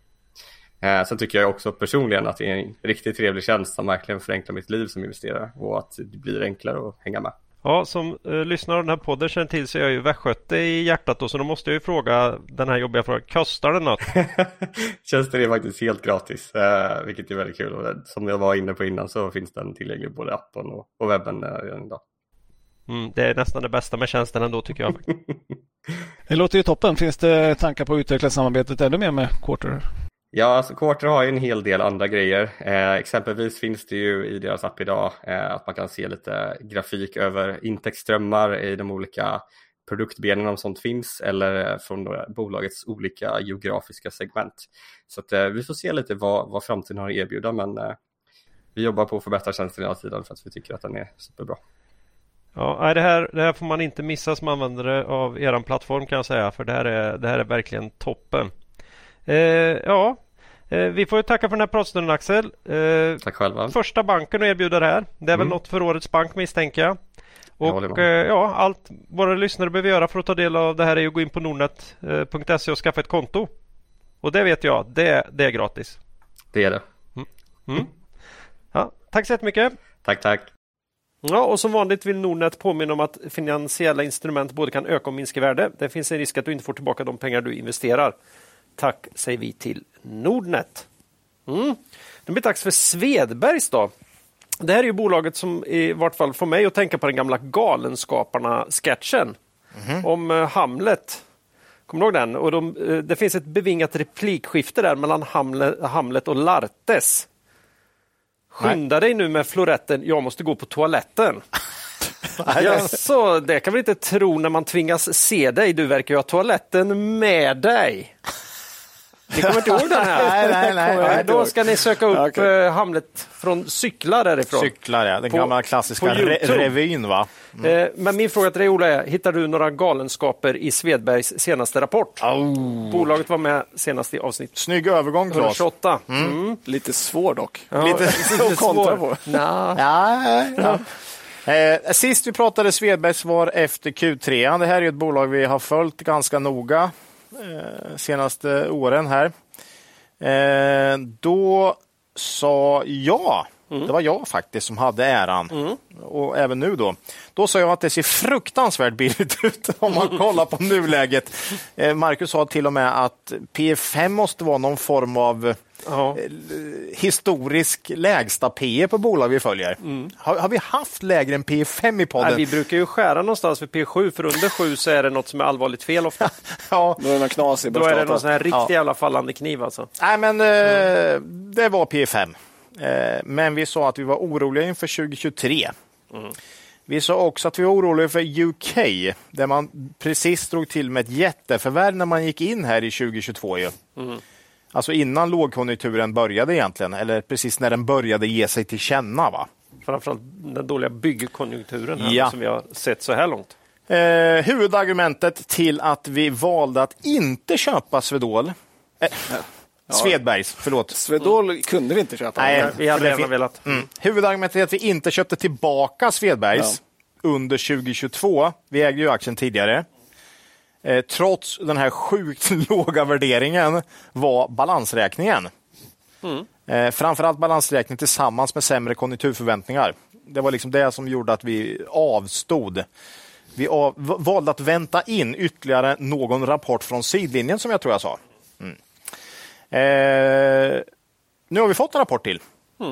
S4: Eh, sen tycker jag också personligen att det är en riktigt trevlig tjänst som verkligen förenklar mitt liv som investerare och att det blir enklare att hänga med.
S2: Ja, som eh, lyssnar av den här podden känner till så är jag ju västgöte i hjärtat då, så då måste jag ju fråga den här jobbiga frågan. Kostar det något?
S4: Tjänsten är faktiskt helt gratis, eh, vilket är väldigt kul. Och det- som jag var inne på innan så finns den tillgänglig både i appen och, och webben eh, redan idag.
S2: Mm, det är nästan det bästa med tjänsten ändå tycker jag.
S5: Det låter ju toppen. Finns det tankar på att utveckla samarbetet ännu mer med Quarter?
S4: Ja, alltså Quarter har ju en hel del andra grejer. Eh, exempelvis finns det ju i deras app idag eh, att man kan se lite grafik över intäktsströmmar i de olika produktbenen om sånt finns eller eh, från då bolagets olika geografiska segment. Så att, eh, vi får se lite vad, vad framtiden har att erbjuda men eh, vi jobbar på att förbättra tjänsten hela tiden för att vi tycker att den är superbra.
S2: Ja, nej, det, här, det här får man inte missa som användare av eran plattform kan jag säga för det här är, det här är verkligen toppen. Eh, ja, eh, vi får ju tacka för den här pratstunden Axel. Eh,
S4: Tack själva.
S2: första banken att erbjuda det här. Det är väl
S4: Mm.
S2: något för årets bank misstänker jag.
S4: Jag håller
S2: Och eh,
S4: med.
S2: ja, allt våra lyssnare behöver göra för att ta del av det här är ju att gå in på nordnet.se och skaffa ett konto. Och det vet jag, det, det är gratis.
S4: Det är det.
S2: Ja, tack så jättemycket!
S4: Tack, tack.
S2: Ja, och som vanligt vill Nordnet påminna om att finansiella instrument både kan öka och minska i värde. Det finns en risk att du inte får tillbaka de pengar du investerar. Tack säger vi till Nordnet. Mm. Nu blir det dags för Svedbergs då. Det här är ju bolaget som i vart fall får mig att tänka på den gamla Galenskaparna-sketchen om eh, Hamlet. Kommer du ihåg den? Och de, eh, det finns ett bevingat replikskifte där mellan Hamlet, Hamlet och Lartes. Skynda dig nu med floretten, jag måste gå på toaletten. Ja, så det kan vi inte tro när man tvingas se dig, du verkar ju ha toaletten med dig. Ni kommer inte ihåg den här?
S3: Nej, nej, nej,
S2: Nej,
S3: nej.
S2: då ska ni söka upp
S1: Ja, okej.
S2: eh, Hamlet från cyklar därifrån.
S3: Cyklar, ja. Den
S2: På-
S3: gamla
S2: på
S3: klassiska re
S2: YouTube.
S3: revyn, va?
S2: Eh, Men min fråga till dig Ola är, hittar du några galenskaper i Svedbergs senaste rapport? Bolaget var med senast i avsnitt
S3: Snygg övergång, Claes.
S2: 128. Mm.
S1: Lite svår dock.
S2: Ja,
S3: Lite
S2: lite
S1: att kontra
S2: svår.
S1: på.
S2: Nja.
S3: Ja, ja. Eh, sist vi pratade Svedbergs var efter Q3. Det här är ett bolag vi har följt ganska noga eh, senaste åren här. Eh, då sa jag, det var jag faktiskt som hade äran, och även nu då. Då sa jag att det ser fruktansvärt billigt ut om man kollar på nuläget. Eh, Marcus sa till och med att P5 måste vara någon form av
S2: Ja.
S3: historisk lägsta PE på bolag vi följer. Har, har vi haft lägre än PE 5 i podden?
S2: Nej, vi brukar ju skära någonstans vid P7, för under 7 så är det något som är allvarligt fel ofta.
S3: ja.
S1: Då är det någon knasig
S2: Då är det någon sån här riktig
S3: Ja.
S2: jävla fallande kniv alltså.
S3: Nej, men eh, det var PE 5. Eh, men vi sa att vi var oroliga inför 2023. Vi sa också att vi var oroliga för UK, där man precis drog till med ett jätteförvärv när man gick in här i 2022. Ju. Alltså innan lågkonjunkturen började egentligen, eller precis när den började ge sig till känna. Va?
S2: Framförallt den dåliga byggkonjunkturen här,
S3: Ja.
S2: som vi har sett så här långt.
S3: Eh, huvudargumentet till att vi valde att inte köpa Svedol. Eh, Svedbergs, förlåt.
S1: Svedol kunde vi inte köpa.
S3: Nej.
S2: Nej, vi hade
S3: det
S2: gärna
S3: fin-
S2: velat.
S3: Mm. Huvudargumentet till att vi inte köpte tillbaka Svedbergs under 2022. Vi ägde ju aktien tidigare. Eh, trots den här sjukt låga värderingen var balansräkningen. Eh, framförallt balansräkning tillsammans med sämre konjunkturförväntningar. Det var liksom det som gjorde att vi avstod. Vi av, v- valde att vänta in ytterligare någon rapport från sidlinjen som jag tror jag sa. Mm. Eh, nu har vi fått en rapport till. Eh,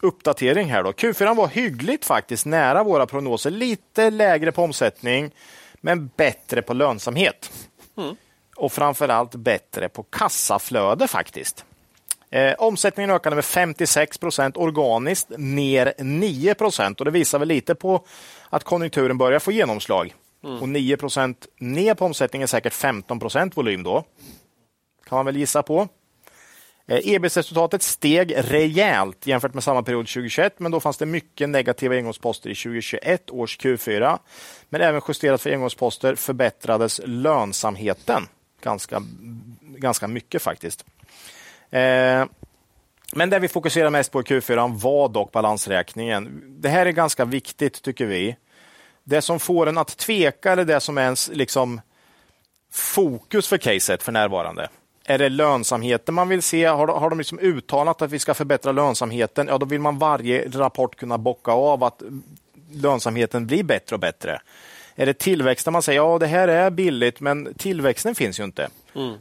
S3: uppdatering här då. Q4 var hyggligt faktiskt, nära våra prognoser. Lite lägre på omsättning, men bättre på lönsamhet. Och framförallt bättre på kassaflöde faktiskt. Eh, omsättningen ökade med 56 procent organiskt, ner 9 procent. Och det visar väl lite på att konjunkturen börjar få genomslag. Och 9 procent ner på omsättningen är säkert 15 procent volym då. Kan man väl gissa på. Eh, EBIT-resultatet steg rejält jämfört med samma period 2021, men då fanns det mycket negativa engångsposter i 2021 års Q4. Men även justerat för engångsposter förbättrades lönsamheten ganska, ganska mycket faktiskt. Eh, men det vi fokuserar mest på i Q4 var dock balansräkningen. Det här är ganska viktigt tycker vi. Det som får en att tveka eller det som är ens liksom, fokus för caset för närvarande? Är det lönsamheten man vill se? Har, de- har de liksom uttalat att vi ska förbättra lönsamheten? Ja, då vill man varje rapport kunna bocka av att lönsamheten blir bättre och bättre. Är det tillväxten man säger, ja det här är billigt, men tillväxten finns ju inte.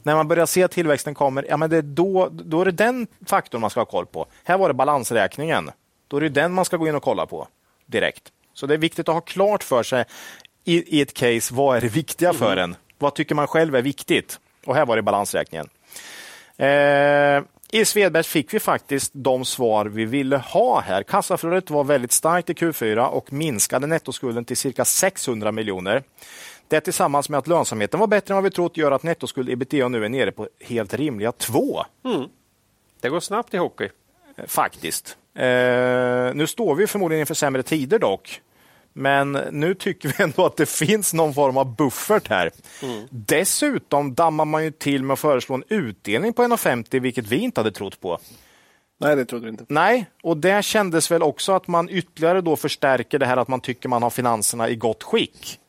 S3: När man börjar se att tillväxten kommer, ja men det är då, då är det den faktorn man ska ha koll på. Här var det balansräkningen. Då är det den man ska gå in och kolla på direkt. Så det är viktigt att ha klart för sig i, i ett case, vad är det viktiga för en? Vad tycker man själv är viktigt? Och här var det balansräkningen. Eh, I Svedbergs fick vi faktiskt de svar vi ville ha här. Kassaflödet var väldigt starkt i Q4 och minskade nettoskulden till cirka 600 miljoner. Det tillsammans med att lönsamheten var bättre än vad vi trott gör att nettoskuld ebitda nu är nere på helt rimliga 2
S2: Det går snabbt i hockey.
S3: faktiskt. Eh, nu står vi förmodligen inför sämre tider dock. Men nu tycker vi ändå att det finns någon form av buffert här. Dessutom dammar man ju till med att föreslå en utdelning på 1,50 vilket vi inte hade trott på.
S1: Nej, det trodde vi inte.
S3: Nej, och det kändes väl också att man ytterligare då förstärker det här att man tycker man har finanserna i gott skick.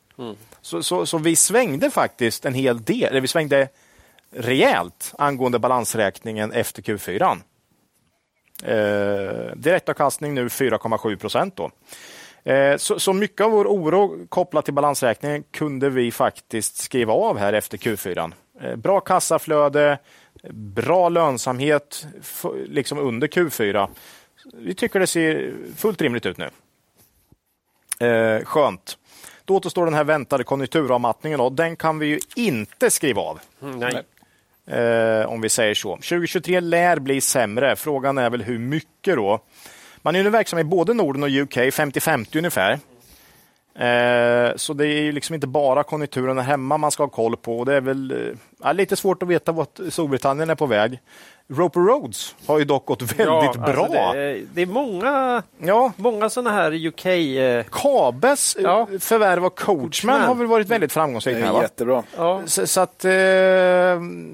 S3: Så, så, så vi svängde faktiskt en hel del, eller vi svängde rejält angående balansräkningen efter Q4. Eh, direktavkastning nu 4,7 procent då. Eh, Så, så mycket av vår oro kopplat till balansräkningen kunde vi faktiskt skriva av här efter Q4. Eh, Bra kassaflöde, bra lönsamhet f- liksom under Q4. Vi tycker det ser fullt rimligt ut nu. Eh, skönt. Då återstår den här väntade konjunkturavmattningen. Då. Den kan vi ju inte skriva av.
S2: Mm, nej.
S3: Eh, om vi säger så. 2023 lär bli sämre. Frågan är väl hur mycket då? Man är ju nu verksam i både Norden och UK, 50-50 ungefär. Eh, så det är ju liksom inte bara konjunkturen här hemma man ska ha koll på. Och det är väl eh, ja, lite svårt att veta vart Storbritannien är på väg. Roper Roads har ju dock gått väldigt
S2: Ja,
S3: bra.
S2: alltså det, är, det är många,
S3: Ja,
S2: många sådana här UK... eh,
S3: Kabes eh,
S2: Ja.
S3: förvärv av coachman
S2: Coachman.
S3: har väl varit väldigt
S1: Det
S3: framgångsrikt. här,
S1: är
S3: va?
S1: jättebra.
S2: Ja.
S3: Så, så att, eh,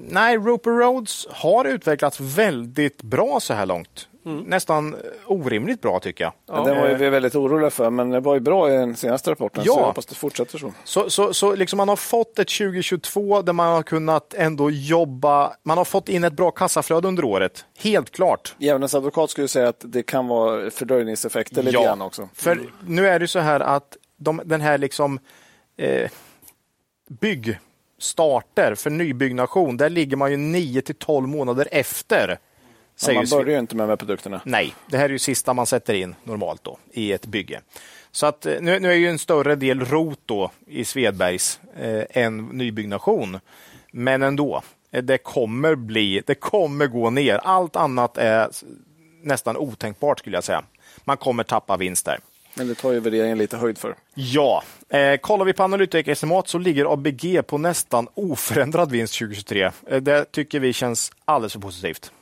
S3: nej, Roper Roads har utvecklats väldigt bra så här långt. nästan orimligt bra tycker jag.
S1: Ja. Den var ju vi väldigt oroliga för, men det var ju bra i den senaste rapporten.
S3: Ja.
S1: Så jag hoppas det fortsätter så.
S3: Så, så, så liksom man har fått ett 2022 där man har kunnat ändå jobba. Man har fått in ett bra kassaflöde under året, helt klart.
S1: Djävulens advokat skulle säga att det kan vara fördröjningseffekter lite grann också.
S3: För nu är det så här att de, den här liksom eh, byggstarter för nybyggnation, där ligger man ju 9 till 12 månader efter.
S1: Men
S3: Säger
S1: man
S3: ju
S1: börjar ju inte med de här produkterna.
S3: Nej, det här är ju sista man sätter in normalt då i ett bygge. Så att eh, nu, nu är ju en större del rot då i Svedbergs eh, än nybyggnation. Men ändå, eh, det kommer bli, det kommer gå ner. Allt annat är s- nästan otänkbart skulle jag säga. Man kommer tappa vinst där.
S1: Men det tar ju värderingen lite höjd för.
S3: Ja, eh, kollar vi på analytikerestimat så ligger ABG på nästan oförändrad vinst 2023. Eh, det tycker vi känns alldeles för positivt.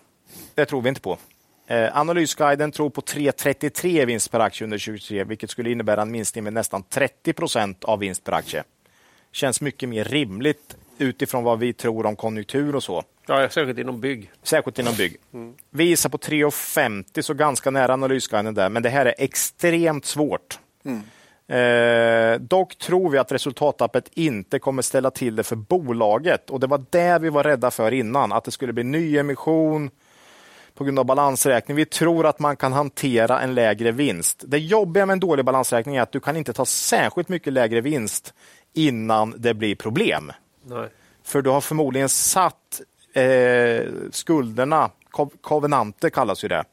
S3: Det tror vi inte på. Eh, analysguiden tror på 3,33 vinst per aktie under 2023, vilket skulle innebära en minskning med nästan 30 procent av vinst per aktie. Känns mycket mer rimligt utifrån vad vi tror om konjunktur och så.
S2: Ja, särskilt inom bygg.
S3: Särskilt inom bygg. Vi gissar på 3,50 så ganska nära analysguiden där, men det här är extremt svårt. Eh, dock tror vi att resultattappet inte kommer ställa till det för bolaget och det var det vi var rädda för innan, att det skulle bli nyemission på grund av balansräkning. Vi tror att man kan hantera en lägre vinst. Det jobbiga med en dålig balansräkning är att du kan inte ta särskilt mycket lägre vinst innan det blir problem.
S2: Nej.
S3: För du har förmodligen satt eh, skulderna, ko- kovenanter kallas ju det,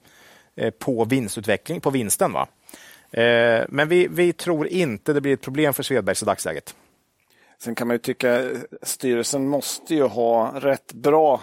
S3: eh, på vinstutveckling, på vinsten. Va? Eh, men vi, vi tror inte det blir ett problem för Svedbergs i dagsläget.
S1: Sen kan man ju tycka eh, styrelsen måste ju ha rätt bra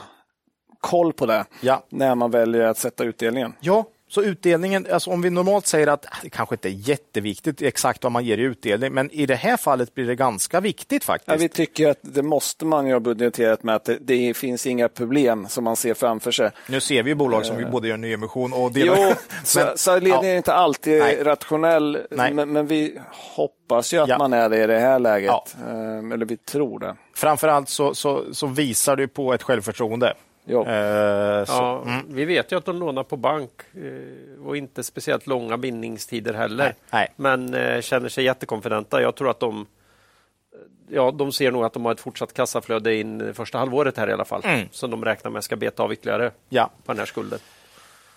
S1: koll på det
S3: Ja.
S1: när man väljer att sätta utdelningen.
S3: Ja, så utdelningen, alltså om vi normalt säger att ah, det kanske inte är jätteviktigt exakt vad man ger i utdelning, men i det här fallet blir det ganska viktigt
S1: Ja,
S3: faktiskt.
S1: vi tycker att det måste man ju ha budgeterat med att det, det finns inga problem som man ser framför sig.
S3: Nu ser vi ju bolag som både gör nyemission och
S1: Eh. Jo,
S3: delar...
S1: så,
S3: Men-
S1: så ledningen är inte alltid
S3: Nej.
S1: rationell,
S3: Nej.
S1: men, men vi hoppas ju att
S3: Ja.
S1: man är det i det här läget.
S3: Ja.
S1: Ehm, Eller vi tror det.
S3: Framförallt så, så, så visar du på ett självförtroende.
S1: Jo.
S3: Eh, så,
S2: Ja, Vi vet ju att de lånar på bank eh, och inte speciellt långa bindningstider heller.
S3: Nej, nej.
S2: Men eh, känner sig jättekonfidenta. Jag tror att de eh, Ja, de ser nog att de har ett fortsatt kassaflöde in första halvåret här i alla fall. Som de räknar med ska beta av ytterligare
S3: Ja.
S2: på den här skulden.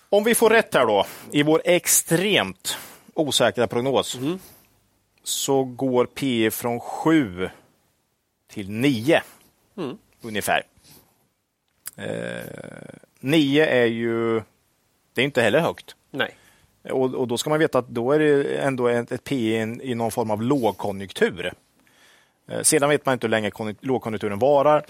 S3: Om vi får rätt här då, i vår extremt osäkra prognos, så går PE från 7 till 9 ungefär. Eh, 9 är ju, det är inte heller högt.
S2: Nej.
S3: Och, och då ska man veta att då är det ändå ett, ett PE i en- i någon form av lågkonjunktur. Eh, Sedan vet man inte hur länge konjunk- lågkonjunkturen varar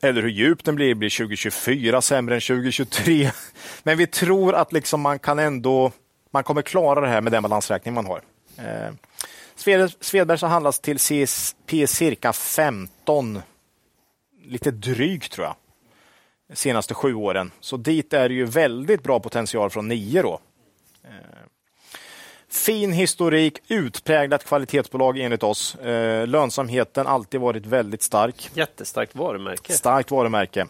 S3: eller hur djup den blir. Blir 2024 sämre än 2023? Men vi tror att liksom man kan ändå man kommer klara det här med den balansräkning man har. Eh, Sved- Svedberg så handlas till CS, P cirka 15, lite drygt tror jag, de senaste sju åren. Så dit är det ju väldigt bra potential från nio då. Fin historik, utpräglat kvalitetsbolag enligt oss. Eh, lönsamheten alltid varit väldigt stark.
S2: Jättestarkt varumärke.
S3: Starkt varumärke.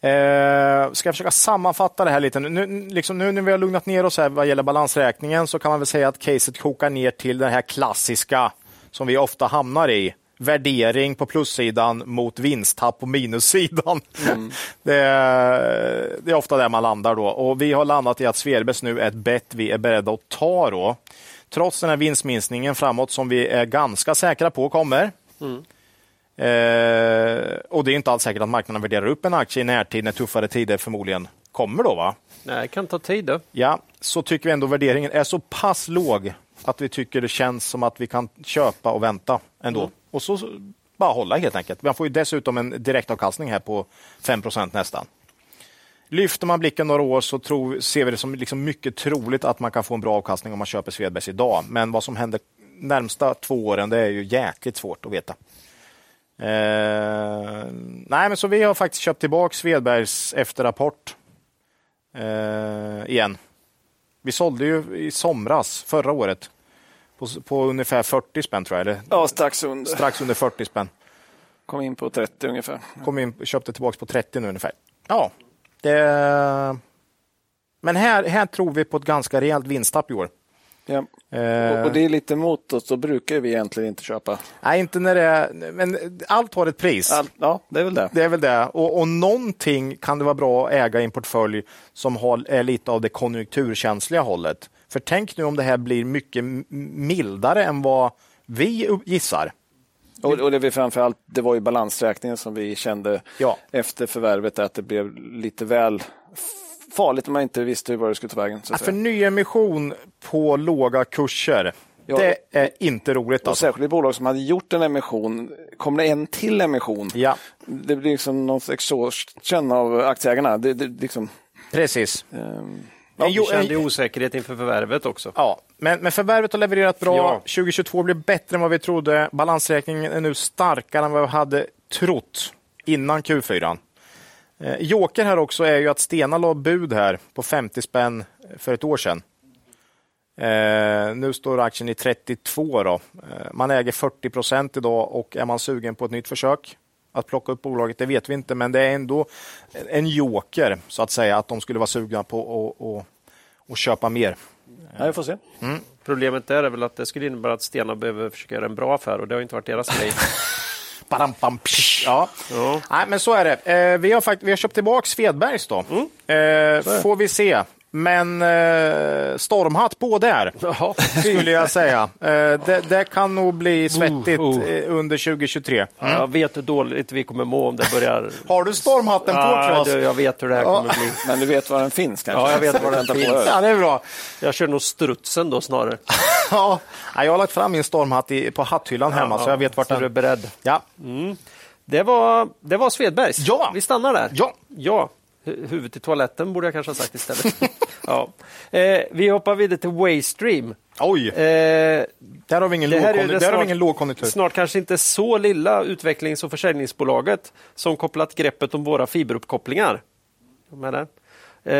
S3: Eh, ska jag försöka sammanfatta det här lite? Nu, nu- liksom, nu när vi har lugnat ner oss här vad gäller balansräkningen så kan man väl säga att caset kokar ner till den här klassiska som vi ofta hamnar i. Värdering på plussidan mot vinsttapp på minussidan. det, är, det är ofta där man landar då. Och vi har landat i att Svelbes nu är ett bett vi är beredda att ta då. Trots den här vinstminskningen framåt som vi är ganska säkra på kommer. Eh, och det är inte alls säkert att marknaden värderar upp en aktie i närtid när tuffare tider förmodligen kommer då. va?
S2: Nej, det kan ta tid. Då.
S3: Ja, så tycker vi ändå värderingen är så pass låg att vi tycker det känns som att vi kan köpa och vänta ändå. Och så så bara hålla helt enkelt. Man får ju dessutom en direktavkastning här på 5 nästan. Lyfter man blicken några år så tror, ser vi det som liksom mycket troligt att man kan få en bra avkastning om man köper Svedbergs idag. Men vad som händer närmsta två åren, det är ju jäkligt svårt att veta. Eh, nej, men så vi har faktiskt köpt tillbaka Svedbergs efter rapport eh, igen. Vi sålde ju i somras, förra året, på, på ungefär 40 spänn tror jag, eller
S1: Ja, strax under.
S3: strax under 40 spänn.
S1: Kom in på 30 ungefär.
S3: Kom in, köpte tillbaka på 30 nu ungefär. Ja, det... Men här, här tror vi på ett ganska rejält vinsttapp i år.
S1: Ja.
S3: Eh,
S1: Och, och det är lite emot oss, då brukar vi egentligen inte köpa.
S3: Nej, inte när det är... Men allt har ett pris.
S1: All, ja, det är väl det.
S3: Det är väl det. Och, och någonting kan det vara bra att äga i en portfölj som har, är lite av det konjunkturkänsliga hållet. För tänk nu om det här blir mycket m- mildare än vad vi u- gissar.
S1: Och, och det vi framförallt, det var ju balansräkningen som vi kände
S3: Ja.
S1: efter förvärvet att det blev lite väl f- farligt om man inte visste hur var det skulle ta vägen. Så att
S3: För
S1: säga.
S3: nyemission på låga kurser,
S1: Ja.
S3: det är inte roligt.
S1: Och
S3: Alltså.
S1: särskilt i bolag som hade gjort en emission, kommer det en till emission,
S3: Ja,
S1: det blir liksom någon exhaustion av aktieägarna. Det, det, liksom,
S3: precis.
S1: ehm,
S3: En
S2: Vi
S3: jo- eh,
S2: kände ju
S3: en-
S2: osäkerhet inför förvärvet också.
S3: Ja, men, men förvärvet har levererat bra.
S2: Ja.
S3: 2022 blev bättre än vad vi trodde. Balansräkningen är nu starkare än vad vi hade trott innan Q4. Eh, Joker här också är ju att Stena la bud här på 50 spänn för ett år sedan. Eh, nu står aktien i 32 då. Eh, man äger 40 procent idag och är man sugen på ett nytt försök att plocka upp bolaget, det vet vi inte, men det är ändå en joker så att säga att de skulle vara sugna på att och, och köpa mer.
S1: ja, vi får se.
S2: Mm. Problemet där är väl att det skulle innebära att Stena behöver försöka göra en bra affär och det har ju inte varit deras grej.
S3: Badam, bam, psh. ja. Nej, men så är det. Eh, vi, har fakt- vi har köpt tillbaka Svedbergs då.
S2: Mm.
S3: Eh, får vi se. Men eh, stormhatt på där, skulle jag säga. Eh, det, det kan nog bli svettigt
S2: oh.
S3: eh, under 2023.
S2: Jag vet hur dåligt vi kommer må om det börjar...
S3: Har du stormhatten på,
S2: Ah,
S3: Claes?
S2: du, jag vet hur det här
S3: Ja.
S2: kommer bli.
S1: Men du vet var den finns kanske?
S2: Ja, jag vet var den
S1: Vänta på
S2: finns.
S1: öl.
S3: Ja, det är bra.
S2: Jag kör nog strutsen då snarare.
S3: Ja, jag har lagt fram min stormhatt i, på hatthyllan hemma, så jag vet vart
S2: så
S3: den...
S2: du är beredd.
S3: Ja.
S2: Det var, det var Svedbergs.
S3: Ja.
S2: Vi stannar där.
S3: Ja.
S2: ja. Hu- Huvudet i toaletten borde jag kanske ha sagt istället. ja. eh, vi hoppar vidare till Waystream.
S3: Oj,
S2: Eh, det
S3: där har vi ingen,
S2: här är ju
S3: lågkonjunktur. Där
S2: det
S3: har vi
S2: snart,
S3: ingen lågkonjunktur.
S2: snart kanske inte så lilla utvecklings och försäljningsbolaget som kopplat greppet om våra fiberuppkopplingar. Kom Med där.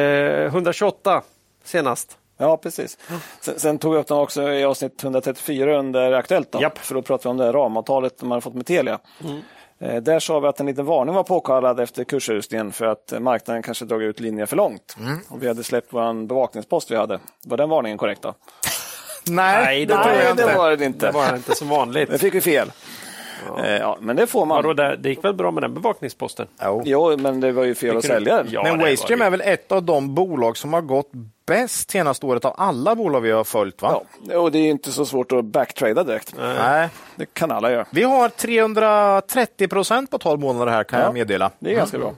S2: Eh, 128 senast.
S1: Ja, precis. Sen, sen tog jag upp den också i avsnitt 134 under Aktuellt. Då,
S2: Japp. Mm.
S1: För då pratade vi om det här ramavtalet man har fått med Telia. Eh, där sa vi att en liten varning var påkallad efter kursjusteringen för att eh, marknaden kanske dragit ut linjer för långt.
S2: Mm.
S1: Och vi hade släppt vår bevakningspost vi hade. Var den varningen korrekt? Då?
S3: Nej,
S2: det tror jag
S1: det
S2: inte.
S1: var den inte.
S2: Det var inte som vanligt.
S1: Den fick vi fel. Eh, ja, men det får man.
S2: Vadå, det, det gick väl bra med den bevakningsposten?
S1: Jo, men det var ju fel att sälja den.
S2: Ja, det
S3: Men
S2: var
S3: Waystream
S2: det.
S3: är väl ett av de bolag som har gått bäst senaste året av alla bolag vi har följt? va?
S1: Ja, och det är ju inte så svårt att backtrada direkt.
S3: Nej.
S1: Det kan alla göra.
S3: Vi har 330 procent på 12 månader här kan jag meddela.
S2: Mm.
S1: Det är ganska bra.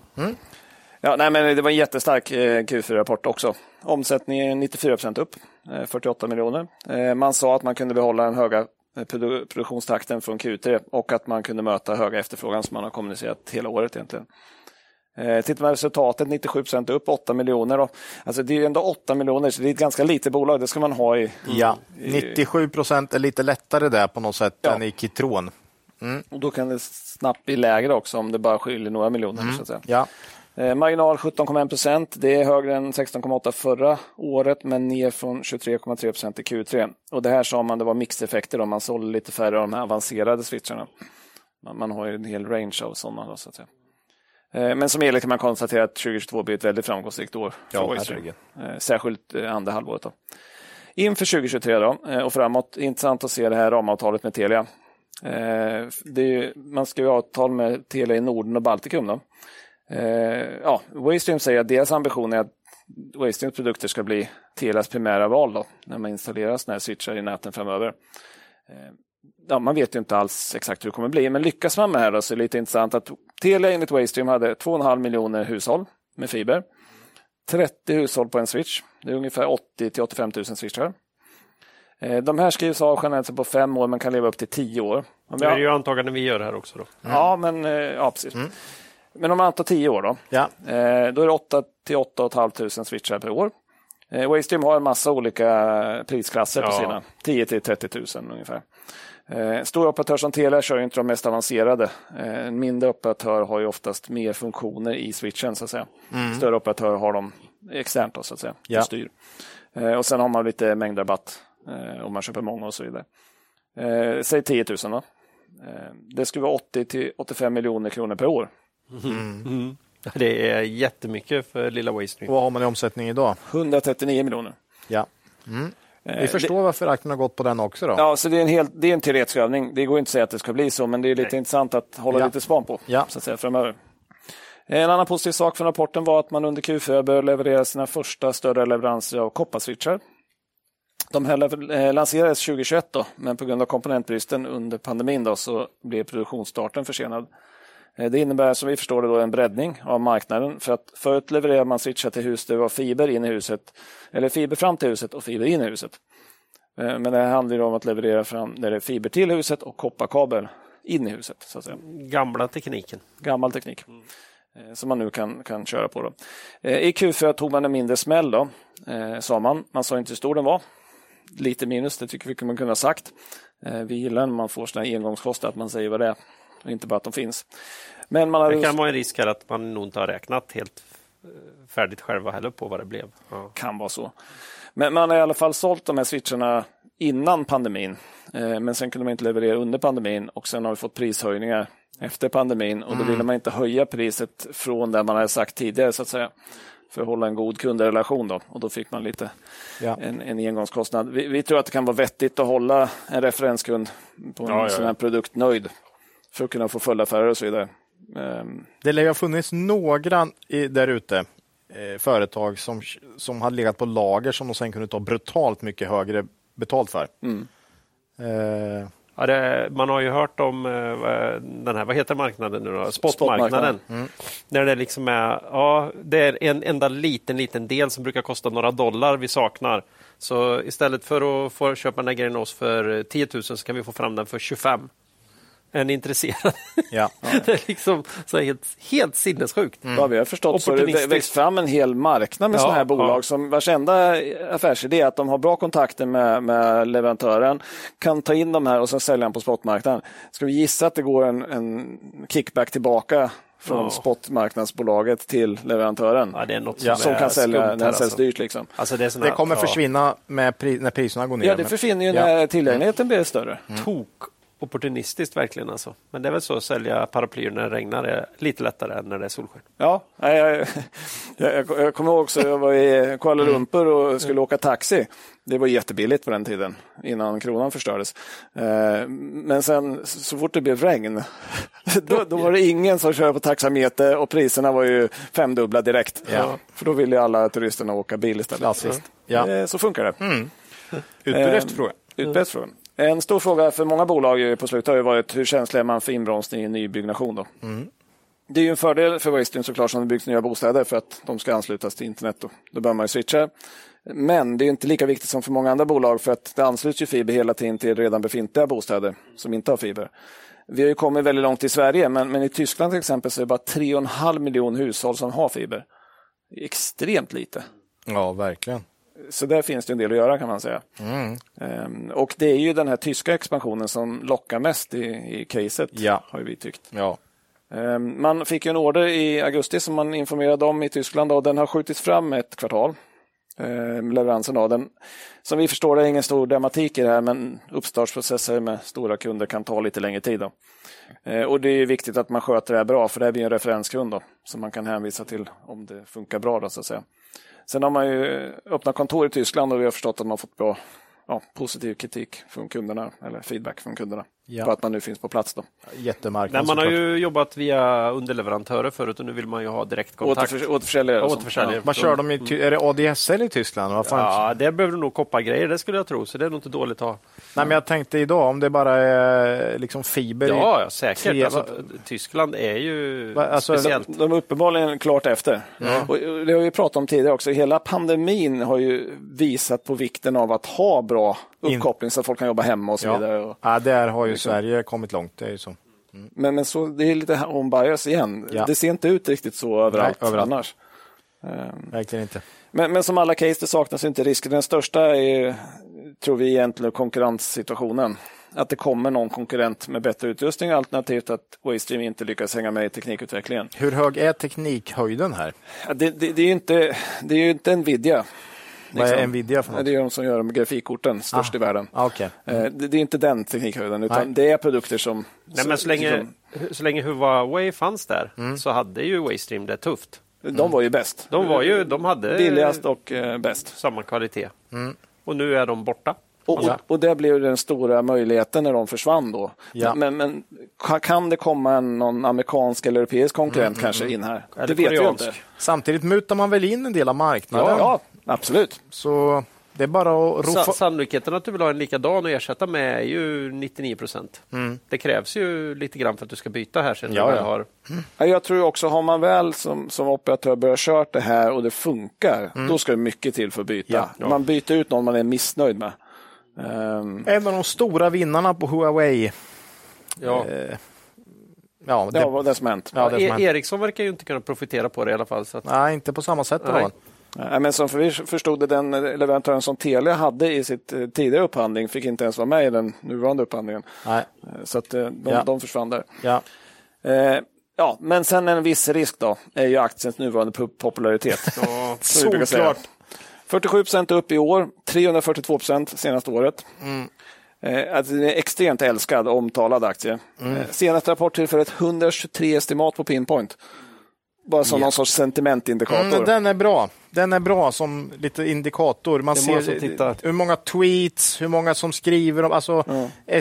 S1: Ja, nej, men det var en jättestark eh, Q4-rapport också. Omsättningen 94 procent upp, eh, 48 miljoner. Eh, man sa att man kunde behålla den höga eh, produ- produktionstakten från Q3 och att man kunde möta höga efterfrågan som man har kommunicerat hela året egentligen. Eh, tittar man på resultatet, 97 procent upp, 8 miljoner. Då. Alltså, det är ju ändå 8 miljoner, så det är ett ganska litet bolag. Det ska man ha i...
S3: Ja,
S2: Eh.
S3: 97 procent är lite lättare där på något sätt
S1: Ja.
S3: än i Kitron.
S1: Och då kan det snabbt bli lägre också om det bara skiljer några miljoner. Så att säga.
S3: Ja.
S1: Eh, Marginal 17,1 procent. Det är högre än 16,8 förra året, men ner från 23,3 procent i Q3. Och det här sa man det var mixeffekter, om man sålde lite färre av de här avancerade switcharna. Man, man har ju en hel range av sådana. Då, så att säga. Eh, Men som helhet kan man konstatera att 2022 blir ett väldigt framgångsrikt år. för
S3: Ja,
S1: Oyster.
S3: herregud.
S1: Eh, Särskilt eh, andra halvåret. Då. Inför 2023 då, eh, och framåt, intressant att se det här ramavtalet med Telia. Eh, Det är ju, man ska ju ha avtal med Telia i Norden och Baltikum. Då. Eh, ja, Waystream säger att deras ambition är att Waystreams produkter ska bli Telias primära val då, när man installerar sådana här switchar i näten framöver. Eh, ja, man vet ju inte alls exakt hur det kommer bli, men lyckas man med det här då, så är det lite intressant att Telia enligt Waystream hade 2,5 miljoner hushåll med fiber. 30 hushåll på en switch. Det är ungefär 80 till 85 000 switchar. Eh, De här skrivs av generellt sett på fem år, men kan leva upp till tio år. Om vi
S2: Det är
S1: har-
S2: ju antaganden vi gör här också. Då.
S1: Ja, men eh, ja, precis. Men om man antar 10 år då,
S3: Ja.
S1: eh, då är det 8 till 8 500 switchar per år. Eh, Waystream har en massa olika prisklasser på
S2: Ja.
S1: sina, 10 till 30 000 ungefär. Eh, stora operatörer som Telia kör ju inte de mest avancerade. Eh, en mindre operatör har ju oftast mer funktioner i switchen så att säga. Större operatörer har de externt då, så att säga,
S3: Ja.
S1: och styr. Eh, och sen har man lite mängdrabatt eh, om man köper många och så vidare. Eh, säg 10 000 då. Eh, Det skulle vara 80 till 85 miljoner kronor per år.
S2: Det är jättemycket för lilla Waystream.
S3: Vad har man i omsättning idag?
S1: 139 miljoner.
S3: Ja. Mm.
S1: Eh,
S3: Vi förstår varför aktien har gått på den också. Då.
S1: Ja, så det är en, helt, det är en teoretisk övning. Det går inte att säga att det ska bli så, men det är lite intressant att hålla
S3: Ja.
S1: lite span på
S3: Ja.
S1: så att säga, framöver. En annan positiv sak från rapporten var att man under Q4 började leverera sina första större leveranser av kopparswitchar. De här lever- eh, lanserades 2021, då, men på grund av komponentbristen under pandemin då, så blev produktionsstarten försenad. Eh, Det innebär som vi förstår det då en breddning av marknaden. För att förut levererade man switchar till hus där det var fiber in i huset, eller fiber fram till huset och fiber in i huset. Eh, Men det här handlar ju om att leverera fram där det är fiber till huset och kopparkabel in i huset. Så att säga.
S2: Gamla tekniken.
S1: Gammal teknik
S2: Mm.
S1: eh, som man nu kan, kan köra på. Då. Eh, I Q4 tog man en mindre smäll, då, eh, sa man. Man sa inte hur stor den var. Lite minus, det tycker vi man kunde ha sagt. Eh, Vi gillar när man får sådana engångskostnader, att man säger vad det är och inte bara att de finns. Men man
S2: Det
S1: hade
S2: kan vara en risk här att man nog inte har räknat helt eh, färdigt själva heller på vad det blev. Ja.
S1: kan vara så. Men man har i alla fall sålt de här switcharna innan pandemin. Eh, Men sen kunde man inte leverera under pandemin och sen har vi fått prishöjningar efter pandemin och då ville man inte höja priset från det man hade sagt tidigare så att säga. För att hålla en god kundrelation då och då fick man lite
S3: Ja.
S1: en, en engångskostnad. Vi, vi tror att det kan vara vettigt att hålla en referenskund på en sån här produkt nöjd för att kunna få följaffärer och så vidare. Ehm,
S3: Det lär ju ha funnits några i- där ute, eh, företag som, som hade legat på lager som de sen kunde ta brutalt mycket högre betalt för. Eh,
S2: Ja, det, man har ju hört om eh, vad- den här, vad heter marknaden nu då? Spotmarknaden. Mm.
S1: Spotmarknaden.
S2: När det liksom är, ja, det är en enda liten, liten del som brukar kosta några dollar vi saknar. Så istället för att få köpa den här grejen oss för 10 000 så kan vi få fram den för 25. Är ni intresserade?
S3: ja.
S2: det är liksom så här helt, helt sinnessjukt.
S1: Vad vi har förstått så har det
S2: Mm. Opportunistiskt.
S1: växt fram en hel marknad med
S2: Ja,
S1: sådana här
S2: ja.
S1: bolag som vars enda affärsidé är att de har bra kontakter med, med leverantören, kan ta in de här och sen sälja dem på spotmarknaden. Ska vi gissa att det går en, en kickback tillbaka från
S2: Ja.
S1: spotmarknadsbolaget till leverantören
S2: Ja, det är något som,
S3: Ja,
S2: är
S1: som kan sälja
S2: skumt
S1: när den
S2: här,
S1: säljs
S2: alltså.
S1: dyrt? Liksom.
S2: Alltså, det, är såna
S3: Det
S2: här-
S3: kommer
S2: ja.
S3: försvinna med pri- när priserna går ner.
S1: Ja, det
S3: men-
S1: försvinner ju
S3: Ja.
S1: när tillgängligheten blir större.
S2: Mm. tok opportunistiskt verkligen alltså. Men det är väl så att sälja paraplyer när det regnar är lite lättare än när det är solsken.
S1: Ja, nej, jag, jag, jag kommer ihåg också, jag var i Kuala Lumpur och skulle åka taxi. Det var jättebilligt på den tiden, innan kronan förstördes. Eh, Men sen så fort det blev regn, då, då var det ingen som körde på taxameter och priserna var ju femdubbla direkt.
S3: Ja.
S1: För då ville ju alla turisterna åka bil istället.
S3: Klassiskt. Ja.
S1: Eh, Så funkar det.
S3: Utbud
S1: Ehm,
S3: efterfrågan.
S1: Utbrett fråga. En stor fråga för många bolag ju på slutet har ju varit hur känslig är man för inbromsning i nybyggnation? Då? Det är ju en fördel för Waystream såklart som det byggs nya bostäder för att de ska anslutas till internet. Då, då behöver man ju switcha. Men det är ju inte lika viktigt som för många andra bolag för att det ansluts ju fiber hela tiden till redan befintliga bostäder som inte har fiber. Vi har ju kommit väldigt långt i Sverige men, men i Tyskland till exempel så är det bara 3,5 miljon hushåll som har fiber. Det är extremt lite.
S3: Ja, verkligen.
S1: Så där finns det en del att göra kan man säga. Ehm, Och det är ju den här tyska expansionen som lockar mest i, i caset,
S3: Ja.
S1: har ju vi tyckt.
S3: Ja.
S1: Ehm, Man fick ju en order i augusti som man informerade om i Tyskland och den har skjutits fram ett kvartal. Ehm, Leveransen av den. Som vi förstår det är ingen stor dramatik i det här men uppstartsprocesser med stora kunder kan ta lite längre tid. Då. Ehm, Och det är ju viktigt att man sköter det här bra för det här blir en referenskund då, som man kan hänvisa till om det funkar bra. Då, så att säga. Sen har man ju öppnat kontor i Tyskland och vi har förstått att man fått bra ja, positiv kritik från kunderna, eller feedback från kunderna,
S3: Ja.
S1: på att man nu finns på plats. Då.
S3: Jättemarknad
S2: Nej, man har
S3: såklart.
S2: ju jobbat via underleverantörer förut och nu vill man ju ha direktkontakt.
S1: Återförs- återförsäljare. och sånt.
S2: Återförsäljare.
S3: Vad kör de i, Ty- är det ADSL i Tyskland? Vad fan?
S2: Ja, där behöver du nog koppargrejer, det skulle jag tro, så det är nog inte dåligt att ha.
S3: Nej, men jag tänkte idag om det bara är liksom fiber. i-
S2: Ja, ja säkert.
S3: tre-
S2: Alltså, Tyskland är ju
S3: Va, alltså-
S2: speciellt.
S1: De, de är uppenbarligen klart efter. Och och det har vi pratat om tidigare också. Hela pandemin har ju visat på vikten av att ha bra uppkoppling så att folk kan jobba hemma och så vidare.
S3: Ja.
S1: Och-
S3: ja, där har ju Sverige kommit långt. Det är ju så.
S1: Men, men så, det är lite här on bias igen.
S3: Ja.
S1: Det ser inte ut riktigt så överallt,
S3: överallt.
S1: annars.
S3: Verkligen inte.
S1: Men, men som alla case, det saknas ju inte risker. Den största är, ju, tror vi egentligen, konkurrenssituationen. Att det kommer någon konkurrent med bättre utrustning alternativt att Waystream inte lyckas hänga med i teknikutvecklingen.
S3: Hur hög är teknikhöjden här?
S1: Ja, Det, det, det, är, ju inte, det är ju inte liksom. Nvidia.
S3: Vad
S2: Liksom.
S3: är Nvidia för
S1: Ja,
S3: något?
S1: Det är de som gör de grafikkorten, störst i världen.
S3: Ah, okej.
S1: Eh, Det, det är inte den teknikhöjden, utan
S3: Nej.
S1: det är produkter som...
S2: Nej, men så länge,
S1: som-
S3: liksom-
S2: så länge Huawei fanns där
S3: Mm.
S2: så hade ju Waystream det tufft.
S1: De var ju bäst.
S2: De var ju, de hade
S1: Billigast och eh, bäst.
S2: samma kvalitet.
S3: Mm.
S2: Och nu är de borta.
S1: Och,
S3: Alltså.
S1: och, och det blev den stora möjligheten när de försvann då.
S3: Ja.
S1: Men, men ka- kan det komma en, någon amerikansk eller europeisk konkurrent
S3: Mm,
S1: kanske in här?
S2: Eller
S1: det vet vi
S2: koreansk.
S1: inte.
S3: Samtidigt mutar man väl in en del av marknaden.
S1: Ja, ja, absolut.
S3: Så det är bara att
S2: Sa-
S3: roffa.
S2: sannolikheten att du vill ha en likadan och ersätta med är ju 99 procent. Det krävs ju lite grann för att du ska byta här sen. när
S3: Mm. Ja,
S2: du
S3: ja.
S2: Har.
S1: Ja, Jag tror också, har man väl som, som operatör börjat kört det här och det funkar, då ska det mycket till för att byta.
S3: Mm. Ja,
S1: Man byter ut någon man är missnöjd med. Ehm,
S3: En av de stora vinnarna på Huawei.
S2: Ja.
S3: Eh, ja, det,
S1: det var det som hänt.
S3: ja, det som
S2: e-
S3: hänt.
S2: Ericsson verkar ju inte kunna profitera på det i alla fall. Så att,
S3: Nej, inte på samma sätt. i alla
S2: Nej.
S3: fall.
S1: Nej, men som vi förstod det, den leverantören som Telia hade i sitt eh, tidigare upphandling fick inte ens vara med i den nuvarande upphandlingen.
S3: Nej.
S1: Eh, Så att eh, de,
S3: Ja.
S1: de försvann där.
S3: Ja.
S1: Eh, ja, men sen en viss risk då, är ju aktiens nuvarande po- popularitet. som vi brukar säga.
S3: Solklart.
S1: 47 procent upp i år, 342 procent senaste året.
S3: Mm.
S1: Eh, alltså den är extremt älskad och omtalad aktie.
S3: Mm.
S1: Eh, senaste rapport tillför ett 123 estimat på pinpoint. Bara som någon sorts sentimentindikator.
S3: Mm, den är bra. Den är bra som lite indikator. Man
S2: Det är många
S3: ser
S2: som tittar.
S3: hur många tweets, hur många som skriver om, alltså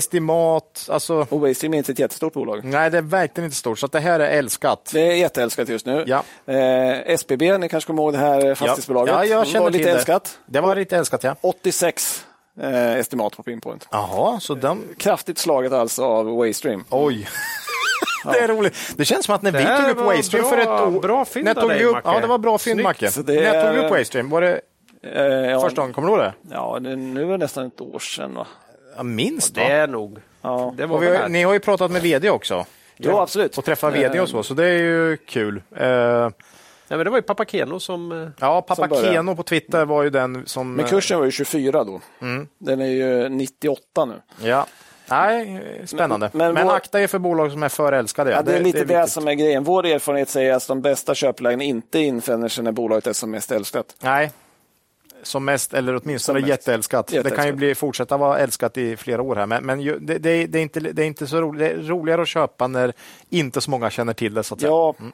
S3: estimat. Alltså,
S1: Och Waystream är inte ett jättestort bolag.
S3: nej, det är verkligen inte stort, så att det här är älskat.
S1: Det är jätteälskat just nu.
S3: Ja.
S1: Eh, SBB, ni kanske kommer ihåg det här eh, fastighetsbolaget?
S3: Ja, jag känner
S1: var lite
S3: till det.
S1: älskat.
S3: Det var lite älskat, ja.
S1: 86 eh, estimat på pinpoint.
S3: Jaha, så den...
S1: Kraftigt slaget alltså av Waystream.
S3: Oj. Det är roligt. Det känns som att när vi
S2: här
S3: tog upp
S2: var
S3: Waystream
S2: bra-
S3: för ett år...
S2: bra fynd
S3: när
S2: av
S3: tog
S2: dig,
S3: vi upp...
S2: Macke.
S3: Ja, det var bra fynd,
S2: Snyggt.
S3: Macke.
S1: Så det
S3: När jag tog
S1: är-
S3: upp Waystream, var det
S1: Eh, ja,
S3: första gången? Kommer du ihåg det?
S1: Ja, det- nu var det nästan ett år sedan. Va?
S3: Ja, minst,
S2: Det
S3: va?
S2: är nog.
S1: Ja.
S2: Det var
S3: Och vi har,
S2: väl
S3: ni
S2: här.
S3: har ju pratat med vd också.
S1: Jo, absolut.
S3: Och träffat vd och så, så det är ju kul. Eh,
S2: Nej, men det var ju Papakeno som... eh,
S3: Ja,
S1: Som
S3: pappa
S1: började.
S3: Keno på Twitter var ju den som...
S1: Men kursen var ju 24 då. Den är ju 98 nu.
S3: Mm. Ja. Nej, spännande. Men,
S1: Men- men vår-
S3: akta er för bolag som är för älskade.
S1: Ja, det, är lite det,
S3: viktigt.
S1: som är grejen. Vår erfarenhet säger att de bästa köplägen inte infinner sig när bolaget är som mest älskat.
S3: Nej. Som mest, eller åtminstone
S1: Som mest.
S3: jätteälskat. Det kan ju
S1: Jätteälskat.
S3: bli, fortsätta vara älskat i flera år här. Men, men ju, det, det, är- det, är inte, det är inte så roligt. Det är roligare att köpa när inte så många känner till det. Så att säga.
S1: Ja, eh,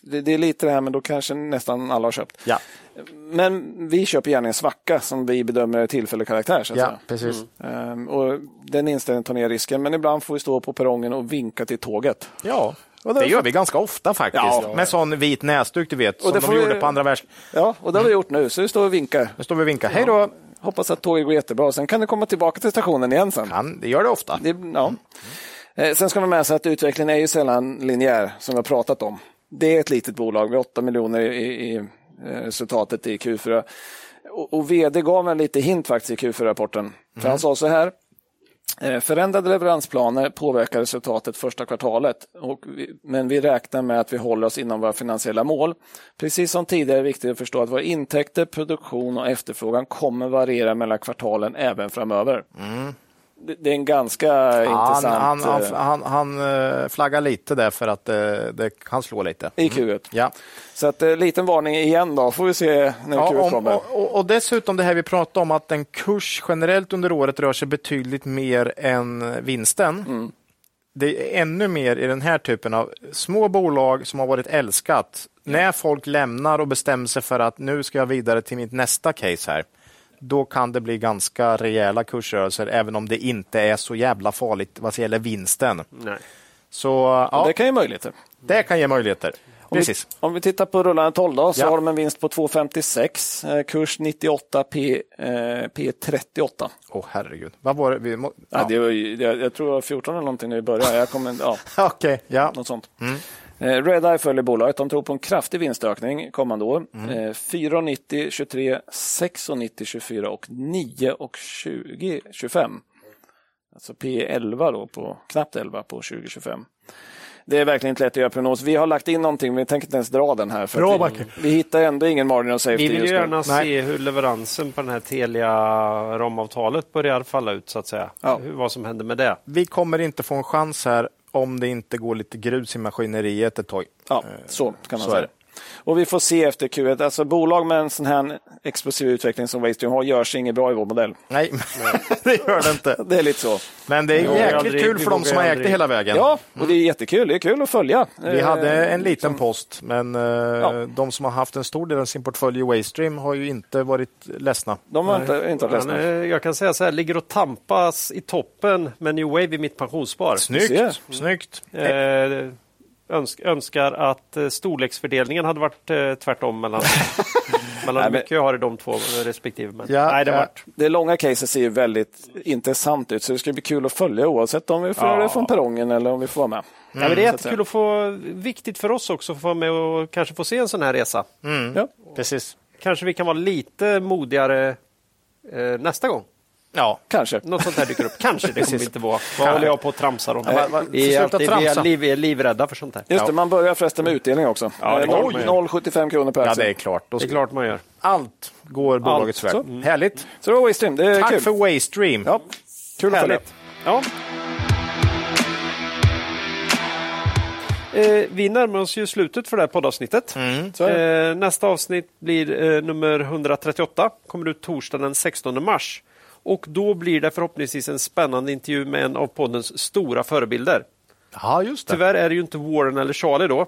S1: det, det är lite det här, men då kanske nästan alla har köpt.
S3: Ja.
S1: Men vi köper gärna en svacka som vi bedömer är tillfällig karaktär. Så att
S3: ja,
S1: säga.
S3: precis.
S1: Ehm, och den inställningen tar ner risken, men ibland får vi stå på perrongen och vinka till tåget.
S3: Ja. Och det gör vi ganska ofta faktiskt.
S1: Ja.
S3: Med sån vit näsduk, du vet, som
S1: det får
S3: de
S1: vi-
S3: gjorde på andra världskriget.
S1: Ja, och det har vi gjort nu, så vi står och vinkar.
S3: Nu står vi och vinkar. Hej då!
S1: Hoppas att tåget går jättebra, och sen kan det komma tillbaka till stationen igen sen.
S3: Han, det gör det ofta.
S1: Det, ja. Eh, Sen ska man med sig att utvecklingen är ju sällan linjär, som vi har pratat om. Det är ett litet bolag med 8 miljoner i, i i resultatet i Q4. Och, och vd gav en lite hint faktiskt i Q4-rapporten. För han sa så här. eh, Förändrade leveransplaner påverkar resultatet första kvartalet, och vi, men vi räknar med att vi håller oss inom våra finansiella mål. Precis som tidigare är det viktigt att förstå att våra intäkter, produktion och efterfrågan kommer variera mellan kvartalen även framöver. Det, det är en ganska
S3: Mm. Han,
S1: intressant...
S3: han, han,
S1: eh,
S3: han, han eh, flaggar lite där för att eh, det, han slår lite.
S1: eh, i Q1.
S3: Ja.
S1: Så att, eh, liten varning igen då, får vi se när
S3: Ja,
S1: Q1
S3: om,
S1: kommer.
S3: och, och- och dessutom det här vi pratade om att en kurs generellt under året rör sig betydligt mer än vinsten.
S1: Mm.
S3: Det är ännu mer i den här typen av små bolag som har varit älskat. När folk lämnar och bestämmer sig för att nu ska jag vidare till mitt nästa case här. Då kan det bli ganska rejäla kursrörelser även om det inte är så jävla farligt vad gäller vinsten.
S2: Nej.
S3: Så ja,
S1: Det kan ju möjligheter.
S3: det kan ge möjligheter.
S1: Om vi,
S3: Precis.
S1: om vi tittar på rullande 12 då, så
S3: Ja.
S1: har de en vinst på 2,56, eh, kurs 98, P, eh, P 38.
S3: Åh herregud. Vad var det? Vi må...
S1: Ja. det var ju, jag, jag tror det var 14 eller någonting när vi började. Jag kommer, ja,
S3: Ja, Okej, ja.
S1: något sånt.
S3: Mm.
S1: Eh, Redeye följer bolaget. De tror på en kraftig vinstökning kommande år.
S3: Mm.
S1: Eh, 4,90, 23, 6,90, 24 och 9 och 20, 25. Alltså P11 då, på, knappt 11 på 2025. Det är verkligen inte lätt att göra prognos. Vi har lagt in någonting, men vi tänker inte ens dra den här. För
S3: Bra,
S1: att vi,
S3: Backe.
S1: vi hittar ändå ingen margin of safety
S2: Vi vill ju
S1: just nu.
S2: gärna
S3: Nej.
S2: se hur leveransen på den här Telia-ramavtalet börjar falla ut, så att säga.
S1: Ja.
S2: Hur, vad som händer med det.
S3: vi kommer inte få en chans här om det inte går lite grus i maskineriet ett tag.
S1: Ja, så kan man
S3: Eh, Så är
S1: säga.
S3: det.
S1: Och vi får se efter Q1. Alltså bolag med en sån här explosiv utveckling som Waystream har gör sig inget bra i vår modell.
S3: Nej, det gör det inte.
S1: Det är lite så.
S3: Men det är
S2: vågar
S3: jäkligt
S2: aldrig-
S3: kul
S2: vi
S3: för de
S2: vågar
S3: som har ägt det
S2: aldrig.
S3: hela vägen.
S1: Ja, och det är jättekul. Det är kul att följa.
S3: Vi
S1: Eh,
S3: hade en liten
S2: liksom-
S3: post, men eh, de som har haft en stor del av sin portfölj i Waystream har ju inte varit ledsna.
S1: De har inte, inte haft
S2: Men, eh,
S1: ledsna.
S2: jag kan säga så här, ligger och tampas i toppen med New Wave i mitt pensionsspar.
S3: Snyggt!
S1: ser.
S3: Snyggt.
S2: Mm. Eh, önsk, önskar att eh, storleksfördelningen hade varit eh, tvärtom mellan, mellan hur
S1: men-
S2: mycket jag har i de två eh, respektive. Men,
S3: Ja,
S2: nej, det
S3: ja.
S2: har varit
S1: Det långa caset ser ju väldigt intressant ut, så det ska bli kul att följa oavsett om vi får göra det från perrongen eller om vi får vara med.
S2: Ja, men det är
S3: Mm.
S1: Så att
S2: jättekul att få, viktigt för oss också att få vara med och kanske få se en sån här resa.
S3: Mm. Precis.
S2: Kanske vi kan vara lite modigare eh, nästa gång.
S3: Ja,
S1: Kanske.
S2: Något sånt här dyker upp. Kanske det kommer vi inte vara. Vad håller jag på och tramsar om?
S3: va- va-
S2: vi, är
S3: sluta
S2: alltid, vi,
S3: tramsa.
S2: är liv, vi är livrädda för sånt här.
S1: Just det, man börjar förresten med utdelning också.
S3: det
S1: Eh,
S3: kan
S1: noll-
S3: man ju.
S1: 0,75 kronor per
S3: ja det
S1: aktie.
S3: är klart. Då
S2: Alltså, Det är
S3: ska-
S2: klart Mm. man gör.
S3: Allt går bolagets väg. Härligt!
S1: så det var Waystream, det är
S3: Tack
S1: kul.
S3: för Waystream!
S1: Ja, kul att följa.
S2: Härligt. Ja. Eh, vi närmar oss ju slutet för det här poddavsnittet.
S1: Så är det.
S2: Eh, nästa avsnitt blir eh, nummer 138. Kommer ut torsdagen den 16 mars. Och då blir det förhoppningsvis en spännande intervju med en av poddens stora förebilder.
S3: Ja, just det.
S2: Tyvärr är det ju inte Warren eller Charlie då.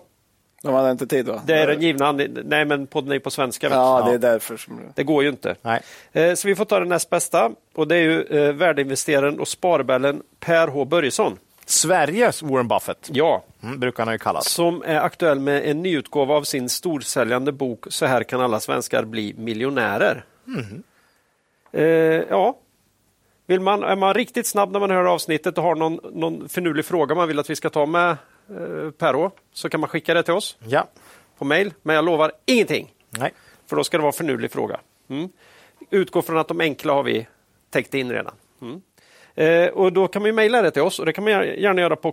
S1: De hade inte tid va?
S2: Det är den givna anledningen. Nej, men podden är ju på svenska. vet
S1: Ja,
S2: du.
S1: det är därför. Som...
S2: Det går ju inte.
S3: Nej.
S2: Eh, Så vi får ta den näst bästa och det är ju eh, värdeinvesteraren och sparbällen Per H Börjesson.
S3: Sveriges Warren Buffett
S2: Ja,
S3: mm, brukar han ju kallas.
S2: som är aktuell med en nyutgåva av sin storsäljande bok Så här kan alla svenskar bli miljonärer. Eh, ja. Vill man, är man riktigt snabb när man hör avsnittet och har någon, någon finurlig fråga man vill att vi ska ta med eh, Per H så kan man skicka det till oss
S3: Ja.
S2: på mail. Men jag lovar ingenting.
S3: Nej.
S2: För då ska det vara en förnulig fråga. Mm. Utgå från att de enkla har vi täckt in redan. Mm. Eh, och då kan man ju mejla det till oss och det kan man gär- gärna göra på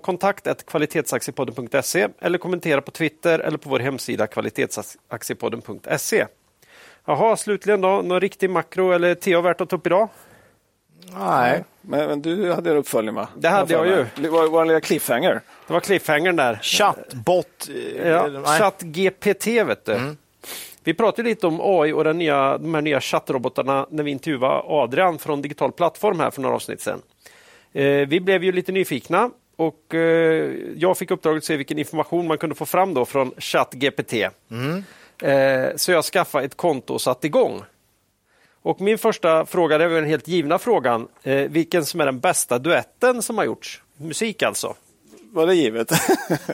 S2: kontakt.kvalitetsaktiepodden.se eller kommentera på Twitter eller på vår hemsida kvalitetsaktiepodden.se. Jaha, slutligen då, någon riktig makro eller TA värt att ta upp idag?
S3: Nej.
S1: Men, men du hade en uppföljning va?
S2: Det hade jag ju.
S1: Det var vår lilla cliffhanger.
S2: Det var cliffhangern där.
S3: Chattbot. eh,
S2: Ja,
S3: nej. Mm.
S2: ChatGPT vet du. Vi pratade lite om AI och den nya, de här nya chattrobotarna när vi intervjuade Adrian från Digital Plattform här för några avsnitt sedan. Eh, vi blev ju lite nyfikna och eh, jag fick uppdraget att se vilken information man kunde få fram då från ChatGPT.
S3: Mm.
S2: Eh, så jag skaffade ett konto och satte igång. Och min första fråga, det är väl den helt givna frågan, eh, vilken som är den bästa duetten som har gjorts? Musik alltså.
S1: Var det givet?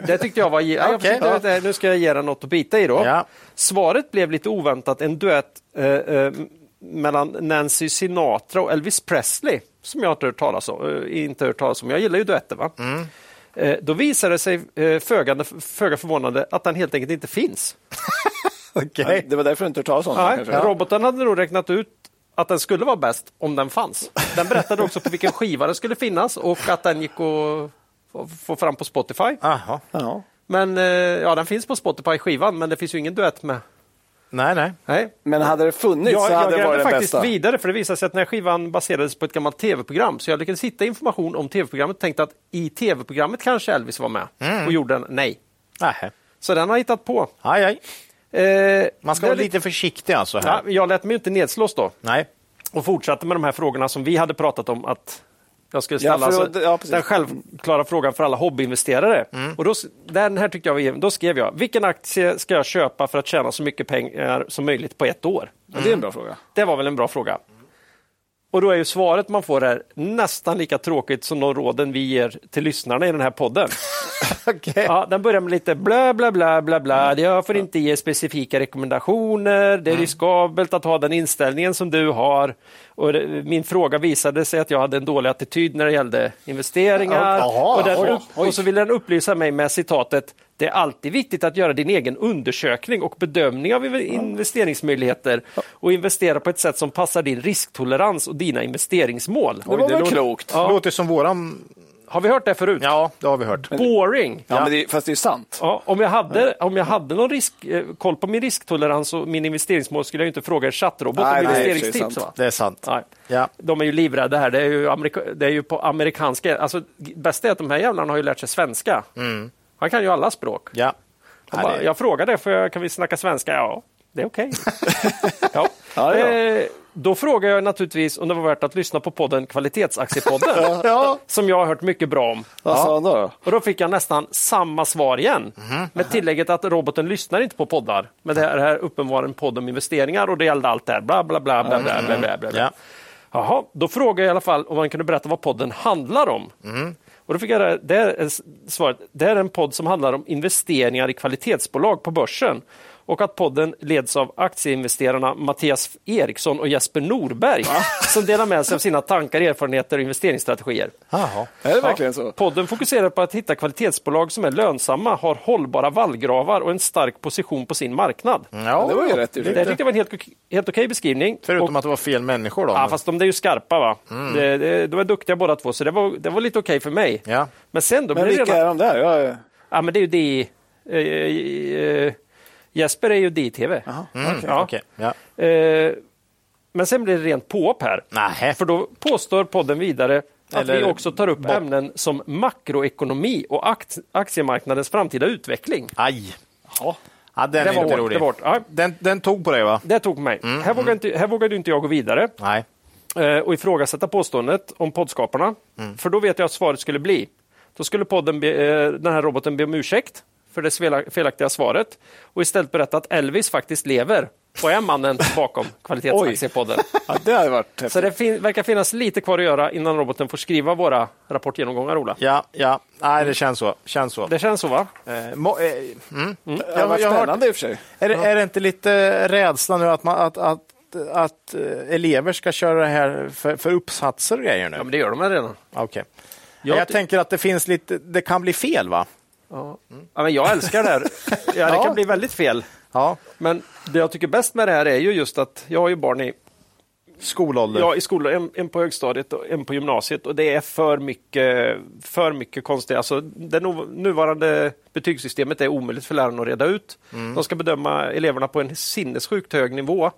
S2: Det tyckte jag var... ge- Ja, jag
S3: Okej.
S2: försökte- det här- Nu ska jag ge den något att bita i då.
S3: Ja.
S2: Svaret blev lite oväntat en duett eh, eh, mellan Nancy Sinatra och Elvis Presley, som jag inte hört talas om. Eh, inte hört talas om. Jag gillar ju duetter. Va? Eh, då visade det sig, eh, föga, föga förvånande, att den helt enkelt inte finns.
S3: Okej.
S1: det var därför du inte hört talas om det
S2: Nej,
S1: kanske?
S2: roboten hade nog räknat ut att den skulle vara bäst om den fanns. Den berättade också på vilken skiva den skulle finnas och att den gick att få- få fram på Spotify.
S3: Jaha.
S1: Ja.
S2: Men eh, ja, den finns på Spotify skivan, men det finns ju ingen duett med.
S3: Nej, nej.
S2: Nej.
S1: Men hade det funnits
S2: Jag,
S1: så
S2: jag
S1: hade det
S2: grävde
S1: varit den
S2: faktiskt
S1: bästa.
S2: vidare, för det visade sig att den här skivan baserades på ett gammalt tv-program, så jag lyckades hitta information om tv-programmet och tänkte att i tv-programmet kanske Elvis var med
S1: Mm.
S2: och gjorde en nej.
S3: Nähä.
S2: Så den har jag hittat på.
S3: Aj, aj.
S2: Eh,
S3: Man ska
S2: det-
S3: vara lite försiktig alltså här.
S2: Ja, jag lät mig inte nedslås då
S3: Nej.
S2: och fortsatte med de här frågorna som vi hade pratat om att jag skulle ställa.
S1: Ja, för-
S2: alltså,
S1: ja, precis. Mm.
S2: den självklara frågan för alla hobbyinvesterare. Och då, s- den här tyckte jag var given. Då skrev jag, vilken aktie ska jag köpa för att tjäna så mycket pengar som möjligt på ett år?
S1: Ja, Det är en bra fråga.
S2: Det var väl en bra fråga. Och då är ju svaret man får här nästan lika tråkigt som de råden vi ger till lyssnarna i den här podden.
S3: Okej.
S2: Ja, den börjar med lite blä, blä, blä, blä, blä.
S3: Mm.
S2: Jag får inte ge specifika rekommendationer. Det är riskabelt att ha den inställningen som du har. Och det, min fråga visade sig att jag hade en dålig attityd när det gällde investeringar.
S3: Jaha,
S2: och, den,
S3: oj,
S2: upp- och så ville den upplysa mig med citatet det är alltid viktigt att göra din egen undersökning och bedömning av inve- investeringsmöjligheter och investera på ett sätt som passar din risktolerans och dina investeringsmål.
S1: Det var
S2: Oj,
S1: väl
S2: låter-
S1: klokt?
S3: Det
S2: Ja.
S3: låter som våran...
S2: Har vi hört det förut?
S3: Ja, det har vi hört.
S2: Boring!
S1: Ja, Men det, fast det är sant.
S2: Ja, om, jag hade, om jag hade någon risk, eh, koll på min risktolerans och min investeringsmål skulle jag ju inte fråga en chattrobot
S1: Nej,
S2: om
S1: nej, det är
S2: investeringstips.
S1: sant.
S2: Va?
S3: Det är sant.
S2: Nej.
S3: Ja.
S2: De är ju livrädda här. Det är ju, amerika- det är ju på
S1: Mm.
S2: amerikanska. Alltså, g- bästa är att de här jävlarna har ju lärt sig svenska. Han kan ju alla språk.
S3: Ja.
S2: Jag,
S3: Ja,
S2: bara,
S3: det-
S2: jag frågade, för jag, kan vi snacka svenska? Ja, det är okej. ja.
S1: Ja, ja.
S2: Eh, då frågar jag naturligvis om det var värt att lyssna på podden Kvalitetsaktiepodden, som jag har hört mycket bra om.
S1: Vad sa han då?
S2: Och då fick jag nästan samma svar igen. Med tillägget att roboten lyssnar inte på poddar. Men det här, här uppenbara en podd om investeringar och det gällde allt det här. Bla, bla, bla, bla, bla, bla, bla, bla.
S3: Ja.
S2: Jaha, då frågade jag i alla fall om man kunde berätta vad podden handlar om. Och då fick jag det, det här är s- svaret. Det här är en podd som handlar om investeringar i kvalitetsbolag på börsen och att podden leds av aktieinvesterarna Mattias Eriksson och Jesper Norberg som delar med sig av sina tankar, erfarenheter och investeringsstrategier.
S3: Jaha.
S1: Är det verkligen så?
S2: Podden fokuserar på att hitta kvalitetsbolag som är lönsamma, har hållbara vallgravar och en stark position på sin marknad.
S3: Mm. Ja,
S1: Det var ju rätt
S2: Det
S1: uttryckt.
S2: tyckte jag var en helt, helt okej beskrivning.
S3: Förutom
S2: och,
S3: att det var fel människor då.
S2: ja,
S3: men-
S2: fast de är ju skarpa, va? Det, det, de är duktiga båda två, så det var, det var lite okej för mig.
S3: Ja.
S2: Men sen då...
S1: Men
S2: blir det
S1: vilka
S2: redan-
S1: är de där? Jag, är-
S2: Ja, men det är ju D... Eh, eh, Jesper är ju DTV. Mm. ja.
S3: mm, Okej, ja.
S2: Eh, men sen blir det rent påhopp här.
S3: Nähä.
S2: För då påstår podden vidare att
S3: Eller
S2: vi också tar upp ämnen som makroekonomi och akt- aktiemarknadens framtida utveckling.
S3: Aj. Ja, den
S2: Det
S3: är
S2: var
S3: inte
S2: hårt,
S3: rolig.
S2: det var hårt. Ja.
S3: Den, den tog på dig va?
S2: Det tog på mig.
S3: Mm,
S2: här, vågade inte, här vågade inte jag gå vidare
S3: Nej.
S2: eh, och ifrågasätta påståendet om poddskaparna.
S3: Mm.
S2: För då vet jag att svaret skulle bli. Då skulle podden be, eh, den här roboten be om ursäkt för det svela- felaktiga svaret och istället berätta att Elvis faktiskt lever och är mannen bakom Kvalitetsaktiepodden.
S1: ja, det hade varit häftigt.
S2: Så det fin- verkar finnas lite kvar att göra innan roboten får skriva våra rapportgenomgångar, Ola.
S3: Ja, ja. Nej, det känns så. Känns så.
S2: Det känns så, va?
S3: Eh, må, eh, mm.
S1: Det hade
S3: Jag,
S1: varit
S3: jag har hört,
S1: spännande i och för sig.
S3: är, det- är det inte lite rädsla nu att, man, att, att, att eh, elever ska köra det här för, för uppsatser och grejer nu?
S2: Ja, men det gör de väl redan.
S3: Okej.
S2: Jag
S3: Jag,
S2: ty-
S3: tänker att det finns lite, det kan bli fel va?
S2: Ja, men jag älskar det här. Ja, det kan bli väldigt fel.
S3: Ja.
S2: Men det jag tycker bäst med det här är ju just att jag har ju barn i,
S3: Skolålder.
S2: ja, i skolor, en, en på högstadiet och en på gymnasiet och det är för mycket, för mycket konstigt. Alltså, det no- nuvarande betygssystemet är omöjligt för lärarna att reda ut. De ska bedöma eleverna på en sinnessjukt hög nivå.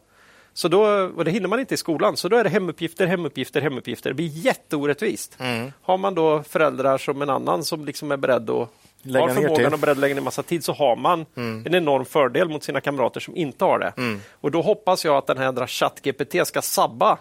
S2: Så då, och det hinner man inte i skolan, så då är det hemuppgifter, hemuppgifter, hemuppgifter. Det blir jätteorättvist. Har man då föräldrar som en annan som liksom är beredd att
S3: Lägga
S2: har
S3: ner
S2: förmågan
S3: tid.
S2: och beredd att lägga ner massa tid så har man
S1: Mm.
S2: en enorm fördel mot sina kamrater som inte har det. Och då hoppas jag att den här jädra ChatGPT ska sabba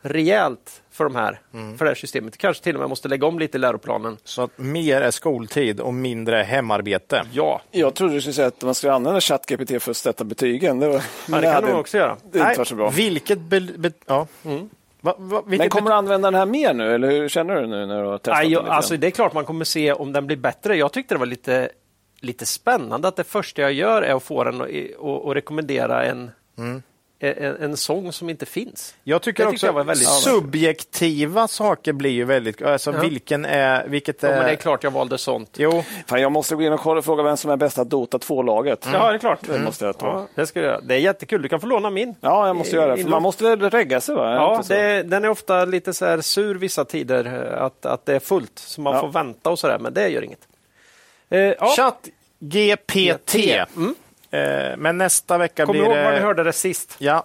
S2: rejält för, de här,
S1: Mm.
S2: för det här systemet. Kanske till och med måste lägga om lite i läroplanen.
S3: Så att mer är skoltid och mindre hemarbete.
S2: Ja,
S1: Jag trodde du skulle säga att man skulle använda ChatGPT för att sätta betygen. Det, var,
S2: ja
S1: men
S2: det kan
S1: hade-
S2: de också göra.
S1: Det är inte var så bra.
S3: Vilket... Be, be, ja.
S2: Mm.
S3: Va, va,
S1: Men
S3: vilket
S1: kommer du
S3: be-
S1: använda den här mer nu, eller hur känner du nu när du har testat
S2: Nej,
S1: den
S2: jag,
S1: lite grann?
S2: alltså, det är klart man kommer se om den blir bättre. Jag tyckte det var lite, lite spännande att det första jag gör är att få den att och, och rekommendera en,
S1: Mm.
S2: en, en sång som inte finns.
S3: jag tycker
S2: det
S3: också
S2: tyckte jag var väldigt-
S3: subjektiva saker blir ju väldigt... Alltså vilken är... Vilket
S2: Ja,
S3: är...
S1: Eh,
S2: men det är klart jag valde sånt.
S3: Jo,
S1: Fan, jag måste gå in och kolla och fråga vem som är bästa Dota 2-laget.
S2: Mm. Ja, det är klart.
S1: Det måste jag ta.
S2: Ja, det, ska jag göra. det är jättekul. Du kan få låna min.
S1: Ja, jag måste göra det. För man måste väl regga sig? Va? Är
S2: Ja,
S1: inte så?
S2: det, den är ofta lite så här sur vissa tider, eh, att, att det är fullt, så man
S1: Ja.
S2: får vänta och så där, men det gör inget. Eh, ja.
S3: Chatt GPT. Eh, men nästa vecka
S2: Mm. Kom
S3: blir
S2: ihåg
S3: det...
S2: var ni hörde det sist.
S3: Ja,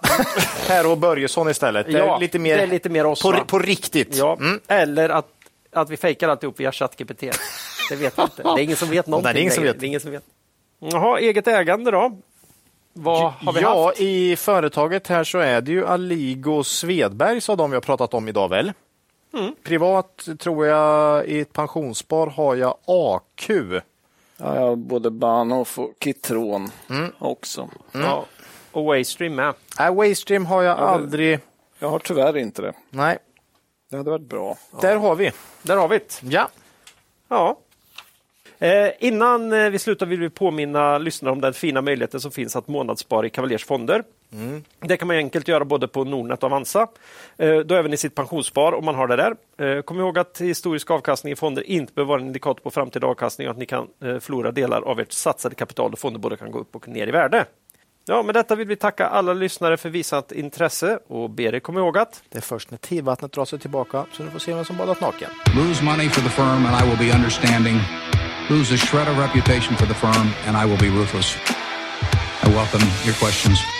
S3: Per och Börjesson istället. Det är
S2: Ja,
S3: lite mer,
S2: det är lite mer oss, va?
S3: på, på riktigt. Mm.
S2: Ja. Eller att, att vi fejkar alltihop via ChatGPT. Det vet jag inte. Det är ingen som vet någonting.
S3: Nej, det är ingen som
S2: längre.
S3: vet.
S2: Det är ingen som vet. Jaha, eget ägande då? Vad har vi
S3: ja,
S2: haft?
S3: i företaget här så är det ju Aligo Svedberg, sa de jag pratat om idag väl.
S2: Mm.
S3: Privat tror jag i ett pensionsspar har jag AQ.
S1: ja, jag har både Bahnhof och Kitron också.
S3: mm.
S2: Ja, och Waystream med.
S3: Nej, Äh, Waystream har jag aldrig.
S1: Jag har tyvärr inte det.
S3: Nej,
S1: Det hade varit bra.
S3: där har vi.
S2: Där har vi det.
S3: Ja,
S2: Ja. Eh, innan eh, vi slutar vill vi påminna lyssnare om den fina möjligheten som finns att månadsspara i Cavaliers fonder. Det kan man enkelt göra både på Nordnet och Avanza. Eh, då även i sitt pensionsspar om man har det där. Eh, kom ihåg att historisk avkastning i fonder inte behöver vara en indikator på framtida avkastning och att ni kan eh, förlora delar av ert satsade kapital och fonder både kan gå upp och ner i värde. Ja, med detta vill vi tacka alla lyssnare för visat intresse och ber er komma ihåg att
S3: det är först när tidvattnet drar sig tillbaka så du får se vem som badat naken.
S6: Lose money for the firm, and I will be understanding. Lose a shred of reputation for the firm, and I will be ruthless. I welcome your questions.